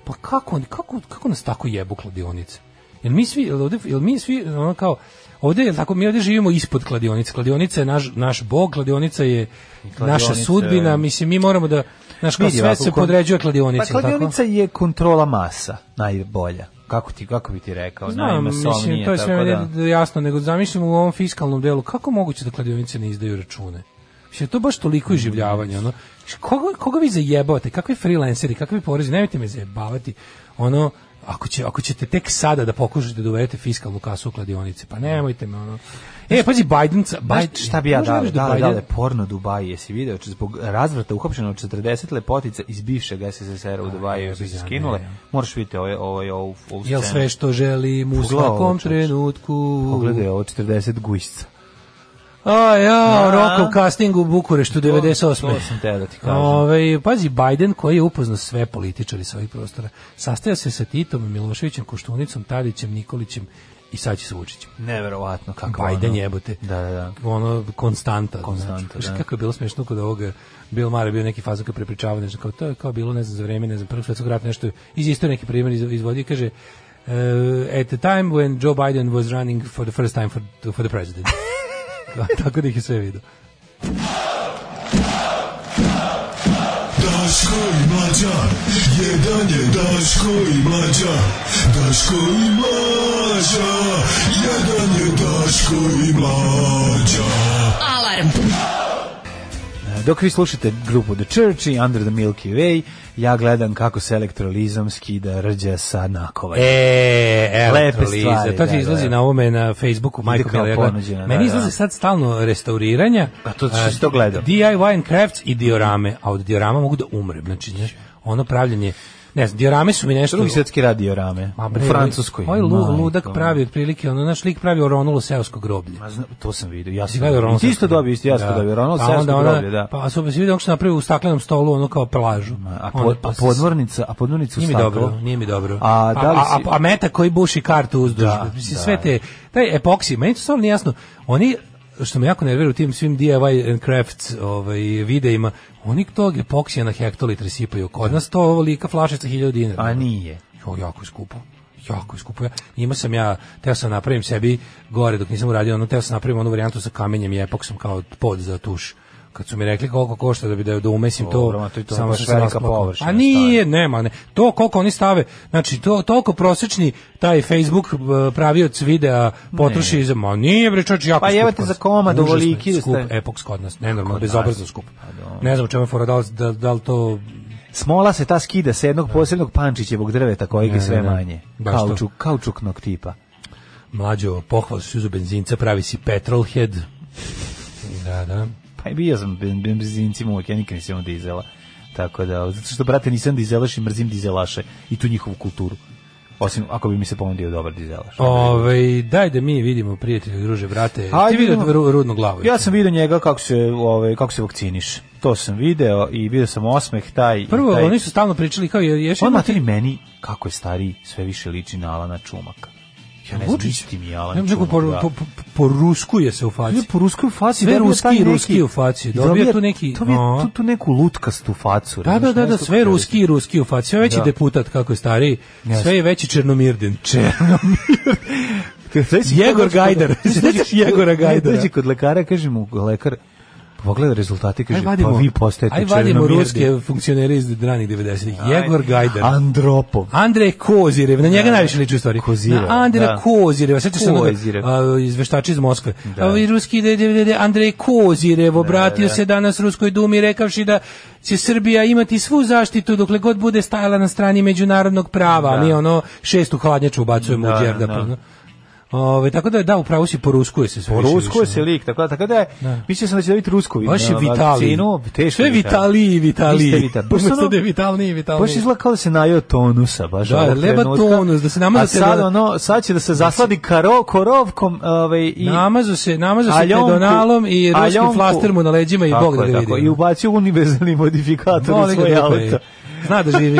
Pa kako, oni- kako, kako nas tako jebu kladionice? Jel mi svi, jel, ovde, jel mi svi, ono kao, ovde, jel tako, mi ovde živimo ispod kladionice. Kladionica je naš, naš bog, kladionica je naša
kladionica
sudbina,
je-
mislim, mi moramo da, znaš, kao
Vidi
sve
ovako,
se
kon-
podređuje kladionicom.
Pa
tako?
kladionica je kontrola masa najbolja. Kako ti kako bi ti rekao,
Znam, mislim,
najmasovnije
to je sve
tako
meni
da.
d- jasno, nego zamišljam u ovom fiskalnom delu, kako moguće da kladionice ne izdaju račune? Mislim, je to baš toliko iživljavanje, ono, Š- koga, koga vi zajebavate, kakvi freelanceri, kakvi porezi, nemojte me zajebavati, ono, ako, će, ako ćete tek sada da pokušate da uvedete fiskalnu kasu u kladionice, pa nemojte me, ono. E, pazi, Bajdenca,
Baš
Bajden,
šta bi ja
Možda
dao?
veruješ
Da, da,
Biden-
da, porno Dubaji, jesi video, če zbog razvrata uhapšeno 40 lepotica iz bivšeg SSSR-a u Dubaju su se skinule. Moraš vidjeti ovo, ovo, ovo, ovu
Jel
scenu.
sve što želim u
Pogledaj ovo,
svakom
čoveče.
trenutku?
Pogledaj ovo 40 gujšca.
A ja,
A?
rock u castingu u Bukureštu 98.
to sam teo da ti kažem.
Ovaj, pazi, Biden koji je upoznao sve političari sa ovih prostora, sastaja se sa Titom, Miloševićem, Koštunicom, Tadićem, Nikolićem i sad će sa Vučićem.
Neverovatno kako.
Biden
ono-
jebote.
Da, da, da.
Ono, konstanta.
Konstanta,
znači. Znaš
da.
Kako je bilo smešno kod ovoga, Bill Maher je bio neki fazon kad prepričava, nešto kao, to je kao bilo, ne znam, za vreme, ne znam, prvog svetskog rata, nešto, iz istorije neki primjer iz, izvodi, kaže, uh, at the time when Joe Biden was running for the first time for, for the president. Tako da ih je sve vidio.
Daško i mlađa, jedan je Daško i mlađa, Daško i mlađa, jedan je Daško i mlađa.
Alarm.
E, Dok vi slušate grupu The Church i Under the Milky Way, ja gledam kako se elektrolizam skida rđa sa nakova.
E,
Pa Lepe
elektroliza.
stvari,
To ti
da,
izlazi
da.
na ovome na Facebooku Majko
kao
Miller.
ponuđeno, da,
Meni
da.
izlazi sad stalno restauriranja.
A to što si to gledao?
DIY and crafts i diorame. A od diorama mogu da umrem. Znači, znaš, ono pravljanje... Ne znam, diorame su mi nešto...
Drugi svetski radio rame.
Ma bre,
u Francuskoj.
Ovaj lu-
Majko.
ludak pravi otprilike, ono, naš lik pravi oronulo seosko groblje.
Ma zna- to sam vidio. Ja
Si
sam
gledao
vidio.
Ronaldo
I ti isto
Sesku?
dobio, isto ja sam dobio. Ronaldo
Pa
Sesku
onda ona-
groblje, da.
Pa su se vidio ono što napravi u staklenom stolu, ono kao plažu.
A, po,
Onda pa
a
se-
podmornica, a podmornica u
Nije mi
staklu.
dobro, nije mi dobro.
A da li si-
a, a meta koji buši kartu uzduž.
Da,
Mislim,
da.
sve te taj epoksi, meni to stvarno nije jasno. Oni što me jako nervira u tim svim DIY and crafts ovaj, videima, oni tog epoksija na hektolitre sipaju. Kod nas to ovo lika flašica 1000 dinara.
A nije.
Jo, jako je skupo. Jako je skupo. Ja, ima sam ja, teo sam napravim sebi gore dok nisam uradio ono, teo sam napravim onu varijantu sa kamenjem i epoksom kao pod za tuš. Kad su mi rekli koliko košta da bi da, da umesim
Dobro,
to,
ma to je to
samo
baš
sam se
velika
rasplakao.
površina
A nije, nema, ne. To koliko oni stave, znači to toliko prosečni taj Facebook eh, pravioc videa potroši za ma nije bre čoveče jako
Pa
skup
jeva
kod
te
nas.
za komad
Užasno je
ovoliki da
skup
ste- Pa
epoks kod nas, nenormalno, bezobrazno skup. Ne znam u čemu je fora da li, da, da li to
Smola se ta skida sa jednog posebnog pančićevog drveta kojeg je
Ne,
sve
ne, ne.
manje.
Baš to.
Kaučuk, kaučuknog tipa.
Mlađo, pohval suzu benzinca, pravi si petrolhead. Da, da.
Pa i bio sam ben- ben- benzincima uvijek, ja nikad nisam imao dizela. Tako da, zato što, brate, nisam dizelaš i mrzim dizelaše i tu njihovu kulturu. Osim ako bi mi se ponudio dobar dizelaš.
Ove, Ovaj, daj da mi vidimo, prijatelji, druže, brate. Ti
Ajde,
vidio
vidimo.
ru- rudnu glavu.
Ja sam video njega kako se, ovaj, kako se vakciniš. To sam video i video sam osmeh taj...
Prvo,
taj,
oni su stalno pričali kao je ješ
On
jednom
materi meni, kako je stariji, sve više liči na Alana Čumaka. Ja ne znam,
Vučić?
isti mi je Alan
Nemam
Čumak.
čekao, por,
da.
po, po, poruskuje se u faci.
Je po ruskoj faci,
Sve
dobio
ruski
taj
i
neki-
ruski u faci,
i
dobio tu neki-
Dobio
no.
tu, tu neku lutkastu facu.
Da, da,
razumeš,
da,
ne
da,
znam
sve
kako
ruski i ruski u faci. Sve veći
Da.
deputat kako je stariji,
Jasno.
sve je veći Černomirdin.
Znaš,
Jegor
dođe kod-
Gajder. Sećaš Jegora Gajdera?
Dođe kod lekara, kaže mu lekar, Pogleda rezultate, kaže,
Aj, vadimo-
pa vi postajete
Aj
černo
vadimo ruske funkcionere iz ranih 90-ih. Jegor Gajdan.
Andropov.
Andrej Kozirev, na njega najviše liči u stvari.
Kozirev,
Na Andreja
da.
Kozireva, sećaš se onoga
Kozirev.
a, izveštača iz Moskve.
Da.
Da. A, i ruski de, de, de, de, Andrej Kozirev obratio se danas Ruskoj dumi rekavši da će Srbija imati svu zaštitu dokle god bude stajala na strani međunarodnog prava. a Mi ono šestu hladnjaču ubacujemo
Da,
u Đerdap.
da.
ono. Ove, tako da, da, upravo si poruskuje se. sve više i
Rusko
više,
se
ono.
lik, tako da, tako da, je- mislio sam da će dobiti rusku vi-
Baš je
na
Vitali.
vakcinu, teško
Sve
je Vitali.
Vitali i
Niste
Vitali.
Vitali.
Pošto
Baš ono-
da je Vitalni i Vitalni.
Baš izgleda kao da se najeo tonusa, baš
Da,
ovog
leba
trenutka.
tonus, da Znači- se namaza
A sad,
tebe-
ono, sad će da se zasladi karo, korovkom ovaj, i...
Namazu se, namazu se
aljonku-
pedonalom i ruskim
aljonku-
flaster mu na leđima i
Tako
Bog da
je,
ga
tako je.
vidi.
I ubacio univerzalni modifikator u
Voli ga
svoje
dupe.
auto.
Zna da živi.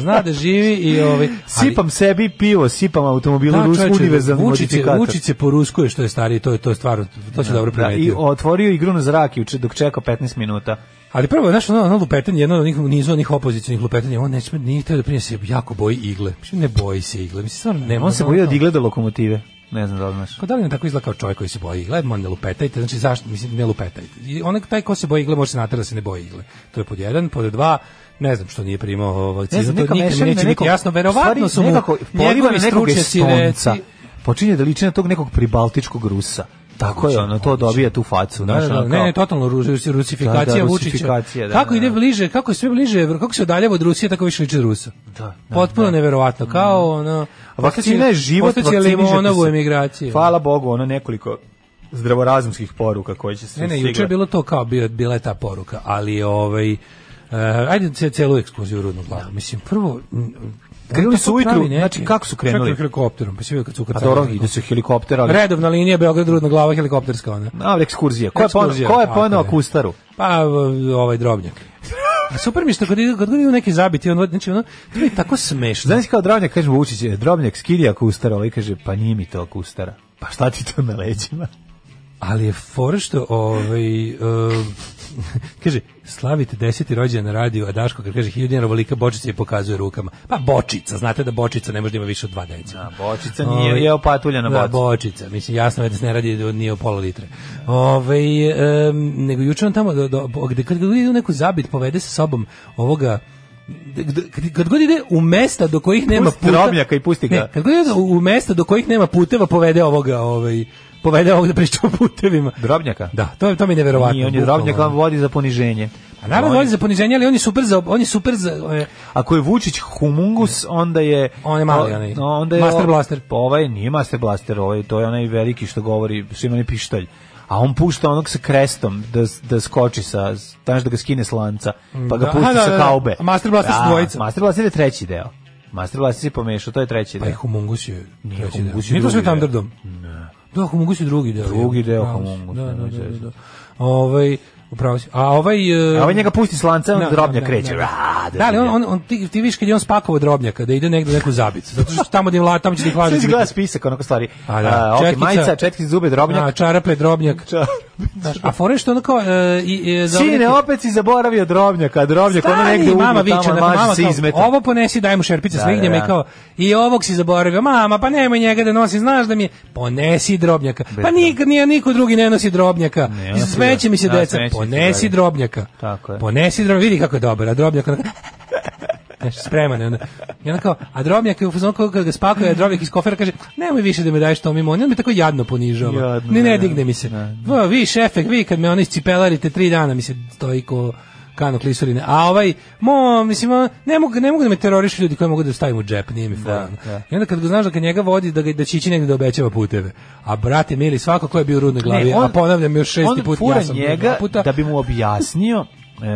Zna da živi i ovaj ali-
Sipam sebi pivo, sipam automobilu
Da,
rusku
čoveče,
univerzalni
Vučić je-
modifikator.
Vučić je poruskuje što je stariji, to je to je stvarno, to se dobro
Da, I
primetio.
otvorio igru na zrak juče dok čekao 15 minuta.
Ali prvo, znaš, ono, ono lupetanje, jedno od njih nizu onih opozicionih lupetanja, on neće, nije htio da prinese, jako boji igle. Mislim, ne boji se igle, mislim, stvarno nema.
On se
ono-
bojio da igleda lokomotive. Ne znam da li znaš.
Pa da li nam tako izgleda kao čovjek koji se boji igle? Ajmo, ne lupetajte, znači zašto, mislim, ne lupetajte. I onaj taj ko se boji igle može se natjerati da se ne boji igle. To je pod jedan, pod dva, ne znam što nije primao ovo vakcinu, to nikad mi
mešavina
neće biti
nekog-
jasno,
stvari,
verovatno su mu
nekako, poriva na
njegovi
nekog
stručnjaci
Estonca.
reci-
Počinje da liči na tog nekog pribaltičkog Rusa. Tako je, ono, to dobija tu facu.
Da,
znaš,
da,
ono
da, ne,
kao-
ne, totalno ru- rusi- rusifikacija
Da, da,
Vučića.
rusifikacija, da,
kako
da,
ide
da.
bliže, kako je sve bliže, Evro- kako se udaljava od Rusije, tako više liči na Rusa.
Da, da, Mhm.
Potpuno neverovatno, kao ono...
A vakcina je život,
Postaće
vakcinišete
limonovu
se.
emigraciju.
Hvala Bogu, ono nekoliko zdravorazumskih poruka koje će se
Ne, ne,
stigle.
juče je bilo to kao bio, bila je ta poruka, ali ovaj uh, ajde ce- celu ekskluziju rudnog plana. Mislim prvo m,
Krenuli
on
su
tako
ujutru,
pravi neki-
znači, kako su krenuli?
Čak i helikopterom, pa si vidio kad su
Pa
ukrcali.
dobro, ide se helikopter, ali...
Redovna linija Beograd rudna glava helikopterska ona.
Na, ekskurzija. Ko je
Ekskurzija,
ponao, ko je
tako
ponao
je.
kustaru?
Pa v- ovaj drobnjak. A super mi je što kad idu, kad god idu neki zabiti, on znači ono, to je tako smešno.
Znaš kao Drobnjak, kaže Vučić, je, Drobnjak skidija kustara, ovaj kaže, pa nije mi to kustara. Pa šta ti to na leđima?
Ali je fora što ovaj e, kaže slavite 10. rođendan na radiju, a Daško kad kaže 1000 dinara velika bočica i pokazuje rukama. Pa bočica, znate da bočica ne može da ima više od dva deci.
A bočica
nije,
nije, je
jeo
patulja na
Da,
bocu.
bočica, mislim jasno je da se ne radi od nije o pola litre. Ovaj em, nego juče on tamo do, do, gde kad god ide u neku zabit povede sa sobom ovoga gde- kad, kad god ide u mesta do kojih nema
Pusti drobnjaka i pusti ga.
Ne, kad god ide u, u mesta do kojih nema puteva povede ovoga, ovaj povede ovog da priča o putevima.
Drobnjaka?
Da, to je to mi je neverovatno.
Nije, on je
bukvalno.
Drobnjak vam vodi za poniženje.
A naravno on je za poniženje, ali on je super za on je super za e,
Ako je Vučić humungus, onda je...
On je mali, onaj.
o- Onda je
Master
o-
blaster.
Pa ovaj nije Master Blaster, ovaj, to je onaj veliki što govori, što ima onaj pištolj. A on pušta onog sa krestom da, da skoči sa, znaš da ga skine s lanca, pa ga
Da,
pušta
da,
sa
da, da.
kaube.
A Master Blaster su
Da,
dvojica.
Master Blaster je treći deo. Master Blaster si pomešao, to je treći
pa i
deo.
Humungus je nije
Humungus E, je
Nije to
drugi
sve
deo.
Thunderdom. Ne. Da, Humungus je drugi deo.
Drugi deo
Pravo si.
Humungus,
Da, da,
nema
da, da,
veze.
da. Ovaj upravo si. A ovaj e,
A ovaj njega pusti s lanca, on drobnja kreće.
Da,
Ra,
da, da. ali on, on, on, ti, ti vidiš kad je on spakovao drobnjaka, da ide negde u neku zabicu, zato što tamo gde im la, tamo će da ih laže.
Sve gleda spisak, onako stvari.
A, da.
A, ok,
Četkica. Znači,
majica, četkice, zube,
A,
drobnjak.
čarape, drobnjak. Znaš, A fore što ono kao... E, i, e, za one
Sine,
neke-
opet si zaboravio drobnjaka, a drobnjak, ono
Stani,
negde
mama
uđe
viče,
tamo,
onako,
maže
mama
se
kao,
izmeta.
Ovo ponesi, daj mu šerpice,
Da,
slignje
da,
me
da.
kao, i ovog si zaboravio, mama, pa nemoj njega da nosi, znaš da mi je, ponesi drobnjaka. Pa nikad nije, niko drugi ne nosi drobnjaka.
Ne, ona
Smeće mi se
da,
deca,
smeće ti se,
ponesi
da.
drobnjaka.
Tako je.
Ponesi drobnjaka, vidi kako je dobar, a drobnjak onako, Znaš, spreman je onda. I onda kao, a drobnjak je u fazonu kao kad ga spakuje, a drobnjak iz kofera kaže, nemoj više da me daješ to mimo, on me tako jadno ponižava.
Jadno,
ne, ne,
da,
digne mi se. Va, vi šefek, vi kad me oni iscipelarite tri dana mi se stoji ko kano klisurine. A ovaj, mo, mislim, on- ne mogu, ne mogu da me terorišu ljudi koji mogu da stavim u džep, nije mi fora. ono.
da.
I onda kad ga znaš da kad njega vodi, da, ga, da će ići negdje da obećava puteve. A brate, mili, svako ko je bio u rudnoj glavi,
on-
a ponavljam još šesti
on
put,
fura
ja sam bio
njega
dva puta,
da bi mu objasnio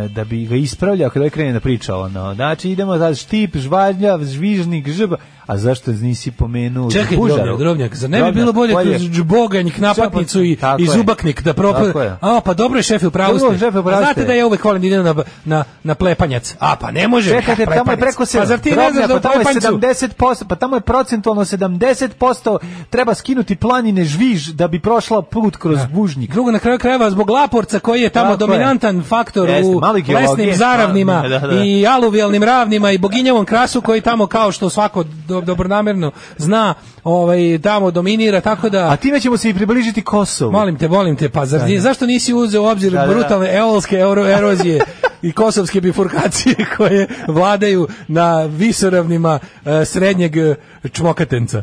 e, da bi ga ispravljao kada je krene da priča ono. Znači idemo za štip, žvaljljav, žvižnik, žb. A zašto nisi pomenuo
Čekaj,
bužaru?
drobnjak, drobnjak, zar ne bi
Drobnjak,
bilo bolje
bolje.
kroz džboganj, knapatnicu i,
Tako
i
je.
zubaknik da
Tako je.
propada? A, pa dobro je šef, u pravu
Dobro,
ste.
šefe, u pravu
Znate
ste.
da ja uvek volim da idem na, na, na plepanjac. A, pa ne može.
Čekajte,
Ha,
tamo je
plepanjac.
preko 7%.
Pa zar ti ne znaš da u
pa tamo je
plepanjcu...
70%, pa tamo je procentualno 70% treba skinuti planine žviž da bi prošla put kroz bužnik.
Drugo, na kraju krajeva, zbog Laporca koji je tamo
Tako je.
dominantan faktor
Jeste,
u
malo i geologije.
lesnim zaravnima
Da, da, da.
i aluvijalnim ravnima i boginjevom krasu koji tamo kao što svako do- do, dobronamerno zna, ovaj, tamo dominira, tako da...
A time ćemo se i približiti Kosovu.
Molim te, molim te, pa zar, nije- zašto nisi uzeo u obzir
da, da.
brutalne eolske euro, erozije i kosovske bifurkacije koje vladaju na visoravnima e, srednjeg e, čmokatenca?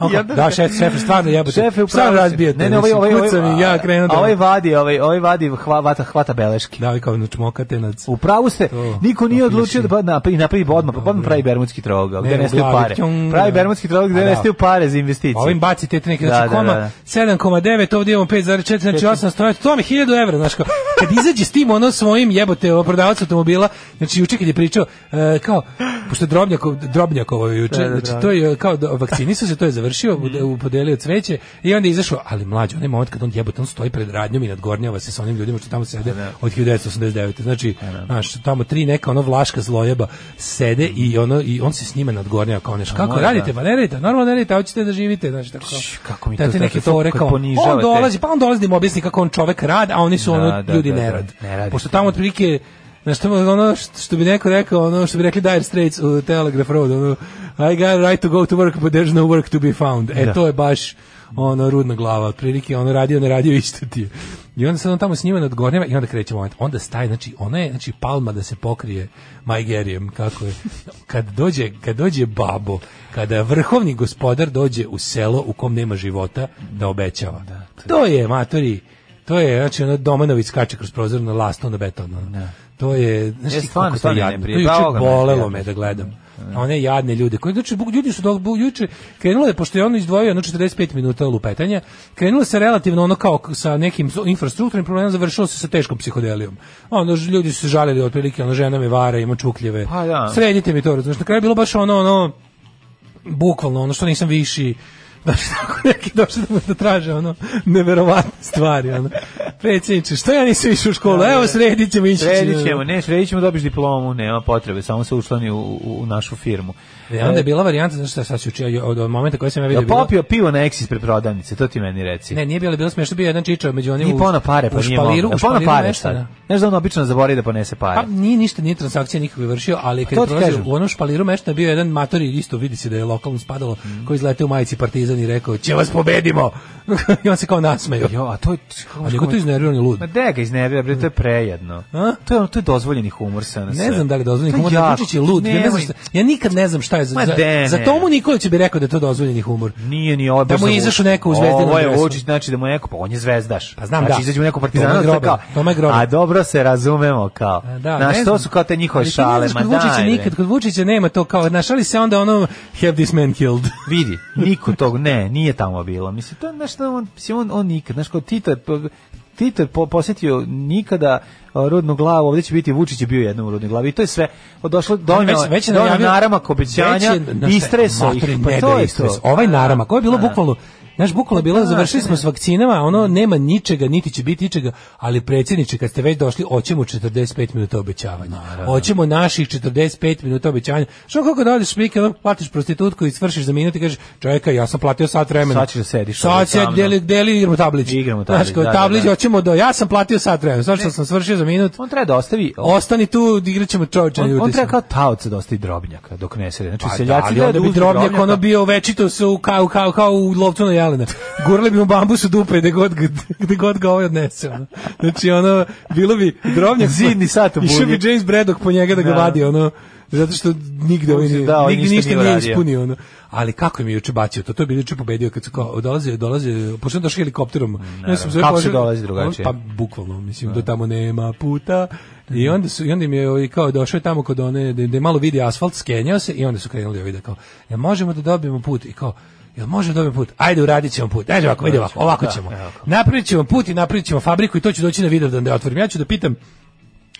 Oko- da, šef, šef, stvarno jebote.
Šefe
Stvarno
upravo se-
razbijete.
Ne, ne, ovaj, ovaj, ovaj,
kucam i ja krenu da...
a ovaj vadi, ovaj, ovaj vadi hva- hvata, hvata beleške.
Da, ovaj kao na čmokatenac.
U pravu ste,
To,
niko nije
to
odlučio da
piši.
ba- napravi, napravi odmah, pa odmah pravi bermudski trougao, gde
u
nestaju
glavi,
pare.
tjong,
Pravi
da.
bermudski trougao gde
A da.
nestaju pare za investicije.
Ovim bacite te neke,
Da,
znači
da,
koma,
da, da.
7,9, ovdje imamo 5,4, znači 800, eto, to mi je 1000 evra, znaš kao, kad izađe s tim ono svojim jebote ovo, prodavac automobila, znači juče kad je pričao, e, kao, pošto je Drobnjakov, Drobnjakovo je juče, znači to je kao, da, vakcinisao se, to je završio, u- u- podelio cveće i onda je izašao, ali mlađo, onaj moment kad on jebote, on stoji pred radnjom i nadgornjava se sa onim ljudima što tamo sede od 1989. Znači, znaš, tamo tri neka ono vlaška zlojeba sede i ono i on se s njima nadgornjava kao nešto. Kako
mora,
radite?
da.
Pa ne radite, normalno ne radite, a hoćete da živite, znači tako.
Š, kako mi
Dajte
to-
neke
to- to
fore
kad
kao,
ponižavate.
On dolazi, pa on dolazi da im objasni kako on čovek rad, a oni su
Da,
ono
da,
ljudi
da, da,
nerad.
ne radi.
Pošto tamo otprilike Znaš, tamo ono što, što bi neko rekao, ono što bi rekli Dire Straits u Telegraph Road, ono, I got a right to go to work, but there's no work to be found. E, to je baš ono rudna glava, otprilike ono radio, ne radio, isto ti je. I onda sad on tamo s njima nadgornjava i onda kreće moment. Onda staje, znači, ona je, znači, palma da se pokrije Majgerijem, kako je. Kad dođe, kad dođe babo, kada vrhovni gospodar dođe u selo u kom nema života da obećava. to je, matori, to je, znači, ono, Domanović skače kroz prozor na lastu, na beton. ono. To je, znači,
E,
ti
stvarno,
kako to
stvarno je
jadno. To je
neprijatno. Bravo
juče
ga,
bolelo
neprijatno.
me da gledam. A One jadne ljude. Koji, znači, bu- ljudi su dok, bu- juče, krenulo je, pošto je ono izdvojio ono 45 minuta lupetanja, krenulo se relativno ono kao k- sa nekim zo- infrastrukturnim problemom, završilo se sa teškom psihodelijom. Ono, ž- ljudi su se žalili otprilike, ono, žena me vara, ima čukljeve.
Pa da.
Sredite mi to, razumiješ. Na kraju je bilo baš ono, ono, bukvalno ono što nisam viši da su tako neki došli da me da traže ono neverovatne stvari ono predsjedniče što ja nisam išao u školu evo sredit ćemo ići
Sredit ćemo, ne, sredit ćemo, dobiš diplomu, nema potrebe, samo se učlani u, u, u našu firmu.
I E, onda je bila varijanta, znaš šta sad ću učio, od, od momenta koji sam ja
Ja
vidio... bilo-
popio pivo na Exis pre prodavnice, to ti meni reci.
Ne, nije bilo, bilo smiješno, bio je jedan čičav među onim
Nije
u-
pona pare, pa
u
nije
špaliru,
mogu.
u
Pa ona
špaliru
pare
nešto,
sad.
da.
Znaš da on obično zaboravi da ponese pare.
Pa nije ništa, nije transakcija nikakve vršio, ali kad
to
je
ti
prolazio
kažem.
u onom špaliru mešta je bio jedan matori, isto vidi se da je lokalno spadalo,
Mhm.
koji izlete u majici Partizan i rekao, će vas pobedimo! I on se kao nasmeju.
Jo, a to je...
Ali kako to iznervio, on je lud.
Ma de ga iznervira, bre, to je prejedno.
A?
To je, ono- to je dozvoljeni humor sa nas.
Ne znam da li je dozvoljeni
To
humor,
Pa jako.
da Vučić je lud. Ja, ne znam
Nemoj.
šta, ja nikad ne znam šta je za,
Ma
za,
de,
za
ne.
Tomu Nikolić bi rekao da je to dozvoljeni humor.
Nije ni ovo.
Da
baš
mu je
za
izašao
Vučića.
neko u zvezdinom
Ovo je
dresu.
Vučić, znači da mu je neko, pa on je zvezdaš.
Pa znam,
znači,
da.
izađe mu neko partizana,
Toma je
to je
grobar,
kao,
Toma je grobar.
a dobro se razumemo, kao.
A,
Da,
ne
znaš, to
znam.
su kao te njihove
Ali ti ne
šale,
znaš,
ma
kod Vučića
daj, bre.
nikad, kod Vučića nema to kao, znaš, ali se onda ono, have this man killed.
vidi, niko tog, ne, nije tamo bilo. Mislim, to je nešto, on, mislim, on, on nikad, znaš, kao Tito je, po- Tito je po, posjetio nikada a, rodnu glavu, ovdje će biti Vučić je bio jednom u rodnoj glavi i to je sve. Došlo, donio,
Već- već je
donio
najavio-
naramak obećanja,
već je, znaš šta,
istreso ih,
matori, ne
pa to
ga
je
istresao.
to.
Ovaj naramak, ovo je bilo
Da, Pa da.
bukvalno Znaš, bukvalno je bilo,
Da,
završili
da,
smo s vakcinama, ono, nema ničega, niti će biti ničega, ali predsjedniče, kad ste već došli, hoćemo 45 minuta obećavanja. Hoćemo naših 45 minuta obećanja. Što kako da odeš špike, ono, platiš prostitutku i svršiš za minut i kažeš, čovjeka, ja sam platio sat vremena.
Sad ćeš da sediš ovdje
Sad će,
sa mnom.
deli, deli, igramo tablić.
Igramo tablić,
Znaš, kao,
da, da,
tablić,
da.
hoćemo do, ja sam platio sat vremena, sad što sam svršio za minut.
On treba da ostavi...
Ostani tu, igrat ćemo čovječa
On, on treba kao taoca da ostavi drobnjaka dok ne sede. Znači,
pa da,
seljaci
ali
gledaju
onda bi
uzmu
drobnjak
drobnjaka.
ono bio večito se u, kao, kao, kao u lovcu na jelena. Gurali bi mu bambus u dupe gde god, ga- gde god ga ovaj odnese. Ono. Znači ono, bilo bi drobnjak...
Zidni sat u
Išao bi
bunju.
James Braddock po njega da ga
Da.
vadi, ono, zato što nigde, ovaj, nije-
Da, ovaj
nigde
ništa
ništa
nije
nije
uradio.
ispunio. Ono. Ali kako im je juče bacio to? To je bi juče pobedio kad su kao dolaze, dolaze, pošto je došao helikopterom. Ja sam zove
Kako se
poželio-
dolazi drugačije?
Pa bukvalno, mislim, do tamo nema puta. I onda, su, i onda im je ovaj, kao došao je tamo kod one, da, da je malo vidi asfalt, skenjao se i onda su krenuli ovi da kao, jel možemo da dobijemo put? I kao, jel možemo da dobijemo put? Ajde, uradit ćemo put. Ajde ovako, ajde ovako, ovako ćemo. Napravit ćemo put i napravit ćemo fabriku i to ću doći na video da ne otvorim. Ja ću da pitam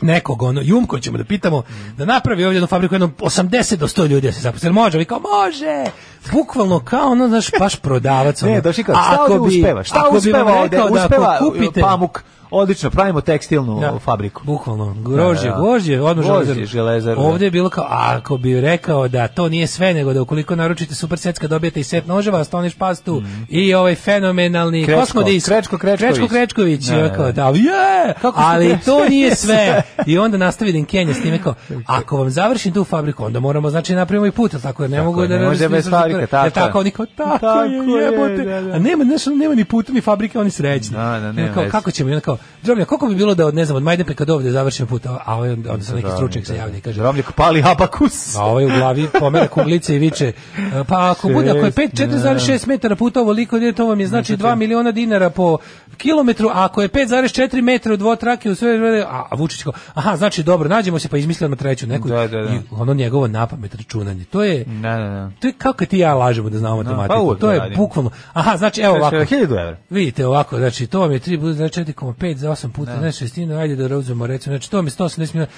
nekog, ono, Jumko ćemo da pitamo,
Mm.
da napravi ovdje jednu fabriku, jedno 80 do 100 ljudi da se zaposle. Jel Može, vi kao, može! Bukvalno kao ono, znaš, baš prodavac.
Ne,
ono.
došli kao,
A
šta
ako
ovdje
bi-
uspeva? Šta
ako bi vam
uspeva pa ovde?
rekao da ako
Uspeva
kupite-
pamuk, odlično, pravimo tekstilnu fabriku.
Bukvalno, grožđe,
Da, da.
gvožđe, odmah
Gvožđe,
železaru.
železaru, da.
Ovdje je bilo kao, a ako bi rekao da to nije sve, nego da ukoliko naručite super secka dobijete i set noževa, Astoniš pastu i ovaj fenomenalni
Mhm. Krečko,
kosmodis.
Krečko Krečković.
Krečko Krečković.
Da,
i
da,
ovako,
da.
da, je,
Kako su
ali
Krečko-
to nije sve. I onda nastavi Denkenja s time kao, ako vam završim tu fabriku, onda moramo znači napravimo i put, jel tako, jer ne mogu
je,
da
ne može bez fabrike,
Jer
tako je.
tako, oni kao, tako,
Tako
je,
je,
jebote.
da, da.
A nema, znaš, ono, nema ni puta, ni fabrike, oni srećni.
Da, da,
I
nema
kao,
veze.
kako ćemo? I onda kao, Drobnjak, koliko bi bilo da od, ne znam, od Majdanpeka do ovde završimo put, a a ovaj, onda onda se neki stručnjak se javlja i kaže,
Drobljak pali abakus.
a ovaj u glavi pomera kuglice i viče, e, pa ako bude, ako je pet- 4,6 metara puta ovoliko, ide, to vam je znači 2 miliona dinara po kilometru, a ako je 5,4 metra u dvotrake, u sve, a, a Vučić kao, aha, znači dobro, nađemo se pa izmislimo treću neku.
Da, da, da.
I ono njegovo napamet računanje. To je,
Da, da, da.
to je kao kad ti i ja lažemo da znamo
pa
matematiku.
uvek
to
to
je
radimo.
bukvalno, aha, znači evo ovako.
1000 evra.
Vidite ovako, znači to vam je 3 bude znači 4,5 za 8 puta, znači šestina, ajde da razumemo recimo, znači to vam je 180 miliona.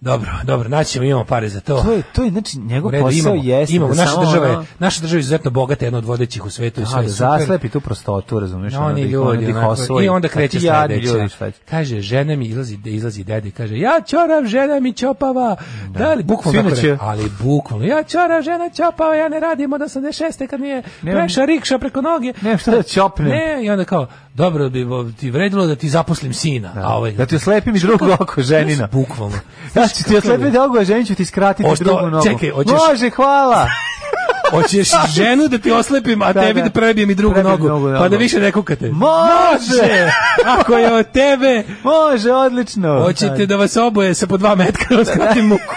Dobro, dobro, naći ćemo, imamo pare za to.
To je, to je, znači, njegov
U redu,
posao
imamo,
jeste
imamo.
da
Naša
samo
država je,
ono-
naša država je izuzetno bogata, jedna od vodećih u svetu i
A,
sve
da
je super.
zaslepi tu prostotu, razumiješ? ono,
No, ono oni ljudi, onako, i onda kreće
Znači, Ljudi,
sledeća.
šta će?
Kaže, žena mi izlazi, de, izlazi dede, i kaže, ja ćorav, žena mi ćopava. Da, li, bukvalno tako
Sinoć
re-
je.
ali bukvalno, ja ćorav, žena ćopava, ja ne radim od 86. kad mi je
Nemam-
prešao rikša preko noge.
Nemam šta da ćopnem.
Ne, i onda kao, dobro bi vo- ti vredilo da ti zaposlim sina. A ovaj,
Da ti oslepim i drugo oko ženina.
Bukvalno.
Ja ću Znači, ti oslepiti ogo, a ženi ću ti skratiti
Ošto-
drugu nogu.
čekaj, hoćeš-
Može, hvala.
Hoćeš ženu da ti oslepim, a
Da,
tebi
da.
da prebijem i drugu
Prebijem
nogu,
drugu
pa da
nogu.
više ne kukate.
Može.
Ako je od tebe,
Može, odlično.
hoćete da vas oboje sa po dva metka ostavim muku.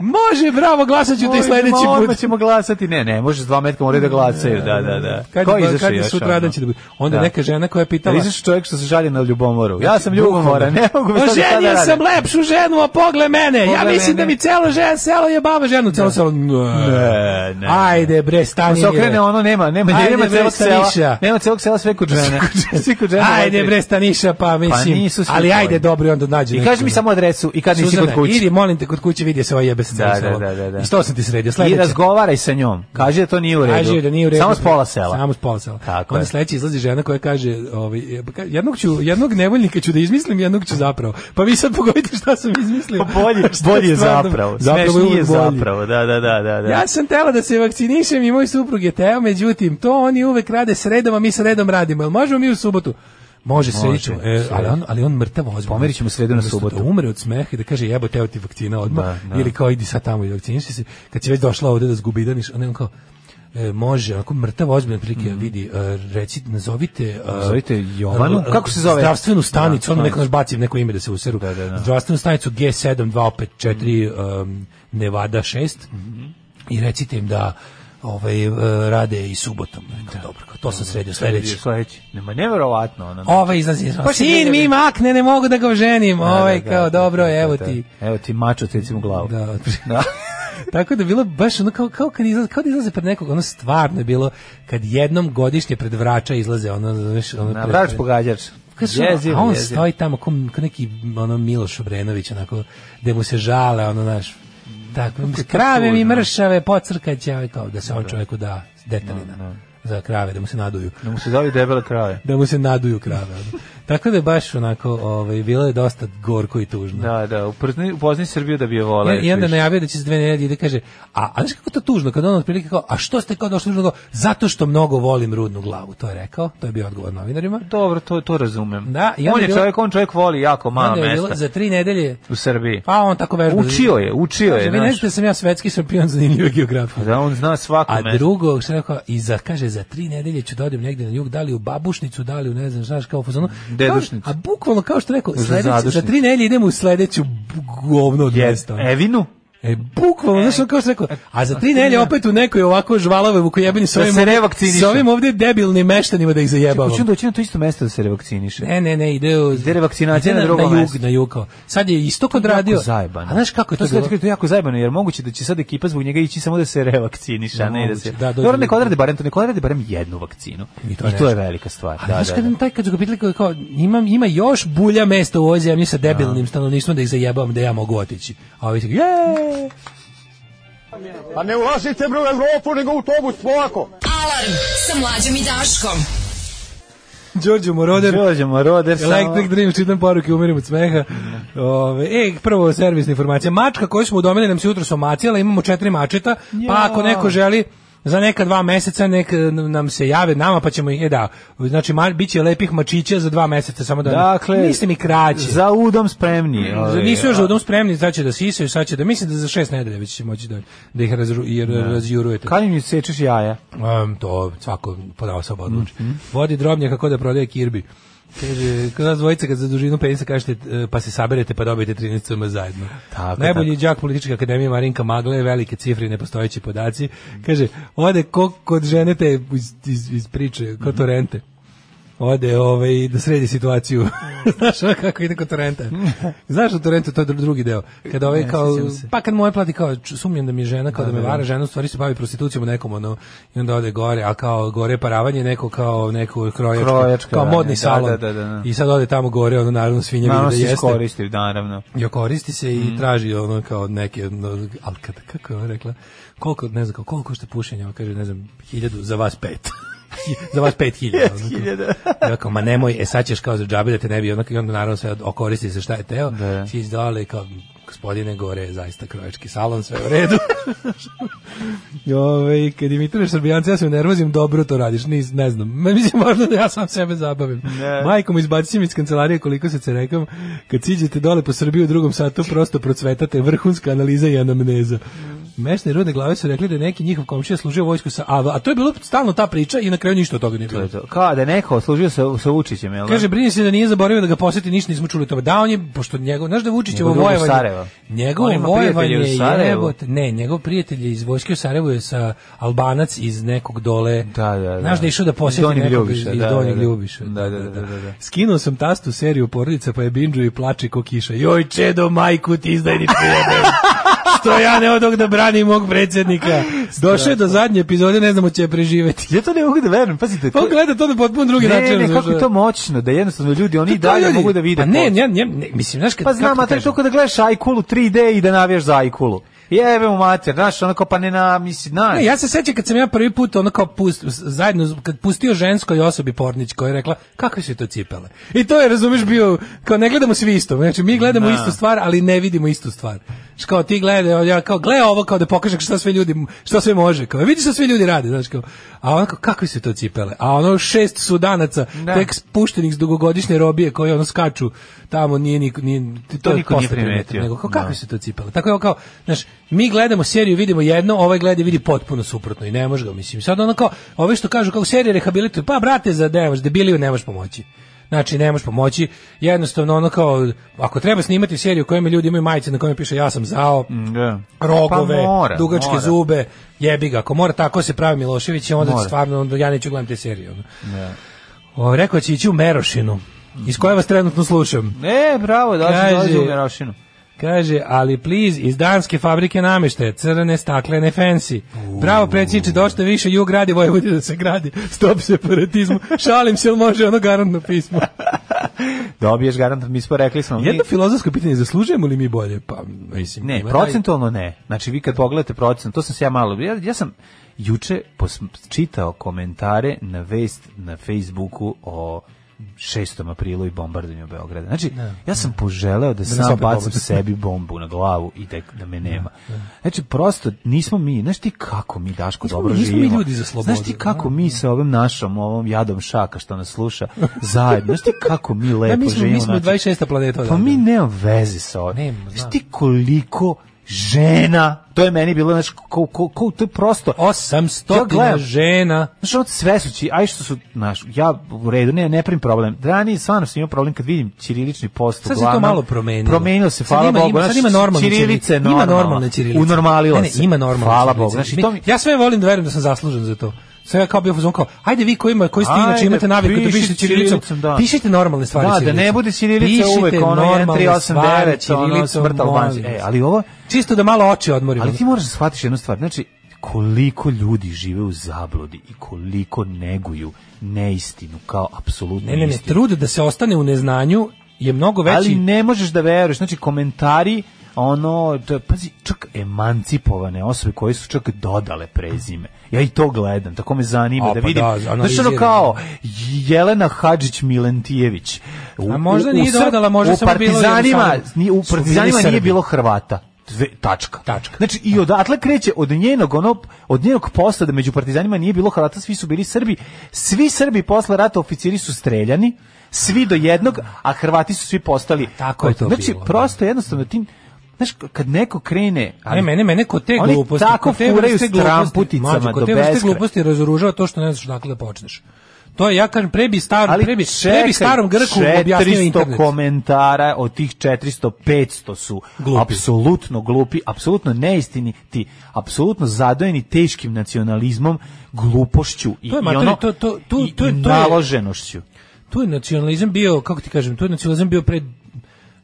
Može, bravo, glasat ću te i sledeći
Možemo, odmah
put.
ćemo glasati. Ne, ne, može s dva metka moraju da glasaju. Da, da, da.
Kad,
Ko
je-
izašao
kad je
još,
sutra
ono?
da će da bude. Onda
Da.
neka žena koja je pitala...
Jer izašao čovjek što se žalje na ljubomoru. Ja sam ljubomora, ne mogu mi sad šta da
Oženio
radim.
Pa sam lepšu ženu, a pogle mene. ja
Pogle
mislim da
mene.
mi celo žen, selo je bava ženu, celo selo. Ne.
Ne, ne.
Ajde bre, stani.
Ako se okrene
mire.
ono, nema, nema,
Ajde,
nema
bre,
celog
Staniša.
sela. Nema celog sela, sve kod žene. Svi kod žene.
Ajde
vode.
bre Staniša, pa mislim,
nisu svi
ali
tvoji.
ajde dobro, i onda nađe.
I
neku,
kaži mi
ono.
samo adresu i kad nisi kod
Suzana,
kuće.
idi molim te kod kuće vidi se ovaj jebe sa celim
Da, da,
selom.
da, da, da.
I što sam ti sredio?
I
Sledeće.
razgovaraj sa njom. Kaži da to nije u redu.
Kaži joj da nije u redu.
Samo s pola sela.
Samo s pola sela.
Tako
Onda
je.
sledeće izlazi žena koja kaže, ovaj, jebe, ka- jednog, ću, jednog nevoljnika ću da izmislim, jednog ću zapravo. Pa vi sad pogodite šta sam izmislio.
Pa bolji,
Šta
bolji je
stvarno-
zapravo.
je
Smešniji je
uvek bolji.
zapravo. Da, da, da, da. da.
Ja sam tela da se vakcinišem i moj suprug je teo, međutim, to oni uvek rade sredom, a mi sredom radimo. Jel možemo mi u subotu? Može, sredit ćemo. E, ali, on, ali on mrtav ozbiljno.
Pomerit ćemo sredu na
Umesto da
subotu.
umre od smeha i da kaže jebo teo ti vakcina odmah. Ili kao idi sad tamo i vakciniši se. Kad si već došla ovde da zgubidaniš, a ne on kao, E, može, ako mrtav ozbiljno prilike, vidi, e, reci, nazovite... e,
Mm. Nazovite Jovanu,
e,
kako se zove?
Zdravstvenu stanicu,
Da,
ono
da.
neko naš baci neko ime da se useru. Zdravstvenu stanicu G7254
Mm.
um, Nevada 6
Mhm.
i recite im da ovaj, e, rade i subotom. Rekao, Dobro, kao to sam sredio sledeći.
Sledeći. Nema, neverovatno. Ono.
Ovaj izlazi.
Pa se
Sin
ne-
mi makne, ne mogu da ga oženim.
Da, da,
Ovaj
da,
kao,
da,
dobro,
da, da,
evo
da.
ti.
Evo ti mačo, ti recimo glavu.
Da,
Da.
Tako da je bilo baš ono kao, kao kad izlaze, kao da izlaze pred nekog, ono stvarno je bilo kad jednom godišnje pred vrača izlaze, ono, znaš, ono,
Na
pred-
vrač pogađač.
Kad su- a on stoji tamo ko, ko neki ono Miloš Obrenović onako da mu se žale ono naš tako krave mi mršave pocrkaće ovaj kao da se on čovjeku da detalina za krave da mu se naduju
Da mu se dovi debele krave.
da mu se naduju krave ono. tako da je baš onako ovaj bilo je dosta gorko i tužno
Da, da, upozni, upozni Srbiju da bi je vole.
I, I onda najavio da će se dve nedelje ide kaže, a, a znaš kako je to tužno, kada on otprilike kao, a što ste kao došli u rudnu glavu? Zato što mnogo volim rudnu glavu, to je rekao, to je bio odgovor novinarima.
Dobro, to, to razumem.
Da, i onda
on je
je bilo-
čovjek, on čovjek voli jako
I
malo
onda je bilo
mesta
za tri nedelje,
u Srbiji.
pa on tako vežba.
Učio je, učio je.
Kaže, vi ne
znaš.
znate da sam ja svetski šampion zanimljive geografije.
Da, on zna svako
A
mesto.
drugo, što je rekao, i za, kaže, za tri nedelje ću da odem negde na jug, da li u babušnicu, da li u, ne znam, znaš, kao u fazonu.
Dedušnicu.
Kao- A bukvalno, kao što je rekao, sledeće, za
zadušnicu.
tri nedelje idemo u sledeću govno od
Je-
mesta.
Evinu?
E, bukvalno, znaš, ono kao što je rekao, a za tri nedelje opet u nekoj ovako žvalavoj vukojebini s
Da
ovim,
se
ovdje-
revakcinišem.
s ovim ovdje debilnim meštanima da ih zajebavamo.
Hoću doći na to isto mesto da se revakciniše.
Ne, ne, ne, ide u...
Ide revakcinacija
ide
na drugo
na jug,
mesto.
na jug. kao. Sad je istok odradio.
Jako zajebano.
A znaš kako je to,
to
bilo?
je to je jako zajebano, jer moguće da će sad ekipa zbog njega ići samo da se revakciniša, a ne da se...
moguće, da, dođe
Dobro,
do-
nek odrade barem to, nek odrade barem jednu vakcinu. I to,
nešto.
je velika stvar.
A
Da,
znaš
da,
kad
da.
im taj, kad su ga pitali kao, kao imam, ima još bulja mesta u ovoj zemlji sa debilnim stanovništvom da ih zajebavam da ja mogu otići. A ovi su kao, "Je!"
Pa ne ulazite bre u Evropu, nego u autobus, polako.
Alarm sa mlađom i Daškom.
Đorđe Moroder.
Đorđe Moroder. samo-
Electric Dream, čitam poruke, umirim od smeha. Ove, e, prvo servisna informacija. Mačka koju smo udomili nam se jutro somacijala, imamo četiri mačeta, pa ako neko želi za neka dva meseca nek e, nam se jave nama pa ćemo ih e da znači ma, biće lepih mačića za dva meseca samo da
Dakle,
mislim i kraće
Za udom spremni.
Za-
ovaj,
nisu još
a-
udom spremni, sad će da sisaju, sad će da, mislim da za šest nedelja već će moći da, da ih razru, jer, razjurujete.
Kad im sečeš jaja?
Um, to svako podao soba odluči.
Mhm.
Vodi drobnje kako da prodaje kirbi. Kaže, kada dvojica kad za dužinu penisa kažete e, pa se saberete pa dobijete 13 cm zajedno.
Tako,
Najbolji đak političke akademije Marinka Magle, velike cifre i nepostojeći podaci. Kaže, ode ko kod žene te iz, iz, iz priče, kod torrente. Ode ovaj, da sredi situaciju. Znaš ono kako ide kod torrenta? Znaš o torrentu, to je dru- drugi deo. Kad ovaj kao,
sjećam se.
pa kad moje plati kao, ču- sumnjam da mi je žena, kao da, me vara žena, u stvari se bavi prostitucijom u nekom, ono, i onda ode gore, a kao gore je paravanje, neko kao neko krojačko,
Krojačko
kao
ranje,
modni
da,
salon.
da, da, da.
I sad ode tamo gore, ono, naravno, svinja
Naravno
vidi
si
da jeste.
iskoristio, naravno.
Jo koristi se i traži ono kao neke ono, ali kad, kako je ona rekla koliko ne znam kao, koliko košta pušenje ona kaže ne znam hiljadu za vas pet za vas pet hiljada ono kao.
hiljada.
ja kao ma nemoj e sad ćeš kao za džabe da te ne bi onako i onda naravno sve okoristi se šta je teo
Da.
siđe dole i kao gospodine gore je zaista krojački salon sve u redu Ove, kad imitiraš srbijance, ja se nervozim, dobro to radiš, nis, ne znam. Ma, Mislim, možda da ja sam sebe zabavim.
Ne.
Majkom izbacim iz kancelarije koliko se cerekam. Kad siđete dole po Srbiji u drugom satu, prosto procvetate vrhunska analiza i anamneza. Mešne i rudne glave su rekli da je neki njihov komšija služio vojsku sa AVA, a to je bilo stalno ta priča i na kraju ništa od toga nije
To
bilo.
je to. Kao da je neko služio sa, sa Vučićem, jel? da?
Kaže brini se da nije zaboravio da ga poseti, ništa nismo čuli o tome. Da on je pošto njegov, znaš da je Vučićevo
Njegov drug u
vojevanje.
Sarajevo.
Njegovo
On ima
vojevanje
prijatelje u
je
Sarajevu.
jebote- ne, njegov prijatelj je iz vojske u Sarajevu je sa Albanac iz nekog dole.
Da, da, da.
Znaš da je išao da poseti
Donjeg
nekog
Ljubiša,
iz
da, da,
Donjeg
da.
Ljubiša.
Da, da, da, da, da.
Skinuo sam tastu seriju porodica pa je binđu i plače ko kiša. Joj čedo majku ti izdajni prijatelj. Što ja ne odog da branim mog predsjednika. Došao je do zadnje epizode, ne znamo će je preživeti.
Ja to ne mogu da verujem, pazite.
Pa
to-
on gleda to na potpuno drugi
ne,
način.
ne,
znaš,
kako je to moćno, da jednostavno ljudi, oni i
to
dalje
ljudi-
mogu da vide.
Pa ne, ne,
to.
ne, ne, mislim, znaš, kad,
Pa znam,
kako
a
ti
to je
kažem?
to kada gledaš ajkulu 3D i da navijaš za ajkulu. Jebe mu mater, znaš, onako pa ne na, misli, na.
Ne, ja se sećam kad sam ja prvi put ono kao pust, zajedno kad pustio ženskoj osobi Pornić koja je rekla kakve su to cipele. I to je razumeš bio kao ne gledamo svi isto. Znači mi gledamo istu stvar, ali ne vidimo istu stvar. Znači kao ti gleda, ja kao gle ovo kao da pokažem šta sve ljudi šta sve može. Kao "E, vidi šta sve ljudi rade, znači kao. A ono kao kakve su to cipele? A ono šest sudanaca
Da.
tek spuštenih s dugogodišnje robije koji ono skaču tamo nije niko nije
To
je
niko nije
posle
primetio.
Nego kao
Da.
kakve se to cipele. Tako je ovo kao, znaš, mi gledamo seriju, vidimo jedno, ovaj gleda i vidi potpuno suprotno i ne može ga, mislim. Sad ono kao, ove što kažu kao serije rehabilituju, pa brate, za ne možeš, debiliju ne možeš pomoći. Znači, ne možeš pomoći. Jednostavno, ono kao, ako treba snimati seriju u kojoj ljudi imaju majice na kojima piše ja sam zao,
Da.
rogove,
Mm. Pa mora,
dugačke
mora.
zube, jebi ga. Ako mora tako se pravi Milošević, onda
Mora.
stvarno, onda ja neću gledam te serije. Ono. O, rekao će ići u Merošinu, iz koje vas trenutno slušam.
E, bravo, dođi,
Kaže-
dođi u Merošinu.
Kaže, ali please, iz danske fabrike namještaja, crne staklene fensi. Bravo, predsjedniče, došto više, jug gradi, Vojvodina da se gradi. Stop separatizmu. Šalim se, jel može ono garantno pismo.
Dobiješ garant, mi smo rekli smo. mi-
Jedno filozofsko pitanje, zaslužujemo li mi bolje? Pa, mislim,
Ne,
ima
procentualno ne. Znači, vi kad pogledate procent, to sam se ja malo... Ja, ja sam juče pos- čitao komentare na vest na Facebooku o 6. aprilu i bombardanju Beograda. Znači, ja sam poželeo da,
nas
sam
opet
bacam
bombarduju.
sebi bombu na glavu i da, da me nema. Znači, prosto, nismo mi, znaš ti kako mi, Daško,
Nismo-
dobro
nismo mi
živimo.
ljudi za slobodu.
Znaš ti kako mi sa ovim našom, ovom jadom šaka što nas sluša, zajedno, znaš ti kako mi lepo
Da, mi smo,
živimo.
mi smo
znači.
26. planeta.
Pa
odavde.
mi nemam veze sa ovim.
Nemam, znam.
Znaš ti koliko žena, to je meni bilo, znaš, ko, ko, ko, to je prosto,
800
gledam.
žena.
znaš, ono sve su ci, aj što su, znaš, ja u redu, ne, ne primim problem. Ranije stvarno sam imao problem kad vidim ćirilični post
Sad se
uglavnom.
to malo promenilo.
Promenilo se,
Sad
hvala
ima-
Bogu.
ima-
znaš,
sad ima normalne
ćirilice. je
ćirilice. Ima
normalna.
normalne ćirilice.
Unormalilo
ne, ne,
se.
Ima normalne
Hvala
ćirilice.
Bogu. Znači,
Mi-
to mi,
Ja sve volim da verujem da sam zaslužen za to. Sve ja kao bio fazon kao, ajde vi koji, ima, koji ste inače
Ajde,
imate naviku da
pišite
pišete ćirilicom,
ćirilicom, da.
pišite normalne stvari
Da, da
ćirilicom.
ne bude ćirilica
Pišite
uvek ono
normalne
1389,
stvari
ono,
ćirilicom,
smrt
molim
Albanci.
vas.
E, ali ovo-
Čisto da malo oči odmorimo.
Ali ti moraš da shvatiš jednu stvar, znači koliko ljudi žive u zabludi i koliko neguju neistinu kao apsolutnu
Ne, ne, ne,
istinu.
trud da se ostane u neznanju je mnogo veći.
Ali ne možeš da veruješ, znači komentari ono, t- pazi, čak emancipovane osobe koje su čak dodale prezime. Ja i to gledam, tako me zanima
A,
da
pa
vidim.
da,
Znaš, ono
analiziram.
kao Jelena Hadžić Milentijević. U,
A možda
u- u
nije
Sr-
dodala, možda
u
samo bilo
partizanima,
jednostavno
ni- u
su bili
partizanima nije
Srbi.
bilo Hrvata. Dve, tačka.
Tačka.
Znači i odatle kreće od njenog ono od njenog posla da među partizanima nije bilo Hrvata, svi su bili Srbi. Svi Srbi posle rata oficiri su streljani, svi do jednog, a Hrvati su svi postali.
Tako je to
znači,
bilo, da.
prosto jednostavno tim Znaš, kad neko krene...
Ali, ne, mene, mene kod te
oni
gluposti,
tako
kod te
furaju
vrste
s
gluposti,
tramputicama
mađo,
do
kod te vrste
beskraja.
gluposti razoružava to što ne znaš odakle da počneš. To je, ja kažem, prebi starom,
Ali
prebi,
čekaj,
prebi starom Grku objasnio
400
internet.
komentara, od tih 400, 500 su
Glupi.
apsolutno glupi, apsolutno neistiniti, apsolutno zadojeni teškim nacionalizmom, glupošću i,
To je,
i
matori,
ono,
to- to- to-
i-
to je-
i
to je-
naloženošću.
Tu je nacionalizam bio, kako ti kažem, tu je nacionalizam bio pred...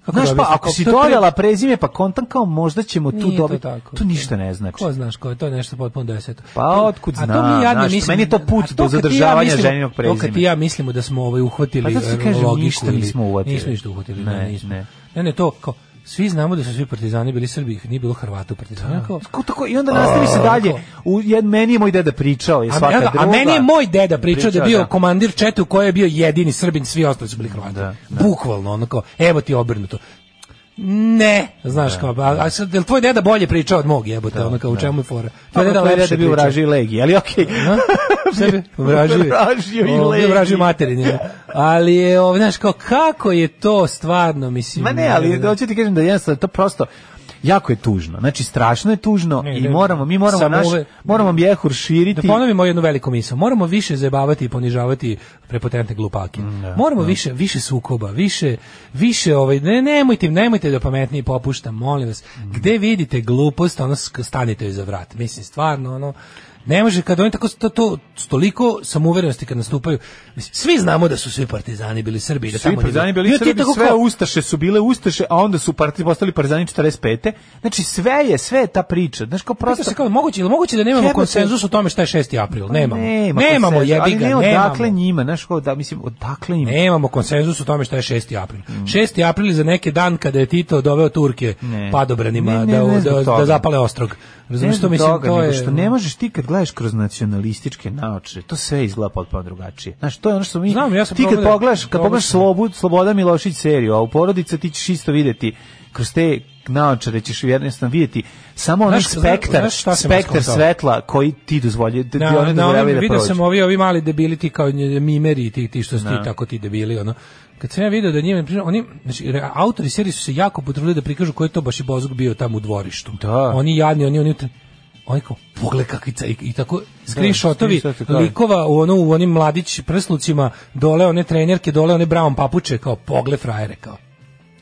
Kako
Znaš
da
pa,
objasnim,
ako
kao-
si
to je pre-
dodala prezime, pa kontam kao možda ćemo tu
Nije
dobiti.
tako.
To ništa ne znači.
Ko znaš ko je, to je nešto potpuno deseto.
Pa, otkud
A to
znam,
mi jadno
znaš,
mislimo-
meni je to put
a to
do
kad ti ja
zadržavanja
mislimo-
ženinog
To kad
prezime.
ti ja mislimo da smo ovaj uhvatili
Pa zato se kaže,
e, logiku
ništa
ili-
nismo uhvatili.
Nismo ništa uhvatili, ne,
Ne,
nismo.
ne.
Ne. ne, to kao svi znamo da su svi partizani bili Srbi, nije bilo Hrvata u partizanu. Kao,
Ko tako, I onda nastavi se dalje. U, jed, meni je moj deda pričao, je
A,
svaka
evo,
druga.
a meni je moj deda pričao da je bio
da.
komandir čete u kojoj je bio jedini Srbin, svi ostali su bili Hrvati.
Da,
Bukvalno, ono kao, evo ti obrnuto. Ne, znaš kao, a, a sad, jel tvoj deda bolje pričao od mog jebote, ono kao, u čemu je fora?
Pa
Tvoj deda
da
lepše
da bi
pričao.
uražio legiji, ali okej.
Ha? Sebe vražio.
Vražio i
Ovdje
legi.
vražio materinje. Ali je, ovo, znaš, kao, kako je to stvarno, mislim...
Ma ne, ali hoću ti kažem da jednostavno to prosto jako je tužno. Znači strašno je tužno
Ne,
i
ne,
moramo mi moramo
samo
naš
ove-
moramo bjehur širiti.
Da ponovimo jednu veliku misao. Moramo više zajebavati i ponižavati prepotentne glupake.
Mm,
Moramo više više sukoba, više više ovaj ne nemojte nemojte da pametniji popuštam, molim vas.
Mm.
Gde vidite glupost, ono sk- stanite joj za vrat. Mislim stvarno ono Ne može kad oni tako to, to s toliko samouverenosti kad nastupaju. Mislim, Svi znamo da su svi partizani bili Srbi, i da
Svi
tamo
partizani bili
I onda ti
Srbi,
tako
sve
kao-
ustaše su bile ustaše, a onda su partizani postali partizani 45. Znači sve je, sve je ta priča. Znaš kao
Prosto
prosto
se kao moguće, ili moguće da nemamo
Jebote. Pa
konsenzus o tome šta je 6. april? Nemamo.
Nema
nemamo,
konsenzusa,
jebi ga,
ali ne odakle
nemamo.
njima, znaš kao da mislim odakle njima.
Nemamo konsenzus o tome šta je 6. april.
Mm.
6. april je za neki dan kada je Tito doveo Turke
Ne.
padobranima
Ne, ne,
da,
ne zbog
da,
toga.
da zapale ostrog. Razumiješ
Znaš
što mislim? to je...
što ne možeš ti kad gledaš kroz nacionalističke naočare, to sve izgleda potpuno drugačije. Znaš, to je ono što mi
Znam, ja sam
ti kad
pogledao-
pogledaš, kad
pogledao
pogledaš
sam.
Slobu, Sloboda Milošić seriju, a u porodica ti ćeš isto vidjeti kroz te naočare ćeš vjerojatno vidjeti samo onaj
Znaš- zna-
spektar,
znaš šta sam
spektar
skontao?
svetla koji ti dozvolje, ti
na,
oni
na
dozvoljavaju
onom,
da
vidio
prođu.
sam ovi, ovi mali debili ti kao nje- mimeri ti, ti što su ti tako ti debili ono. Kad sam ja vidio da njima, primjer, oni, znači, re- autori serije su se jako potrudili da prikažu koji je to baš i bozog bio tamo u dvorištu.
Da.
Oni jadni, oni, oni, oni kao, pogled kakvica i, i tako screenshotovi
screenshoti, da.
likova u, ono, u onim mladić prslucima, dole one trenerke, dole one brown papuče, kao pogled frajere, kao.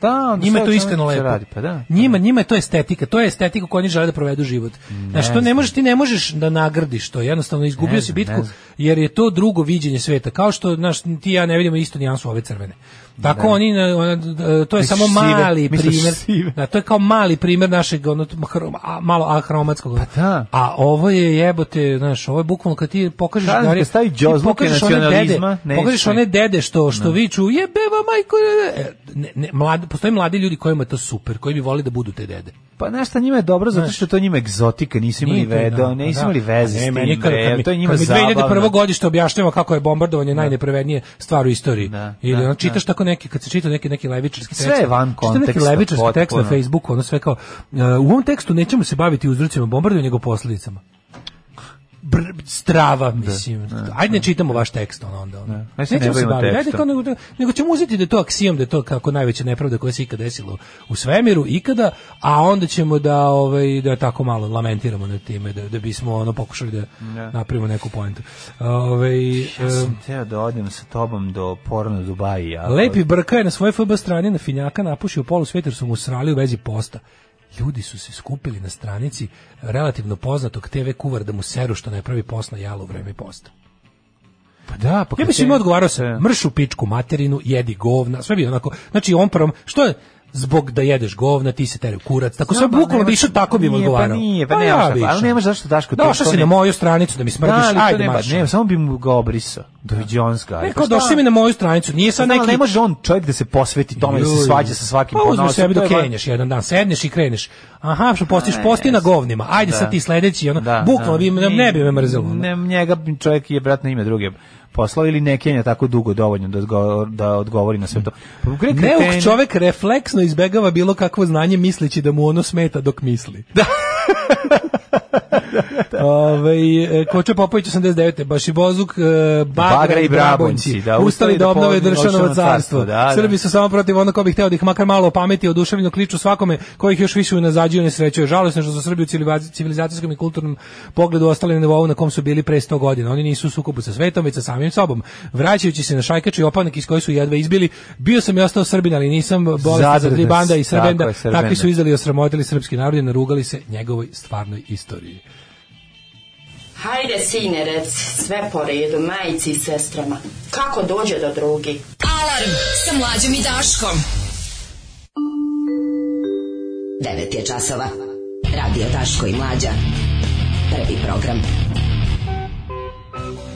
Da, onda
Njima je
sve
to
o
iskreno
čemu se
lepo.
Radi, pa da.
Njima, njima je to estetika, to je estetika koju oni žele da provedu život. Znaš, to ne možeš, ti ne možeš da nagradiš to, jednostavno izgubio
Ne
si
znam,
bitku,
ne znam.
jer je to drugo viđenje sveta, kao što znaš, ti i ja ne vidimo istu nijansu ove crvene. Tako oni, na- ona- d- to je
Misliš
samo
sive,
mali
misliš
primjer,
sive.
da, to je kao mali primjer našeg ono, t- hrom- a- malo ahromatskog.
Pa da.
A ovo je jebote, znaš, ovo je bukvalno kad ti pokažeš,
Kažem,
drugari,
kad stavi
ti
đozluke
pokažeš one dede,
nacionalizma, neće.
pokažeš one dede što što viču jebeva majko e, ne, ne, mladi, postoje mladi ljudi kojima je to super koji bi voli da budu te dede
Pa znaš šta, njima je dobro zato što je to njima egzotika, nisu imali
Nije to,
vedo,
da, Pa
ne
da.
nisu imali veze
Ne,
s
meni
tim,
kad- kad
bre,
mi-
to je njima
kad mi
zabavno.
2001. godište objašnjava kako je bombardovanje najnepravednije stvar u istoriji.
Da,
Ili
da,
ono, čitaš tako neki, kad se čita neki, neki levičarski
Sve
tekst.
je van
čitaš neki
konteksta,
levičarski tekst na
potpuno.
Facebooku, ono sve kao, e, u ovom tekstu nećemo se baviti uzrocima bombardovanja, nego posljedicama. Br- strava, mislim. Ajde ne čitamo vaš tekst, ono onda. Ono.
Ajde se ne
Nećemo se
bavimo
baviti. Ajde
tekstom.
kao nego, nego ćemo uzeti da je to aksijom, da je to kako najveća nepravda koja se ikada desila u svemiru, ikada, a onda ćemo da ovaj da tako malo lamentiramo nad time, da, da bismo ono pokušali da napravimo neku poentu. Ovaj, em,
Teo da odem sa tobom do porno Dubaji. a-
Lepi Brka je na svojoj FB strani na Finjaka napušio polu sveta jer su mu srali u vezi posta. Ljudi su se skupili na stranici relativno poznatog TV kuvar da mu seru što ne pravi post na jalo u vreme posta.
Pa da, pa
Ja
kad
bi
te-
svima odgovarao
E.
sam, mršu pičku materinu, jedi govna, sve bi onako, znači on prvom, što je, zbog da jedeš govna, ti se tere u kurac. Tako sve
Znam, ali
bukvalno
nemaš-
bi išao, tako bi im
pa Nije, pa
odgovarao.
nije, pa nemaš na-
bi
ali
išao.
nemaš zašto, Daško, to-
Došao
to
si
ne-
na moju stranicu da mi smrdiš,
ali to
ajde
nema,
marš.
ne, samo bi mu ga obrisao. Doviđonska.
Ne, E, kao došli mi na moju stranicu, nije sad
Znam, ali
neki...
Pa ne može on čovjek da se posveti tome, da se
Juj.
svađa sa svakim
pa uzmeš
ponosom,
sebi
to
do
je van-
Kenješ jedan dan, sedneš i kreneš. Aha, što postiš,
Ne,
posti na
jes.
govnima. Ajde
Da.
sad ti sledeći, ono,
Da,
bukvalno
da.
bi me- ne bi me mrzelo. ono.
Ne, njega bi- čovjek je brat na ime druge poslao ili ne Kenja tako dugo dovoljno da, odgo- da odgovori na sve to. Pa Gre
Neuk
kreteni.
čovek refleksno izbegava bilo kakvo znanje misleći da mu ono smeta dok misli. Da. Ove, Koče Popović 89. Bašibozuk, e, Bagra,
Bagra i
i Brabonci
Brabonci, da,
ustali da obnove državno
Dušanovo
carstvo.
carstvo, da, da.
Srbi su samo protiv ono ko bi hteo da ih makar malo opameti, oduševljeno kliču svakome ko ih još više unazađuje i nesrećuje. Žalosno je što su Srbi u civilizac- civilizacijskom i kulturnom pogledu ostali na nivou na kom su bili pre 100 godina. Oni nisu u sukobu sa svetom, već sa samim sobom. Vraćajući se na šajkač i opanak iz koji su jedva izbili, bio sam i ostao Srbin, ali nisam bolest za
Zadrte
tri banda i
s- tako
srbenda.
je, srbenda.
Takvi su izdali i osramotili srpski narod i narugali se njegovoj stvarnoj istoriji.
Hajde, sine, rec, sve po redu, majici i sestrama. Kako dođe do drugi?
Alarm sa mlađom i Daškom.
9 je časova. Radio Daško i Mlađa. Prvi program.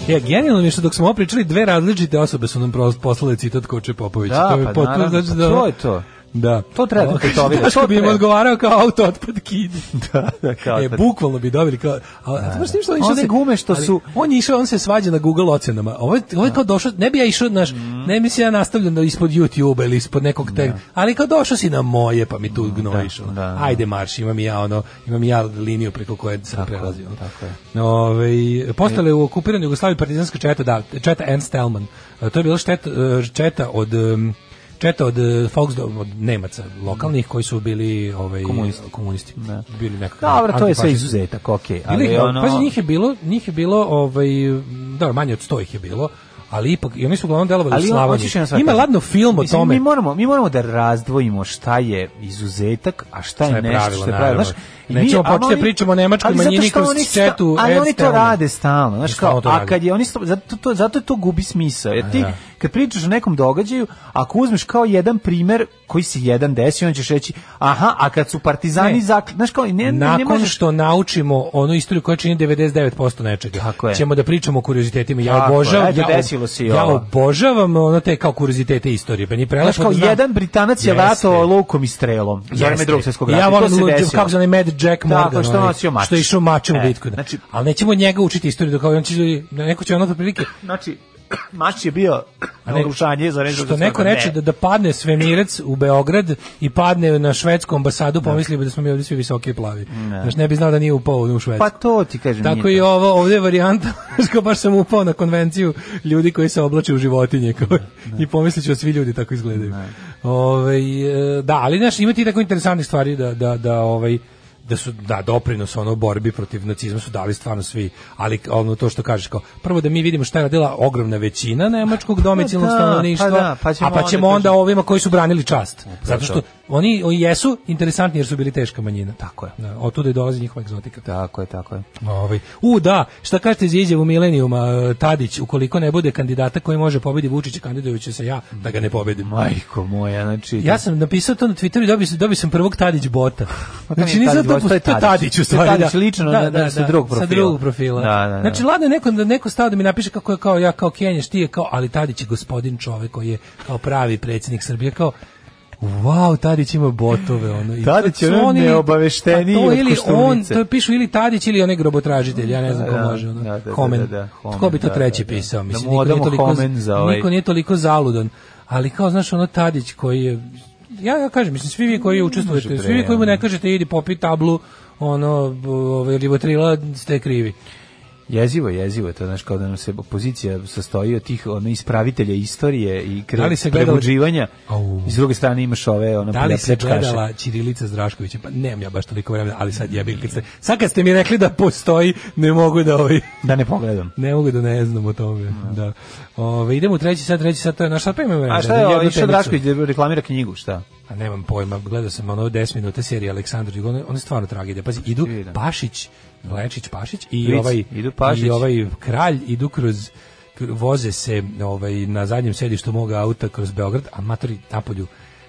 Ja, genijalno mi je što dok smo ovo pričali, dve različite osobe su nam pros- poslale citat Koče Popovića.
Da,
je
pa
potpuno-
naravno,
znači
pa to je to.
Da.
To treba da tetovira,
Daško
to
bi im
treba.
odgovarao kao auto otpad kid. da,
da, kao
e,
otpad.
bukvalno bi dobili kao... A, a ti baš nešto on išao
One
se-
gume što
ali
su-
On je išao, on se svađa na Google ocenama. Ovo je, ovo je kao došao, ne bi ja išao, naš,
Mhm.
ne bi se ja nastavljam da ispod YouTube-a ili ispod nekog tag, ali kao došao si na moje, pa mi tu gnojiš. ono.
Mhm, da, da.
Ajde marš, imam i ja, ono, imam i ja liniju preko koje sam prelazio. ono.
tako je. E.
Ove, postale u okupiranoj Jugoslaviji partizanska četa, da, četa Ernst Stelman. E, To je bila šteta, e, četa od em, četa od e, Volksdo- od Nemaca lokalnih koji su bili ovaj komunisti,
Da.
bili nekakvi
Dobro, to je sve
antifašisti.
izuzetak, okej.
Bili
ali
ih-
ono...
pazi, njih je bilo, njih je bilo ovaj dobro, manje od 100 ih je bilo, ali ipak i oni su uglavnom delovali u
Ali on
Slavoniji.
hoćeš jedan stvar
Ima
kažem.
ladno film o
Mislim,
tome.
Mi moramo, mi moramo da razdvojimo šta je izuzetak, a šta je,
Šta je
nešto
pravilo,
što je
naravno.
pravilo. Znaš, i mi-
Nećemo
ali
početi da
oni-
pričamo o nemačkoj
ali zato
manjini
što
kroz
oni sta-
četu
Ali oni to
Ernst
rade stalno, znaš
I
kao,
stalno to
a
rade.
kad je oni, sto- zato to, zato to gubi smisao. Jer ti, kad pričaš o nekom događaju, ako uzmeš kao jedan primer koji se jedan desi, on ćeš reći, aha, a kad su partizani
Ne.
zakli, znaš kao, ne, ne, ne
nakon
možeš-
što naučimo onu istoriju koja čini 99% nečega.
Tako je.
Ćemo da pričamo o kuriozitetima. Ja
Tako je,
obožavam,
eto,
ja,
desilo se i
ja
ovo.
obožavam ono te kao kuriozitete istorije. Meni je prelepo
Znaš kao,
da znam-
jedan Britanac je
Jeste.
vrato lukom i strelom. Za vreme
Jeste.
drugog svjetskog
I
rata.
Ja
I to
volim
se
Lu-
desilo.
kako se onaj Mad Jack
Tako,
Morgan.
što je
onaj,
nosio mač.
Što je išao mačem u
E,
bitku. da.
znači-
Ali nećemo njega učiti istoriju, da kao on će, neko će ono prilike
Znači, mač je bio
A ne-
naoružanje za nešto
što neko reče da, da padne svemirec u Beograd i padne na švedsku ambasadu, pomislio bi da smo mi ovdje svi visoki i plavi. Znači, ne bi znao da nije upao u Švedsku.
Pa to ti kažem.
Tako
nije
i
to.
ovo, ovdje je varijanta, znaš, kao baš sam upao na konvenciju ljudi koji se oblače u životinje kao, i pomislit ću da svi ljudi tako izgledaju. Ovaj, e, da, ali znaš, ima ti tako interesantnih stvari da, da, da, ovaj, da su da doprinos ono borbi protiv nacizma su dali stvarno svi ali ono to što kažeš kao prvo da mi vidimo šta je radila ogromna većina nemačkog domicilnog
Pa da,
stanovništva
pa da, pa ćemo Pa
a pa ćemo
onda
onda
kažem-
ovima koji su branili čast zato što oni, oni jesu interesantni jer su bili teška manjina
Tako je.
da, otuda i dolazi njihova egzotika
Tako je, tako je.
Ovaj. U, da, šta kažete za izjavu Milenijuma e, Tadić, ukoliko ne bude kandidata koji može pobediti Vučića, kandidujući se ja, da ga ne pobedim.
Majko moja, znači...
Ja sam napisao to na Twitteru i dobio, sam- dobio sam prvog Tadić bota.
Pa to
Znači
nije
nisam
Tadić
to,
bot, to
to
je
je Tadić
Tadić.
u stvari.
To je Tadić lično, na- na- sa drugog
Sa
profila.
drugog profila.
Da, da, da.
Znači, ladno je neko, da neko stao da mi napiše kako je kao ja, kao Kenješ, ti je kao, ali Tadić je gospodin čovek koji je kao pravi predsjednik Srbije, kao, Wow, Tadić ima botove ono. I
Tadić je
to su
ono
oni ili-
neobavešteniji
Pa to
od
ili on,
Koštunice.
to je pišu ili Tadić ili onaj grobotražitelj, ja ne znam ko
Da,
može ono.
da, da, da,
Homen.
da, da, Homen,
Ko bi to
da,
treći
da, da.
pisao,
Da
mislim,
mu
niko nije
odamo
toliko
Homen za ovaj-
niko nije toliko zaludan. Ali kao znaš ono Tadić koji je ja ja kažem, mislim svi vi koji
Mm,
učestvujete, svi vi koji mu ne kažete idi popi tablu ono b- ovaj ribotrila ste krivi.
Jezivo, jezivo je to, znaš, kao da nam se opozicija sastoji od tih ono, ispravitelja istorije i kre,
Da li se gledala-
prebuđivanja.
Au.
I s druge strane imaš ove, ono,
Da li se
pljačkaše.
gledala Ćirilica Zdraškovića? Pa nemam ja baš toliko vremena, ali sad jebi ga, kad ste. Sad kad ste mi rekli da postoji, ne mogu da ovaj
Da ne pogledam.
Ne mogu da ne znam o tome. Da. Ove, idemo u treći sat, treći sat, to je naš sat, pa imamo vremena
A
za
šta je,
jednu
ovo, što
temicu.
Drašković reklamira knjigu, šta?
A nemam pojma, gledao sam ono 10 minuta serije Aleksandar Đugo, on je stvarno tragedija. Pazi, idu
Vidim.
Pašić, Lečić Pašić i
Vic,
ovaj
idu Pašić.
i ovaj kralj idu kroz kr- voze se ovaj na zadnjem sedištu mog auta kroz Beograd, a matori napolju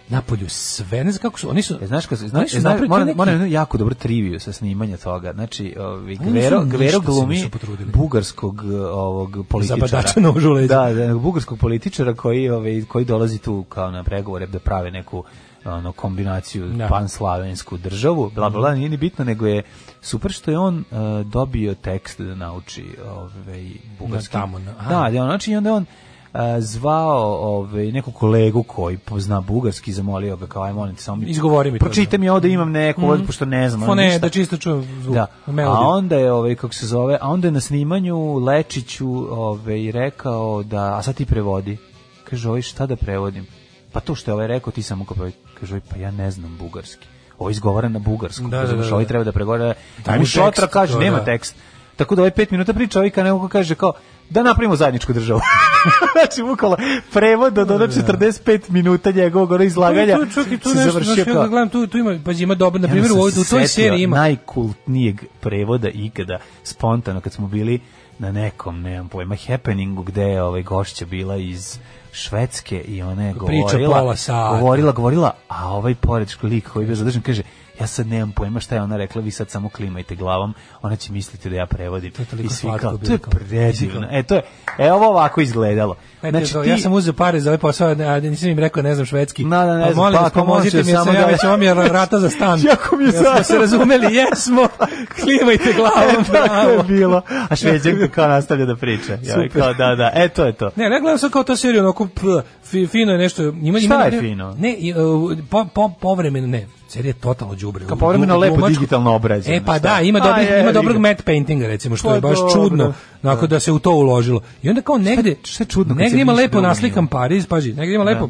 Napolju sve, ne znam kako su, oni su...
E, znaš kako se
oni
znaš,
su
znaš,
napravili
moram,
neki-
moram jednu jako dobru triviju sa snimanja toga. Znači, ovi,
Oni
Gvero,
nisu
Gvero
ništa se
glumi
nisu potrudili.
bugarskog eh, ovog političara.
Zapadača nožu u leđa.
Da, da, bugarskog političara koji, ovaj, koji dolazi tu kao na pregovore da prave neku ono, kombinaciju
Da. Mhm.
panslavensku državu, bla, bla, bla, nije ni bitno, nego je super što je on eh, dobio tekst da nauči ovaj, bugarski.
Na tamo, na- aha.
da, da, znači, i onda je on eh, zvao ovaj, neku kolegu koji pozna bugarski, zamolio ga kao, aj molim te, samo mi
Izgovori mi to,
Pročitaj
da. Mhm.
mi ovo da imam neku, mm. pošto ne znam. ono,
Fone,
ništa.
da čisto čujem zvuk,
Da.
melodiju.
A onda je ovaj kako se zove, a onda je na snimanju Lečiću ovaj rekao da a sad ti prevodi. Kaže ovaj šta da prevodim? Pa to što je ovaj rekao ti samo kao prevodi. kaže ovaj pa ja ne znam bugarski. Ovo izgovara na bugarskom.
Da, da,
Da, da,
da, da.
Ovaj treba da pregovara.
Daj
Da
mi
mu
tekst,
šotra kaže
to,
nema
da.
tekst. Tako da ovaj 5 minuta priča, ovaj kao neko kaže kao da napravimo zajedničku državu. znači bukvalno prevod od ono 45 minuta njegovog ono izlaganja.
Tu, tu, čak Pa i tu
se
nešto, znači,
završio
znaš, ja
kao-
kad gledam, tu, tu ima, pazi, ima dobro, na
ja
primjer, u,
sam
ovoj,
se
u toj
setio
seriji ima,
najkultnijeg prevoda ikada, spontano, kad smo bili na nekom, nemam pojma, happeningu gde je ovaj gošća bila iz Švedske i ona je
Priča
govorila,
pola sata.
govorila, govorila, a ovaj pored lik koji je bio zadržan kaže, ja sad nemam pojma šta je ona rekla, vi sad samo klimajte glavom, ona će misliti da ja prevodim.
To je toliko
I svi
slatko
kao,
bilo
to je
kao-
predivno. E, to je, e, ovo ovako izgledalo.
Znači, ti... ja sam uzeo pare za ovaj posao, a nisam im rekao, ne znam švedski.
Da, da, ne
Pa
znam,
molim
pa
vas,
ako
pomozite
možeš
mi, jer
samo
sam ja
da-
već vam je rata za stan.
Jako mi je
Jel smo
sad-
se razumeli, jesmo, klimajte glavom,
E, tako je
bravo.
bilo. A Šveđanka kao nastavlja da priča. Ja,
Super.
Kao, da, da, e, to je to.
Ne, ne gledam sad kao to seriju, onako p, fi- fino je nešto. Ima,
Šta
ima,
je
ne-
fino?
Ne, i, uh, po, po, povremeno, ne, serija je totalno đubre.
Kao povremeno
U- u-
lepo
glumačku-
digitalno obrađeno,
E pa
šta?
da, ima
A,
dobrih,
jebi
ima
ga.
dobrog matte paintinga recimo, što
Pa
je baš
dobro,
čudno. Nakon da se u to uložilo. I onda kao negde,
šta je čudno kad se ono.
negde ima
ništa
lepo
drugo
naslikan
nije?
Pariz, paži, negde ima lepo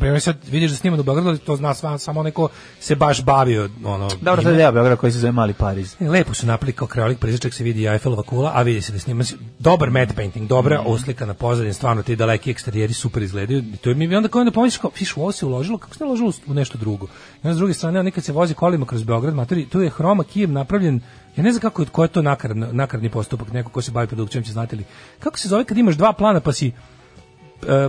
Prema sad vidiš da sniman u Beogradu, ali to zna sva, samo neko se baš bavio ono.
Dobro, to je deo Beograda koji se zove Mali Pariz.
E, Lepo su napravili kao krajolik prizačak se vidi Eiffelova kula, a vidi se da snima dobar matte painting, dobra oslika na pozadini, stvarno ti daleki eksterijeri super izgledaju. I to mi je onda kao onda pomisliš kao, fiš, u ovo se uložilo, kako se ne uložilo u nešto drugo. I onda s druge strane, on kad se vozi kolima kroz Beograd, materi, tu je hroma Kijev napravljen, ja ne znam kako je, ko je to nakarni, nakarni postupak, neko ko se bavi produkcijom će znati li. Kako se zove kad imaš dva plana pa si e,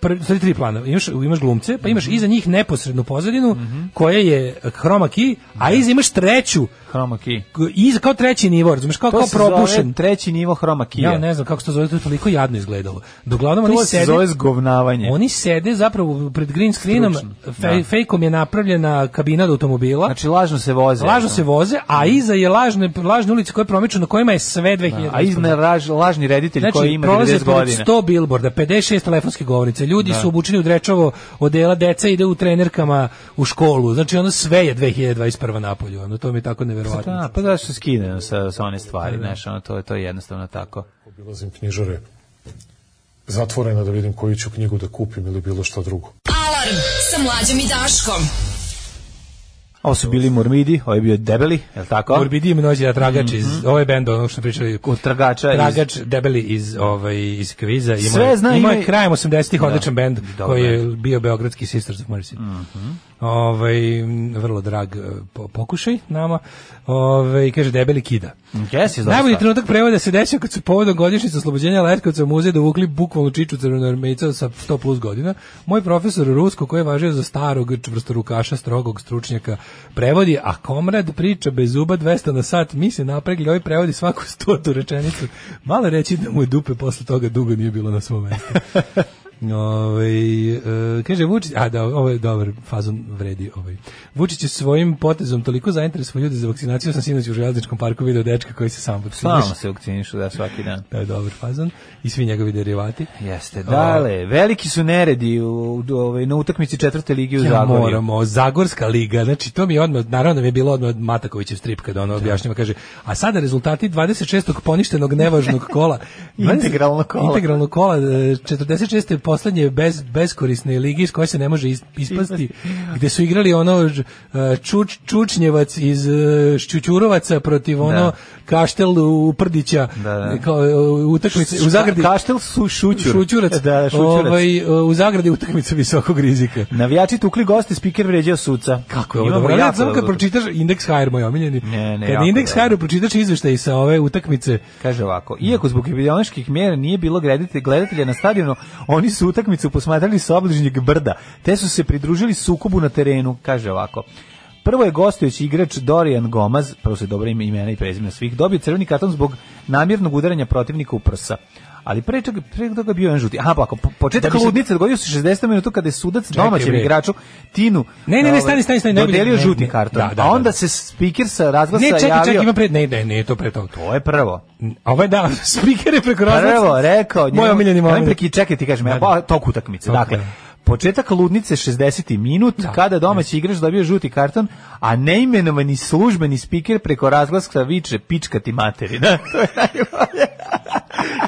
prvi sad tri plana. Imaš imaš glumce, pa imaš iza njih neposrednu pozadinu koja je hroma key, a iza imaš treću
Hroma key.
iz kao treći nivo, razumeš, kao,
To
kao
se
propušen.
zove treći nivo Hroma kija.
Ja ne znam kako se to zove, to je toliko jadno izgledalo. Doglavnom
to
oni
se
sede,
zove zgovnavanje.
oni sede zapravo pred green screenom,
Stručno,
fej,
da.
fejkom je napravljena kabina od automobila.
Znači, lažno se voze. ono.
lažno se voze, a iza je lažne, lažne ulice koje promiču na kojima je sve 2000.
A izne raž, lažni reditelj koji ima
Znači, prolaze
90
pored
godina.
100 bilborda, 56 telefonske govornice, ljudi su obučeni u drečovo odela, deca ide u trenerkama u školu, znači ono sve je 2021. napolju, ono to mi je tako neverovatno.
Da, pa da što skine sa, sa one stvari, znaš, ono, to, je, to je jednostavno tako.
Obilazim knjižare zatvorena da vidim koju ću knjigu da kupim ili bilo šta drugo.
Alarm sa mlađom i Daškom.
Ovo su bili Murmidi, ovo je bio Debeli, je li tako?
Morbidium nođe da tragač
Mhm.
iz ovaj bend ono što pričali
Od tragača iz-
tragač debeli iz ovaj iz kviza ima
Sve zna,
ima
ima i-
krajem 80-ih odličan bend
dobar
koji
Mhm.
je bio beogradski Sisters of Mercy. Ovaj m, vrlo drag e, po- pokušaj nama. Ovaj kaže debeli kida.
Jesi, znaš
Najbolji
šta?
trenutak prevoda se desio kad su povodom godišnjice oslobođenja Lerkovca u muzej dovukli bukvalno čiču crvenoarmejca sa 100 plus godina. Moj profesor rusko koji je važio za starog čvrstorukaša, strogog stručnjaka, prevodi, a komrad priča bez zuba 200 na sat, mi se napregli, ovaj prevodi svaku stotu rečenicu. Malo reći da mu je dupe posle toga dugo nije bilo na svom mestu. Ovaj e, kaže Vučić, a da, ovo je dobar fazon vredi ovaj. Vučić je svojim potezom toliko zainteresovao ljude za vakcinaciju, sam sinoć u Železničkom parku video dečka koji se sam
Samo
vakciniše.
se vakcinišu, da, svaki dan.
To je dobar fazon i svi njegovi derivati.
Jeste, dale, veliki su neredi u, u, ovaj, na utakmici četvrte ligi u
Ja
Zagorju.
moramo, Zagorska liga, znači to mi je odmah, naravno da mi je bilo odmah od Matakovićev strip kada ono objašnjava, kaže, a sada rezultati 26. poništenog nevažnog kola.
Integralno kola.
Integralno kola, e, 46. poslednje bez, beskorisne ligi iz koje se ne može is- ispasti, gde su igrali ono ž- e, čuč, Čučnjevac iz e, Šćućurovaca protiv ono
Da.
Kaštel u Prdića,
Da, da.
kao, e, utakmice u Zagradi.
Kaštel su šućur.
Šućurac,
Da, da, šućurac.
Ovaj, e, u Zagradi utakmica visokog rizika.
Navijači tukli goste, speaker vređao suca.
Kako je ovo
Imamo
dobro? Ja
jako
samo kad
dobro.
pročitaš Index HR, moj omiljeni.
Ne, ne,
kad
jako
Index
dobro.
HR pročitaš izveštaj sa ove utakmice,
Kaže ovako, iako zbog epidemioloških mjera nije bilo gledatelja, gledatelja na stadionu, oni su utakmicu posmatrali sa obližnjeg brda, te su se pridružili sukobu na terenu, kaže ovako. Prvo je gostujući igrač Dorian Gomaz, prvo se dobro ime imena i prezimena svih, dobio crveni karton zbog namjernog udaranja protivnika u prsa. Ali pre toga, pre toga je bio jedan žuti. Aha, pa ako po- početak
Da bi se-
ludnice dogodio se 60. minutu kada je sudac
Čekaj,
domaćem
bre.
igraču Tinu
Ne, ne, ne,
ovaj,
stani, stani, stani, najbolje-
dodelio
ne,
žuti
ne,
karton.
da, da,
a
da,
onda
da.
se speaker sa razglasa
Ne, čekaj,
javio.
čekaj, ima pre, ne, ne, ne, to pre toga.
To je prvo.
Ovo je da, speaker je
Pa
preko razlaca.
Prvo, rekao,
Moj omiljeni moment.
Preki, čekaj, ti kažem, ja,
Da,
pa,
da.
tok utakmice.
Tok,
Dakle,
da.
početak ludnice 60. minut, kada domaći igrač dobio žuti karton, a neimenovani službeni speaker preko razglaska viče, pička ti materina.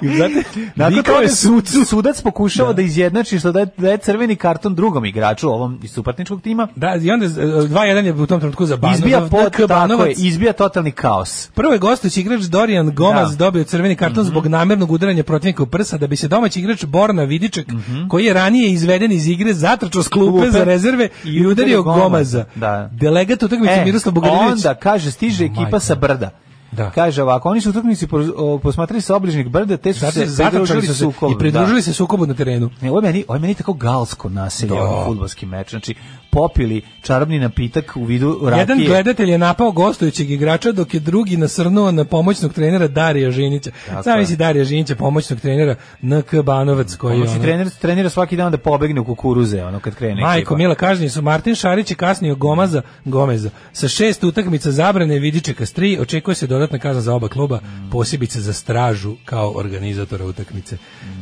I znate,
Nakon
vikao
toga
je
sudac, sudac pokušava da, izjednači što daje, daje crveni karton drugom igraču, ovom iz supartničkog tima,
Da, i onda e, 2-1 je u tom trenutku za Banova.
izbija, pot,
Dakle,
tako je,
Banovac-
izbija totalni kaos.
Prvo je gostujući igrač Dorian Gomaz
Da. Mhm.
dobio crveni karton zbog namjernog udaranja protivnika u prsa da bi se domaći igrač Borna Vidiček, koji je ranije izveden iz igre, zatrčao s klupe,
Mhm. Klupe
za rezerve i, udario Gomaza.
Da. E,
Delegat utakmice Miroslav Bogdanović.
Onda, kaže, stiže ekipa
Majko.
sa brda.
Da.
Kaže ovako, oni su utakmici po- o, posmatrali sa obližnjeg brda, te su
Zatrčali
se pridružili
su se
sukobu.
i pridružili
da.
se sukobu na terenu.
Ne, ovo je meni, ovo je meni tako galsko naselje,
Da.
ovaj fudbalski meč. Znači, popili čarobni napitak u vidu rakije.
Jedan gledatelj je napao gostujućeg igrača dok je drugi nasrnuo na pomoćnog trenera Darija Žinića.
Tako je.
Sam misli Darija Žinića, pomoćnog trenera NK Banovac koji je
Znači,
ono-
trener trenira svaki dan da pobegne u kukuruze, ono kad krene
Majko
ekipa.
Mila kažnjeni su Martin Šarić i kasnije Gomaza Gomeza. Sa šest utakmica zabrane Vidičeka s tri očekuje se dodatna kazna za oba kluba, posebice za stražu kao organizatora utakmice.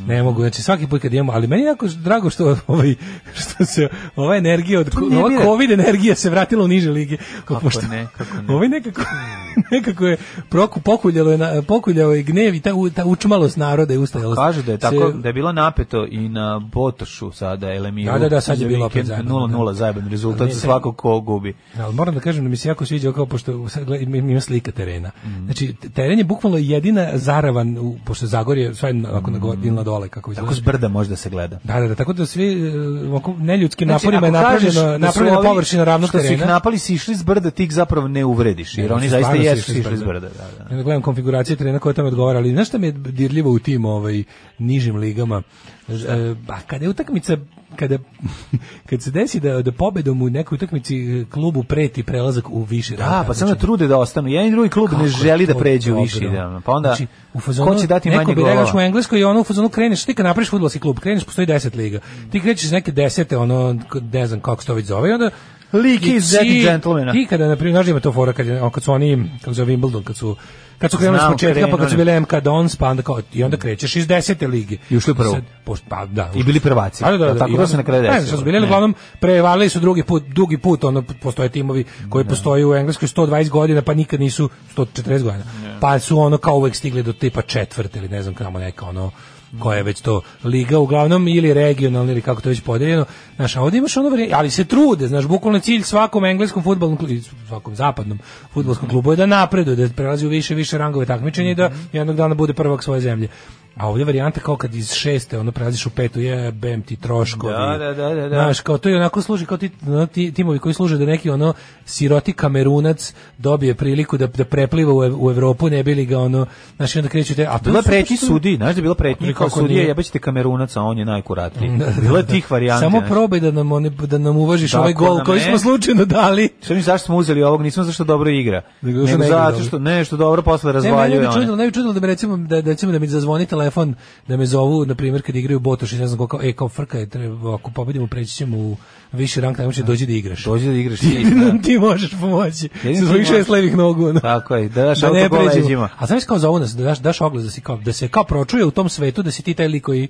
Ne mogu, znači svaki put kad imamo, ali meni je jako drago što ovaj što se ova energija od
ne
ova
bira.
covid energija se vratila u niže lige.
Kako ne, kako ne.
Ovaj nekako nekako je proku pokuljalo je na- pokuljao je gnev i ta, u- ta učmalost naroda je ustajala.
Pa Kažu da je
Se-
tako da je bilo napeto i na Botošu sada Elemiru.
Da, da, da, sad je
Za
bilo opet
vikend
zajebano,
0:0
da.
zajeban rezultat
Ali
za
ne,
svakog ko gubi.
Ali moram da kažem da mi se jako sviđa kao pošto sad gled- im- ima slika terena.
Mhm.
Znači teren je bukvalno jedina zaravan u, pošto Zagorje sve onako na godinu na dole kako izgleda.
Tako s brda možda se gleda.
Da, da, da, tako da svi e, ovako neljudskim
Znači,
naporima je
ako kažeš
napravljeno,
da su
napravljena
ovi
površina ravnog
Što su ih
terena.
napali, si išli s brda, ti ih zapravo ne uvrediš, jer
Ne,
oni
su
zaista
stvarno
jesu sišli s brda. Da, da.
Ja gledam konfiguracije terena koja tamo odgovara, ali znaš šta mi je dirljivo u tim ovaj, nižim ligama? Ž- e, Ba, kada je utakmica, kada, kad se desi da, da pobedom u nekoj utakmici e, klubu preti prelazak u više
Da, pa samo
znači,
trude da ostanu. Jedan i drugi klub
Kako
ne
je
želi da
to
pređe u
dobro.
viši. Da, pa onda,
Znači, u fazonu,
ko će dati
neko
manje
bi rekao,
golova?
znaš, u Engleskoj je ono u fazonu kreneš, ti kad napraviš fudbalski klub, kreneš, postoji 10 liga. Ti krećeš iz neke desete, ono, k- ne znam kako se to već zove, i onda
Lik
i
iz
ti-
Zeti Gentlemana.
Ti kada na primjer ima to fora kad, je- ono, kad su oni kako se zove Wimbledon kad su kad su krenuli s
Znam,
početka pa kad su
krenuli.
bile MK Dons pa onda kao i onda krećeš iz 10. lige.
I ušli u prvu.
Sad, pošto- pa, da,
I bili prvaci.
Da, da, da,
Jel tako?
i
To
onda-
se na kraju
Ne znam
desilo.
šta su bili, ali
Ne.
uglavnom prevalili su drugi put, dugi put, ono postoje timovi koji postoje u Engleskoj 120 godina, pa nikad nisu 140 godina. Pa su ono kao uvek stigli do tipa četvrte ili ne znam kamo neka ono koja je već to liga uglavnom ili regionalna ili kako to je već podeljeno. Znaš, a ovdje imaš ono vrijeme, ali se trude, znaš, bukvalno cilj svakom engleskom fudbalnom klubu, svakom zapadnom fudbalskom klubu je da napreduje, da prelazi u više i više rangove takmičenja i da
Mhm.
jednog dana bude prvak svoje zemlje. A ovdje varijanta kao kad iz šeste ono prelaziš u petu, jebem ti troškovi.
Da, da, da, da, da.
Znaš, kao to i onako služi kao ti, ono, ti- timovi koji služe da neki ono siroti kamerunac dobije priliku da, da prepliva u, Ev- u Evropu, ne bili ga ono, znaš, i onda kreću te... A to
Bilo je
su-
pretnji
su-
sudi, znaš da je bilo pretnji
Ali
kao
kako
sudije,
nije?
jebaćete kamerunaca, on je najkuratniji. Bilo je tih varijanti.
Samo
znaš.
probaj da nam, one, da nam uvažiš
Tako
ovaj gol
nam
koji
ne.
smo slučajno dali.
Što mi zašto smo uzeli ovog, nismo zašto dobro igra.
Nego što
Nego
ne igra
zato
dobro.
što nešto dobro posle
Ne, mene
razvaljuje.
bi
one.
čudilo, ne bi čudilo da mi recimo da, da recimo da mi zazvoni telefon, da me zovu na primjer kad igraju Botoš i ne znam kako, e kao frka je treba ako pobedimo preći ćemo u viši rang, tamo će dođi da igraš.
Dođi da igraš ti.
ti,
da.
ti možeš pomoći. Sa
Jedino ti
svojih
možeš.
šest levih nogu. ono.
Tako je, da daš
da ne
autogol
pređemo.
leđima.
A znaš kao zovu nas, da daš, daš oglas da, si kao, da se kao pročuje u tom svetu, da si ti taj lik koji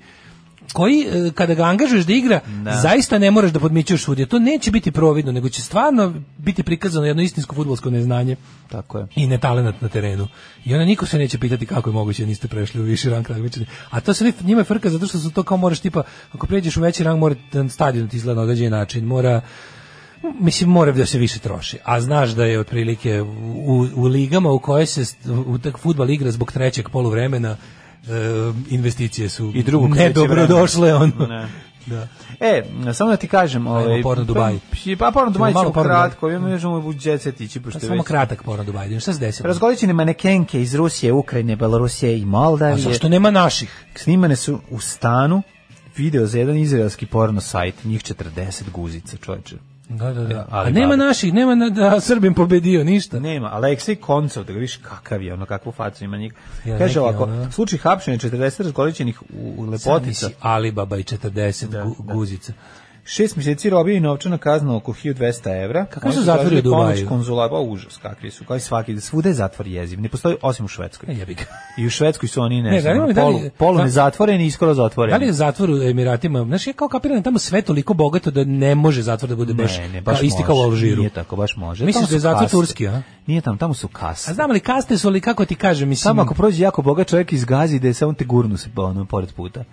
koji e, kada ga angažuješ da igra zaista ne moraš da podmićuješ sudije to neće biti providno nego će stvarno biti prikazano jedno istinsko fudbalsko neznanje
Tako je.
i netalenat na terenu. I onda niko se neće pitati kako je moguće da niste prešli u viši rang takmičenja. A to se ne- njima je frka zato što su to kao moraš tipa ako pređeš u veći rang mora ten stadion ti izgleda na određeni način, mora mislim mora da se više troši. A znaš da je otprilike u, u ligama u koje se st- u tak fudbal igra zbog trećeg poluvremena e, investicije su
I drugog trećeg
nedobrodošle ono.
Ne.
Da.
E, samo da ti kažem, ovaj
porno Dubai.
pa- Pa porno Dubai
Ajmo malo
ćemo
porno Pa
kratko, ovaj ja možemo u đecet ići pošto je
Samo
već.
kratak porno Dubai. idem. Šta se desilo?
Razgolićene manekenke iz Rusije, Ukrajine, Belorusije i
A
Moldavije.
zašto nema naših?
Snimane su u stanu video za jedan izraelski porno sajt, njih 40 guzica, čoveče.
Da, da, da.
Ali
A nema
babe.
naših, nema na, da Srbim pobedio ništa.
Nema, Aleksej Koncov, da ga vidiš kakav je, ono kakvu facu ima njih.
Ja, neki
Kaže ovako,
ono-
slučaj hapšenja 40 razgoličenih u, u lepotica.
Zamisli Alibaba i 40 gu- guzica.
Šest mjeseci robije i novčana kazna oko 1200 evra. Kako
su zatvori u Dubaju?
konzulaba, užas, kakvi su, kao i svaki, svuda je zatvor jeziv, ne postoji osim u Švedskoj.
E, jebi ga.
I u Švedskoj su oni, ne,
Ne,
znam,
zanima me da
polu,
li-
polu
da-
nezatvoreni i skoro zatvoreni.
Da li je zatvor u Emiratima? Znaš, ja kao kapiram da je tamo sve toliko bogato da ne može zatvor da bude baš,
ne, ne,
kao- isti kao u
može.
Alžiru.
Nije tako, baš može.
Misliš
Tamo su
da je zatvor
kaste.
turski, a?
Nije tamo, tamo su kase.
A znam li kaste su ali kako ti kažem, mislim...
Samo ako prođe jako bogat čovjek iz Gazi da je samo te gurnu se ono, pored puta.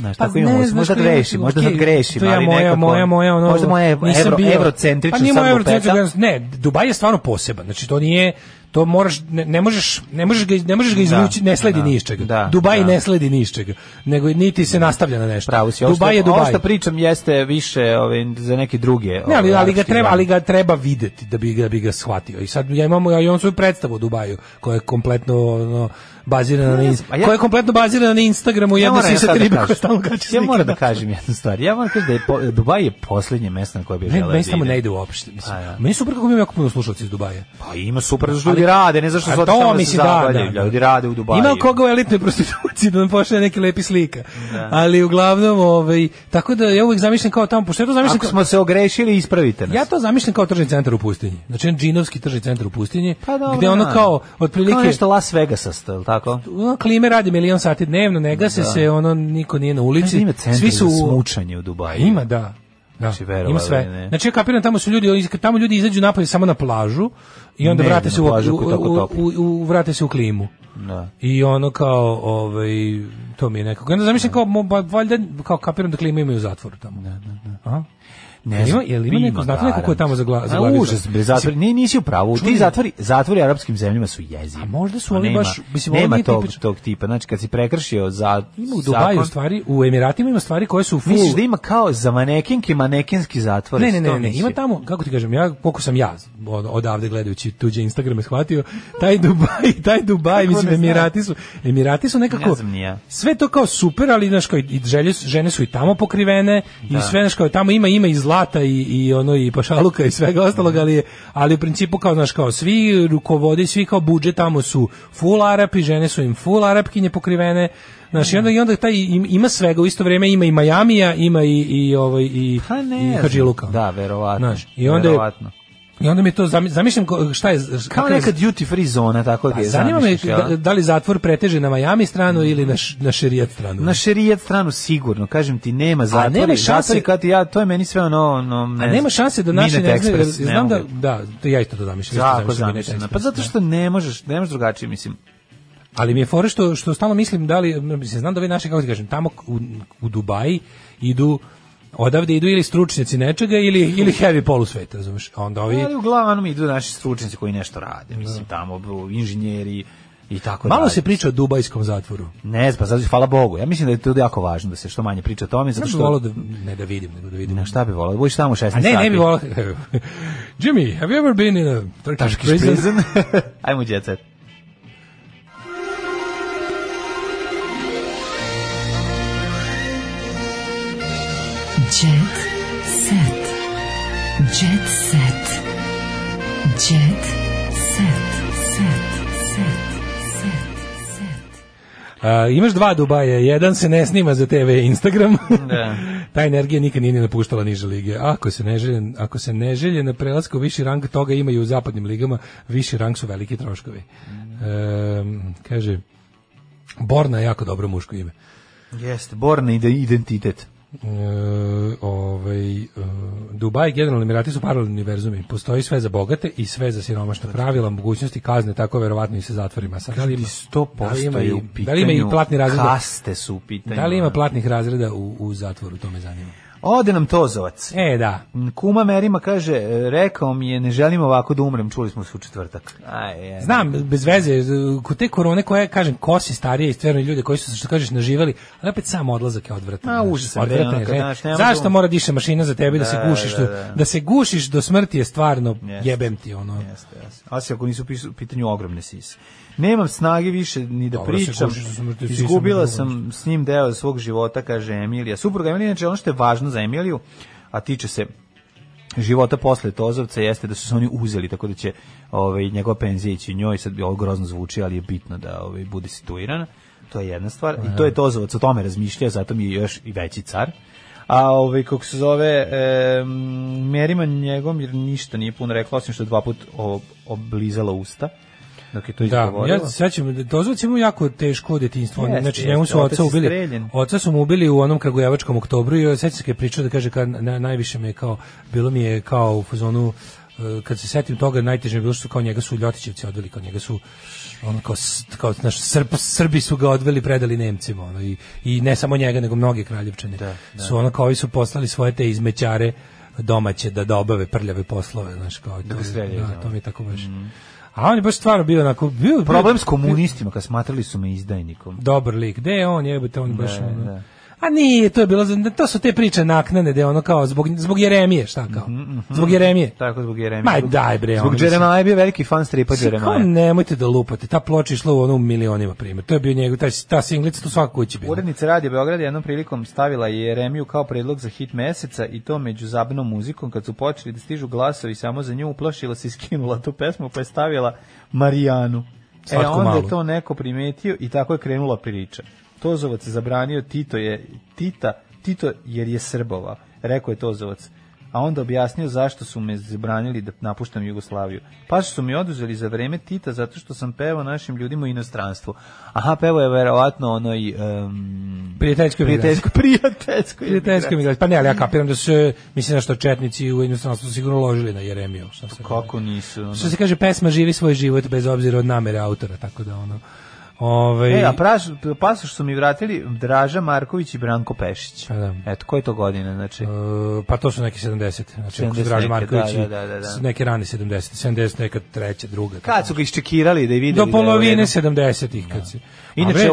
Znaš, tako imamo,
pa znaš
možda
ko ima-
grešim, možda
okej,
sad grešim,
to je
ali
moja,
nekako...
moja, moja, ono,
možda moja
nisam
evro,
bio.
evrocentrična
Pa nije moja
samo
evrocentrična,
lupeta.
ne, Dubaj je stvarno poseban, znači to nije, to moraš, ne, ne možeš, ne možeš ga, ne možeš ga izvući, ne sledi
da,
ni iz čega.
da,
Dubaj
da.
ne sledi ni iz čega, nego niti se nastavlja na nešto.
Pravo si, ovo što,
Dubaj je
ovo
Dubaj.
što pričam jeste više ove, za neke druge...
Ne, ali,
ove,
ali ga
arapske
treba, ali
zemlje.
ga treba videti da bi ga da bi ga shvatio. I sad ja imamo ja imam svoju predstavu o Dubaju koja je kompletno ono, bazirana na
a
ins-
pa ja-
koja je kompletno bazirana na Instagramu
Ja
jedna
moram ja
sisata
sad da
riba koja
kažem.
stalno kači
Ja
slike.
moram da kažem jednu stvar. Ja moram kažem da je po- Dubaj je posljednje mesto na koje bih
Ne,
želeo da
meni tamo
idem.
ne ide uopšte. Mislim.
Pa, da.
Meni je super kako mi imamo jako puno slušalci iz Dubaja.
Pa ima super što ljudi rade, ne zašto
A
su
to
otišli tamo da se
mislim, da,
zabavljaju.
da, da.
Ljudi rade u Dubaju.
Ima koga u elitnoj prostituciji da nam pošle neke lepi slika. Ali uglavnom, ovaj, tako da ja uvek zamišljam kao tamo, pošto ja to zamišljam
Ako
kao,
smo se ogrešili, ispravite nas.
Ja to zamišljam kao tržni centar u pustinji. Znači, jedan džinovski tržni centar u pustinji,
Pa dobro,
gde ono
da.
kao, otprilike,
Kao nešto Las Vegasa, je li tako?
ono, klime radi milion sati dnevno, ne gase se, ono, niko nije na ulici.
Znači, Ima centar
Svi su
za
u-
smučanje u Dubaju.
Pa Ima, da. Da,
Znači, verovali
ima
ili
sve.
ne.
Znači, ja kapiram, tamo su ljudi, oni- tamo ljudi izađu napolje samo na plažu i onda
Ne,
vrate
na
se u, u,
plažu ako je tako
u,
toplo.
u- u- vrate se u klimu.
Da.
I ono kao, ovaj, to mi je nekako. I Onda zamišljam kao, mo- ba- valjda, kao kapiram da klimu imaju u zatvoru tamo. Da, da, da.
Ne
Jel ima-
znam,
jel ima neko- znate neko ko je tamo zagla-
A,
zaglavio
Užas,
zatvor?
bre, zatvori, ne, nisi u pravu. Ti
Čujem.
zatvori, zatvori u arapskim zemljama su jezivi.
A možda su
A
oni
nema-
baš- mislim, ovo
nema
nije
tog,
tipično.
tog tipa. Znači, kad si prekršio za,
Ima u Dubaju
zakon-
stvari, u Emiratima ima stvari koje su full...
Misliš da ima kao za manekinke manekinski zatvor?
Ne,
jesi
ne,
to
ne, ne,
mislio?
ima tamo, kako ti kažem, ja, koliko sam ja od- odavde gledajući tuđe Instagrame shvatio, taj Dubaj, taj Dubaj,
Kako
mislim,
ne zna?
Emirati su, Emirati su nekako,
Ne znam ni ja.
sve to kao super, ali, znaš, kao, i želje, su- žene su i tamo pokrivene, i sve, znaš, kao, tamo ima, ima i zlata, i, i ono, i pašaluka, i svega ostalog, ali, je- ali u principu, kao, znaš, kao, svi rukovodi, svi kao budže tamo su full Arapi, žene su im full Arapkinje pokrivene, Znaš, i onda, i onda taj, im- ima svega, u isto vrijeme ima i Majamija, ima i, i, ovaj, i,
Pa ne
i
znam.
Hadžiluka.
Da, verovatno.
Znaš, i onda je-
verovatno.
I onda mi je to zami- zamišljam ko- šta je
Kao
kakav je-
neka duty free zona, tako da
Pa,
je
zanima me
zamišljaš, jel?
da, da li zatvor preteže na Miami stranu ili na š- na šerijat stranu.
Na šerijat stranu sigurno, kažem ti, nema zatvori.
nema šanse-
zatvori kad ja, to je meni sve ono, ono ne
A nema šanse da naši ne znaju, jer znam da, da, to ja isto to zamišljam. isto
Tako
zamišljam Minet
zamišljeno. Pa
Express,
zato što ne možeš, ne možeš drugačije, mislim.
Ali mi je fora što, što stalno mislim da li, mislim, znam da ove naše, kako ti kažem, tamo u, u Dubaji idu, odavde idu ili stručnjaci nečega ili, ili heavy polusveta, razumeš? A onda ovi...
Ali uglavnom idu naši stručnjaci koji nešto rade, mislim, tamo bu- inženjeri i tako
Malo
dalje.
se priča o dubajskom zatvoru.
Ne znam, pa zato, hvala Bogu. Ja mislim da je to jako važno da se što manje priča o tome,
Ja
zato
bih
što...
volao da, ne da vidim, nego da vidim.
Na šta bi volao? Da budeš tamo u 16
A ne,
sati.
ne bih volao. Jimmy, have you ever been in a Turkish
Turkish
prison?
prison. Ajmo, jet set.
Jet set. Jet set. Jet set. Set. Set. Set.
A, imaš dva Dubaja, jedan se ne snima za TV i Instagram.
Da.
Ta energija nikad nije ni napuštala niže lige. Ako se ne želje, ako se ne želje na prelasku u viši rang, toga ima i u zapadnim ligama. Viši rang su veliki troškovi. Ehm, kaže, Borna je jako dobro muško ime.
Jeste, borni ide- identitet.
E, ovaj, e, Dubaj i generalni Emirati su paralelni univerzumi. Postoji sve za bogate i sve za siromašne pravila, mogućnosti kazne, tako verovatno i sa zatvorima. Sad, da li ima, da li ima i-
je u
da li ima i
pitanju,
platni razred?
Kaste su u pitanju. ono.
Da li ima platnih razreda u, u zatvoru, to me zanima.
Ode nam Tozovac.
E, da.
Kuma Merima kaže, e, rekao mi je, ne želim ovako da umrem, čuli smo se u četvrtak. Aj, je.
Znam, bez veze, kod te korone koja, kažem, kosi starije i stvarno ljude koji su, što kažeš, naživali, ali opet sam odlazak je odvratan.
Ma,
znaš,
užasan,
odvratan
bre, ono,
je,
kad,
ne.
znaš, ne
Zašto
možemo-
mora diše mašina za tebe da, se gušiš? Da,
da, da.
da se gušiš do smrti je stvarno
Jeste.
jebem ti, ono.
Jeste, jeste. Osim ako nisu u pisu- u pitanju ogromne sise. Nemam snage više ni da
Dobro se
pričam.
gušiš, da sam mrtav, svi sam
Izgubila
mrtav,
sam s njim deo svog života, kaže Emilija. Supruga Emilija, znači ono što je važno za Emiliju, a tiče se života posle Tozovca jeste da su se oni uzeli tako da će ovaj njegova penzija ići njoj sad bi ovo grozno zvuči ali je bitno da ovaj bude situirana to je jedna stvar i to je Tozovac o tome razmišlja zato mi je još i veći car a ovaj kako se zove e, Merima njegom jer ništa nije puno rekla osim što je dva put ob- oblizala usta dok je to
Da,
izgovorila
ja se sećam, Tozovac ima jako teško detinjstvo.
Jeste,
znači,
jeste,
njemu su
otac
oca
je
ubili.
streljan.
Oca su mu ubili u onom kragujevačkom oktobru i sećam se kad je pričao da kaže kad na, najviše me je kao, bilo mi je kao u fazonu e, kad se setim toga najteže mi je bilo što su kao njega su Ljotićevci odveli, kao njega su ono kao, s- kao znaš, Srb- Srbi su ga odveli, predali Nemcima, ono, i, i ne samo njega, nego mnoge kraljevčane. Su ono kao ovi su poslali svoje te izmećare domaće da dobave prljave poslove, znaš, kao to,
ga streljaju,
da,
da. Mhm.
to mi je tako baš. A on je baš stvarno bio onako, bio, bio-
problem s komunistima kad smatrali su me izdajnikom
dobar lik. Gde je on, jebote, on baš
Da,
ono.
da.
A nije, to je bilo, za- to su te priče naknane, da ono kao, zbog, zbog Jeremije, šta kao? Zbog Jeremije.
Mhm, tako zbog Jeremija
Ma daj bre, ono,
zbog
mislim.
Jeremaja je bio veliki fan stripa
Mislim, kao
Jeremaja
nemojte da lupate, ta ploča je išla u ono u milionima primjer. To je bio njegov, taj, ta singlica, tu svaka kući bila.
Urednica Radio Beograda jednom prilikom stavila je Jeremiju kao predlog za hit meseca i to među zabavnom muzikom. Kad su počeli da stižu glasovi samo za nju, uplašila se i skinula tu pesmu pa je stavila Marijanu. e
Slatku
onda
malu.
je to neko primetio i tako je krenula priča. Tozovac je zabranio Tito je Tita, Tito jer je Srbova, rekao je Tozovac. A onda objasnio zašto su me zabranili da napuštam Jugoslaviju. Pa su mi oduzeli za vreme Tita zato što sam pevao našim ljudima u inostranstvu. Aha, pevao je verovatno onoj um,
Prijateljskoj
prijateljsko prijateljsko
Prijateljska migracija. Pa ne, ali ja kapiram da su, mislim da što četnici u jednostavnosti su sigurno ložili na Jeremiju. Šta se
kako nisu ono.
Što se kaže, pesma živi svoj život bez obzira od namere autora, tako da ono... Ovaj
E, a praš, pasoš su mi vratili Draža Marković i Branko Pešić.
Pa da.
Eto, koje to godine, znači?
E, pa to su neki 70. Znači, ako su
70
Draža
neke,
Marković,
da, da, da, da.
su neke rane 70. 70 neka treća, druga.
Kad su ga iščekirali da je videli
Do
da je ovo
polovine
jedan-
70-ih. Kad se... A bre,
Inače,
to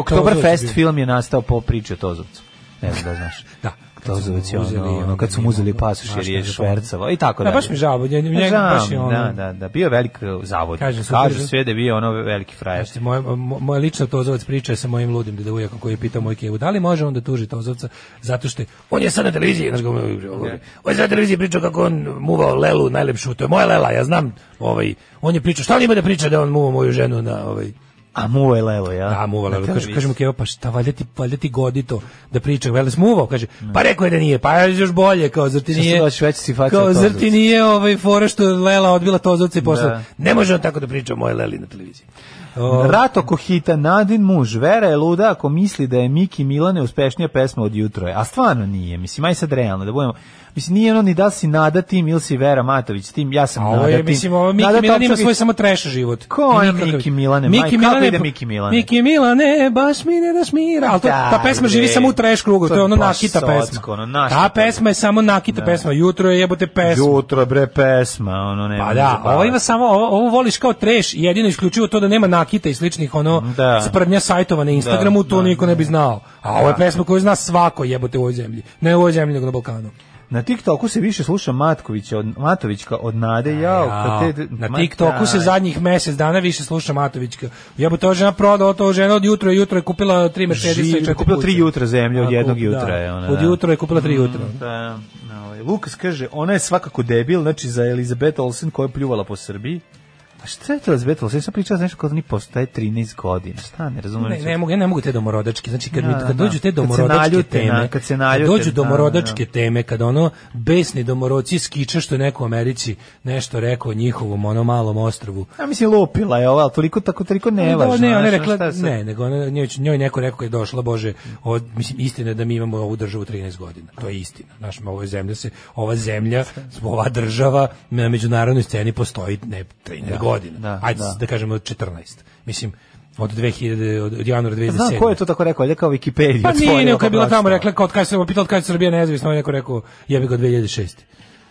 su
Oktoberfest
bili-
film je nastao po priči o Tozovcu. Ne znam da znaš.
Da.
Tozovac je
Kad su mu
ono,
uzeli,
ono, kad su mu uzeli
ono,
pasoš
znaš,
jer je
ne znam.
švercava i tako
Da,
dalje.
baš mi žao, nje-
Pa
njega
žao
baš
mi,
je ono-
Da, da, da, bio je velik e, zavod.
Kažem,
Kažu,
super je-
sve da je bio ono veliki frajer.
Znači, moja, mo- moja lična tozovac priča je sa mojim ludim dedevujakom koji je pitao moj kevu, da li može on da tuži tozovca zato što je, on je sad na televiziji, znaš ga, on on je sad na televiziji pričao kako on muvao lelu najlepšu, to je moja lela, ja znam, ovaj, on je pričao, šta on ima da priča da je on muvao moju ženu na, ovaj,
A mu je levo, ja?
Da, muvao,
Na
ali kaže,
televiziji.
kaže mu Keva, pa šta, valjda ti, valjda ti godi to da priča, valjda smuvao, kaže, pa rekao je da nije, pa još bolje, kao, zar ti
Šta
nije,
sad hoćeš, veći si faca
kao,
od
zar ti
Tozovca?
nije ovaj fora što je Lela odbila Tozovca i posla,
Da.
ne može on tako da priča o moje Leli na televiziji. O,
Rat oko hita Nadin muž, Vera je luda ako misli da je Miki Milane uspešnija pesma od Jutroje, a stvarno nije, mislim, aj sad realno, da budemo, mislim, nije ono ni da li si Nada tim ili si Vera Matović tim, ja sam
A
Nada
ovo je,
tim.
mislim, ovo Miki
Nada
Milan ima
Topčagić-
svoj samo treš život.
Ko je
Nikakav-
Miki Milane, maj, kako ide Miki Milane?
Miki Milane, baš mi ne daš mira. Ali to, ta
Daj,
pesma živi
bre.
samo u treš krugu, to
To
je
je
ono
baš
nakita
socko,
pesma.
ono, našta
Ta
pesma.
pesma je samo nakita pesma, jutro je jebote pesma.
Jutro, bre, pesma, ono, ne.
Pa
može
da,
zabavati.
ovo ima samo, ovo, ovo voliš kao treš, jedino isključivo to da nema nakita i sličnih ono
Da.
sprdnja sajtova na Instagramu,
Da,
to
da,
niko ne bi znao. A ovo je
Da.
pesma koju zna svako jebote u ovoj zemlji. Ne u ovoj zemlji, nego na Balkanu.
Na TikToku se više sluša Matkovića od, Matovićka od Nade, jao,
Jao,
kad Pa te-
na
ma,
TikToku se
daj.
zadnjih mjesec dana više sluša Matovićka. Jebote, ova žena prodala to žena od jutra, jutro je kupila tri Mercedesa i
Živi,
četiri
kupila tri
kuće.
jutra zemlje od
A,
jednog
kup-
jutra
da,
je ona.
Od
da.
jutra je kupila Pa tri jutra.
Da, Mm, pa, na ovaj. Lukas kaže, ona je svakako debil, znači za Elizabeth Olsen koja je pljuvala po Srbiji. A šta je to Elizabeth Olsen? Sam pričala za nešto kod ni postaje 13 godina. Šta, ne razumijem.
Ne, ne mogu, ja ne mogu te domorodačke. Znači kad mi
Znači- Da, da,
kad
da.
dođu te
Kad se
domorodačke
naljute,
teme,
na- kad se naljute,
dođu
da,
domorodačke teme, kad ono besni domoroci skiče što je neko u Americi nešto rekao o njihovom onom malom ostrvu.
Ja mislim lopila je ova, ali toliko tako toliko nevažno.
Ne, ona je
E, znaš,
rekla,
šta sad?
ne, nego ona, njoj, njoj neko rekao kad je došla, bože, od, mislim, istina je da mi imamo ovu državu 13 godina. To je istina. Znaš, ovo zemlja se, ova zemlja, ova država na međunarodnoj sceni postoji ne 13 godina.
da,
Ajde da.
da.
kažemo od 14. Mislim, od 2000, od, od januara 2007.
Znam ko je to tako rekao, je kao Wikipedia.
Pa nije,
otvorila,
nego kad je bila
pročitala.
tamo rekla, kao od kada se pitala od kada je Srbija nezavisna, on je neko rekao, jebi ga 2006.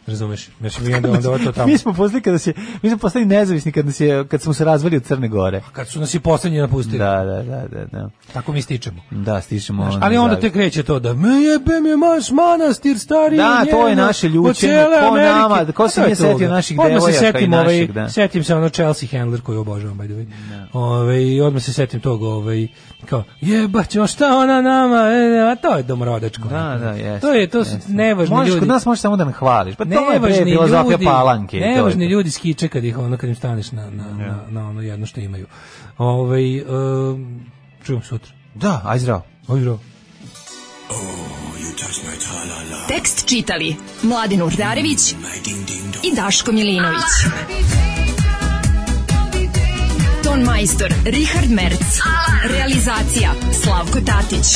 Razumeš? Znači, mi onda, onda ovo to tamo.
mi smo postali kada se mi smo postali nezavisni kad nas je kad smo se razveli od Crne Gore.
Kad su nas i poslednji napustili.
Da, da, da, da, da.
Tako mi stičemo.
Da, stišemo. ono
Znaš, ali onda tek kreće to da me jebe mi maš manastir stari
Da, to je naše ljućenje, ko nama,
Pa
ko se nije setio naših
se
devojaka i
setim, ovaj,
našeg, da.
Setim se ono Chelsea Handler koju obožavam, by the way. Ovaj, i odmah se setim tog, ovaj, kao, jebaćo, šta ona nama, e, a to je domorodačko.
Da, da, jeste.
To je, to su
jeste.
nevažni
možeš,
ljudi.
Kod nas možeš samo da me hvališ. Pa to je bre
Nevažni
filozofija
ljudi,
palanke. i to je
Nevažni
to.
ljudi skiče kad ih ono kad im staneš na na na, na ono jedno što imaju. Ovaj um, čujemo sutra.
Da, aj zdravo.
Aj zdravo.
Tekst čitali Mladin Urdarević i Daško Milinović. Ton majstor Richard Merc. Realizacija Slavko Tatić.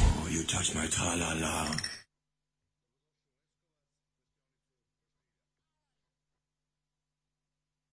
You touch my tra-la-la.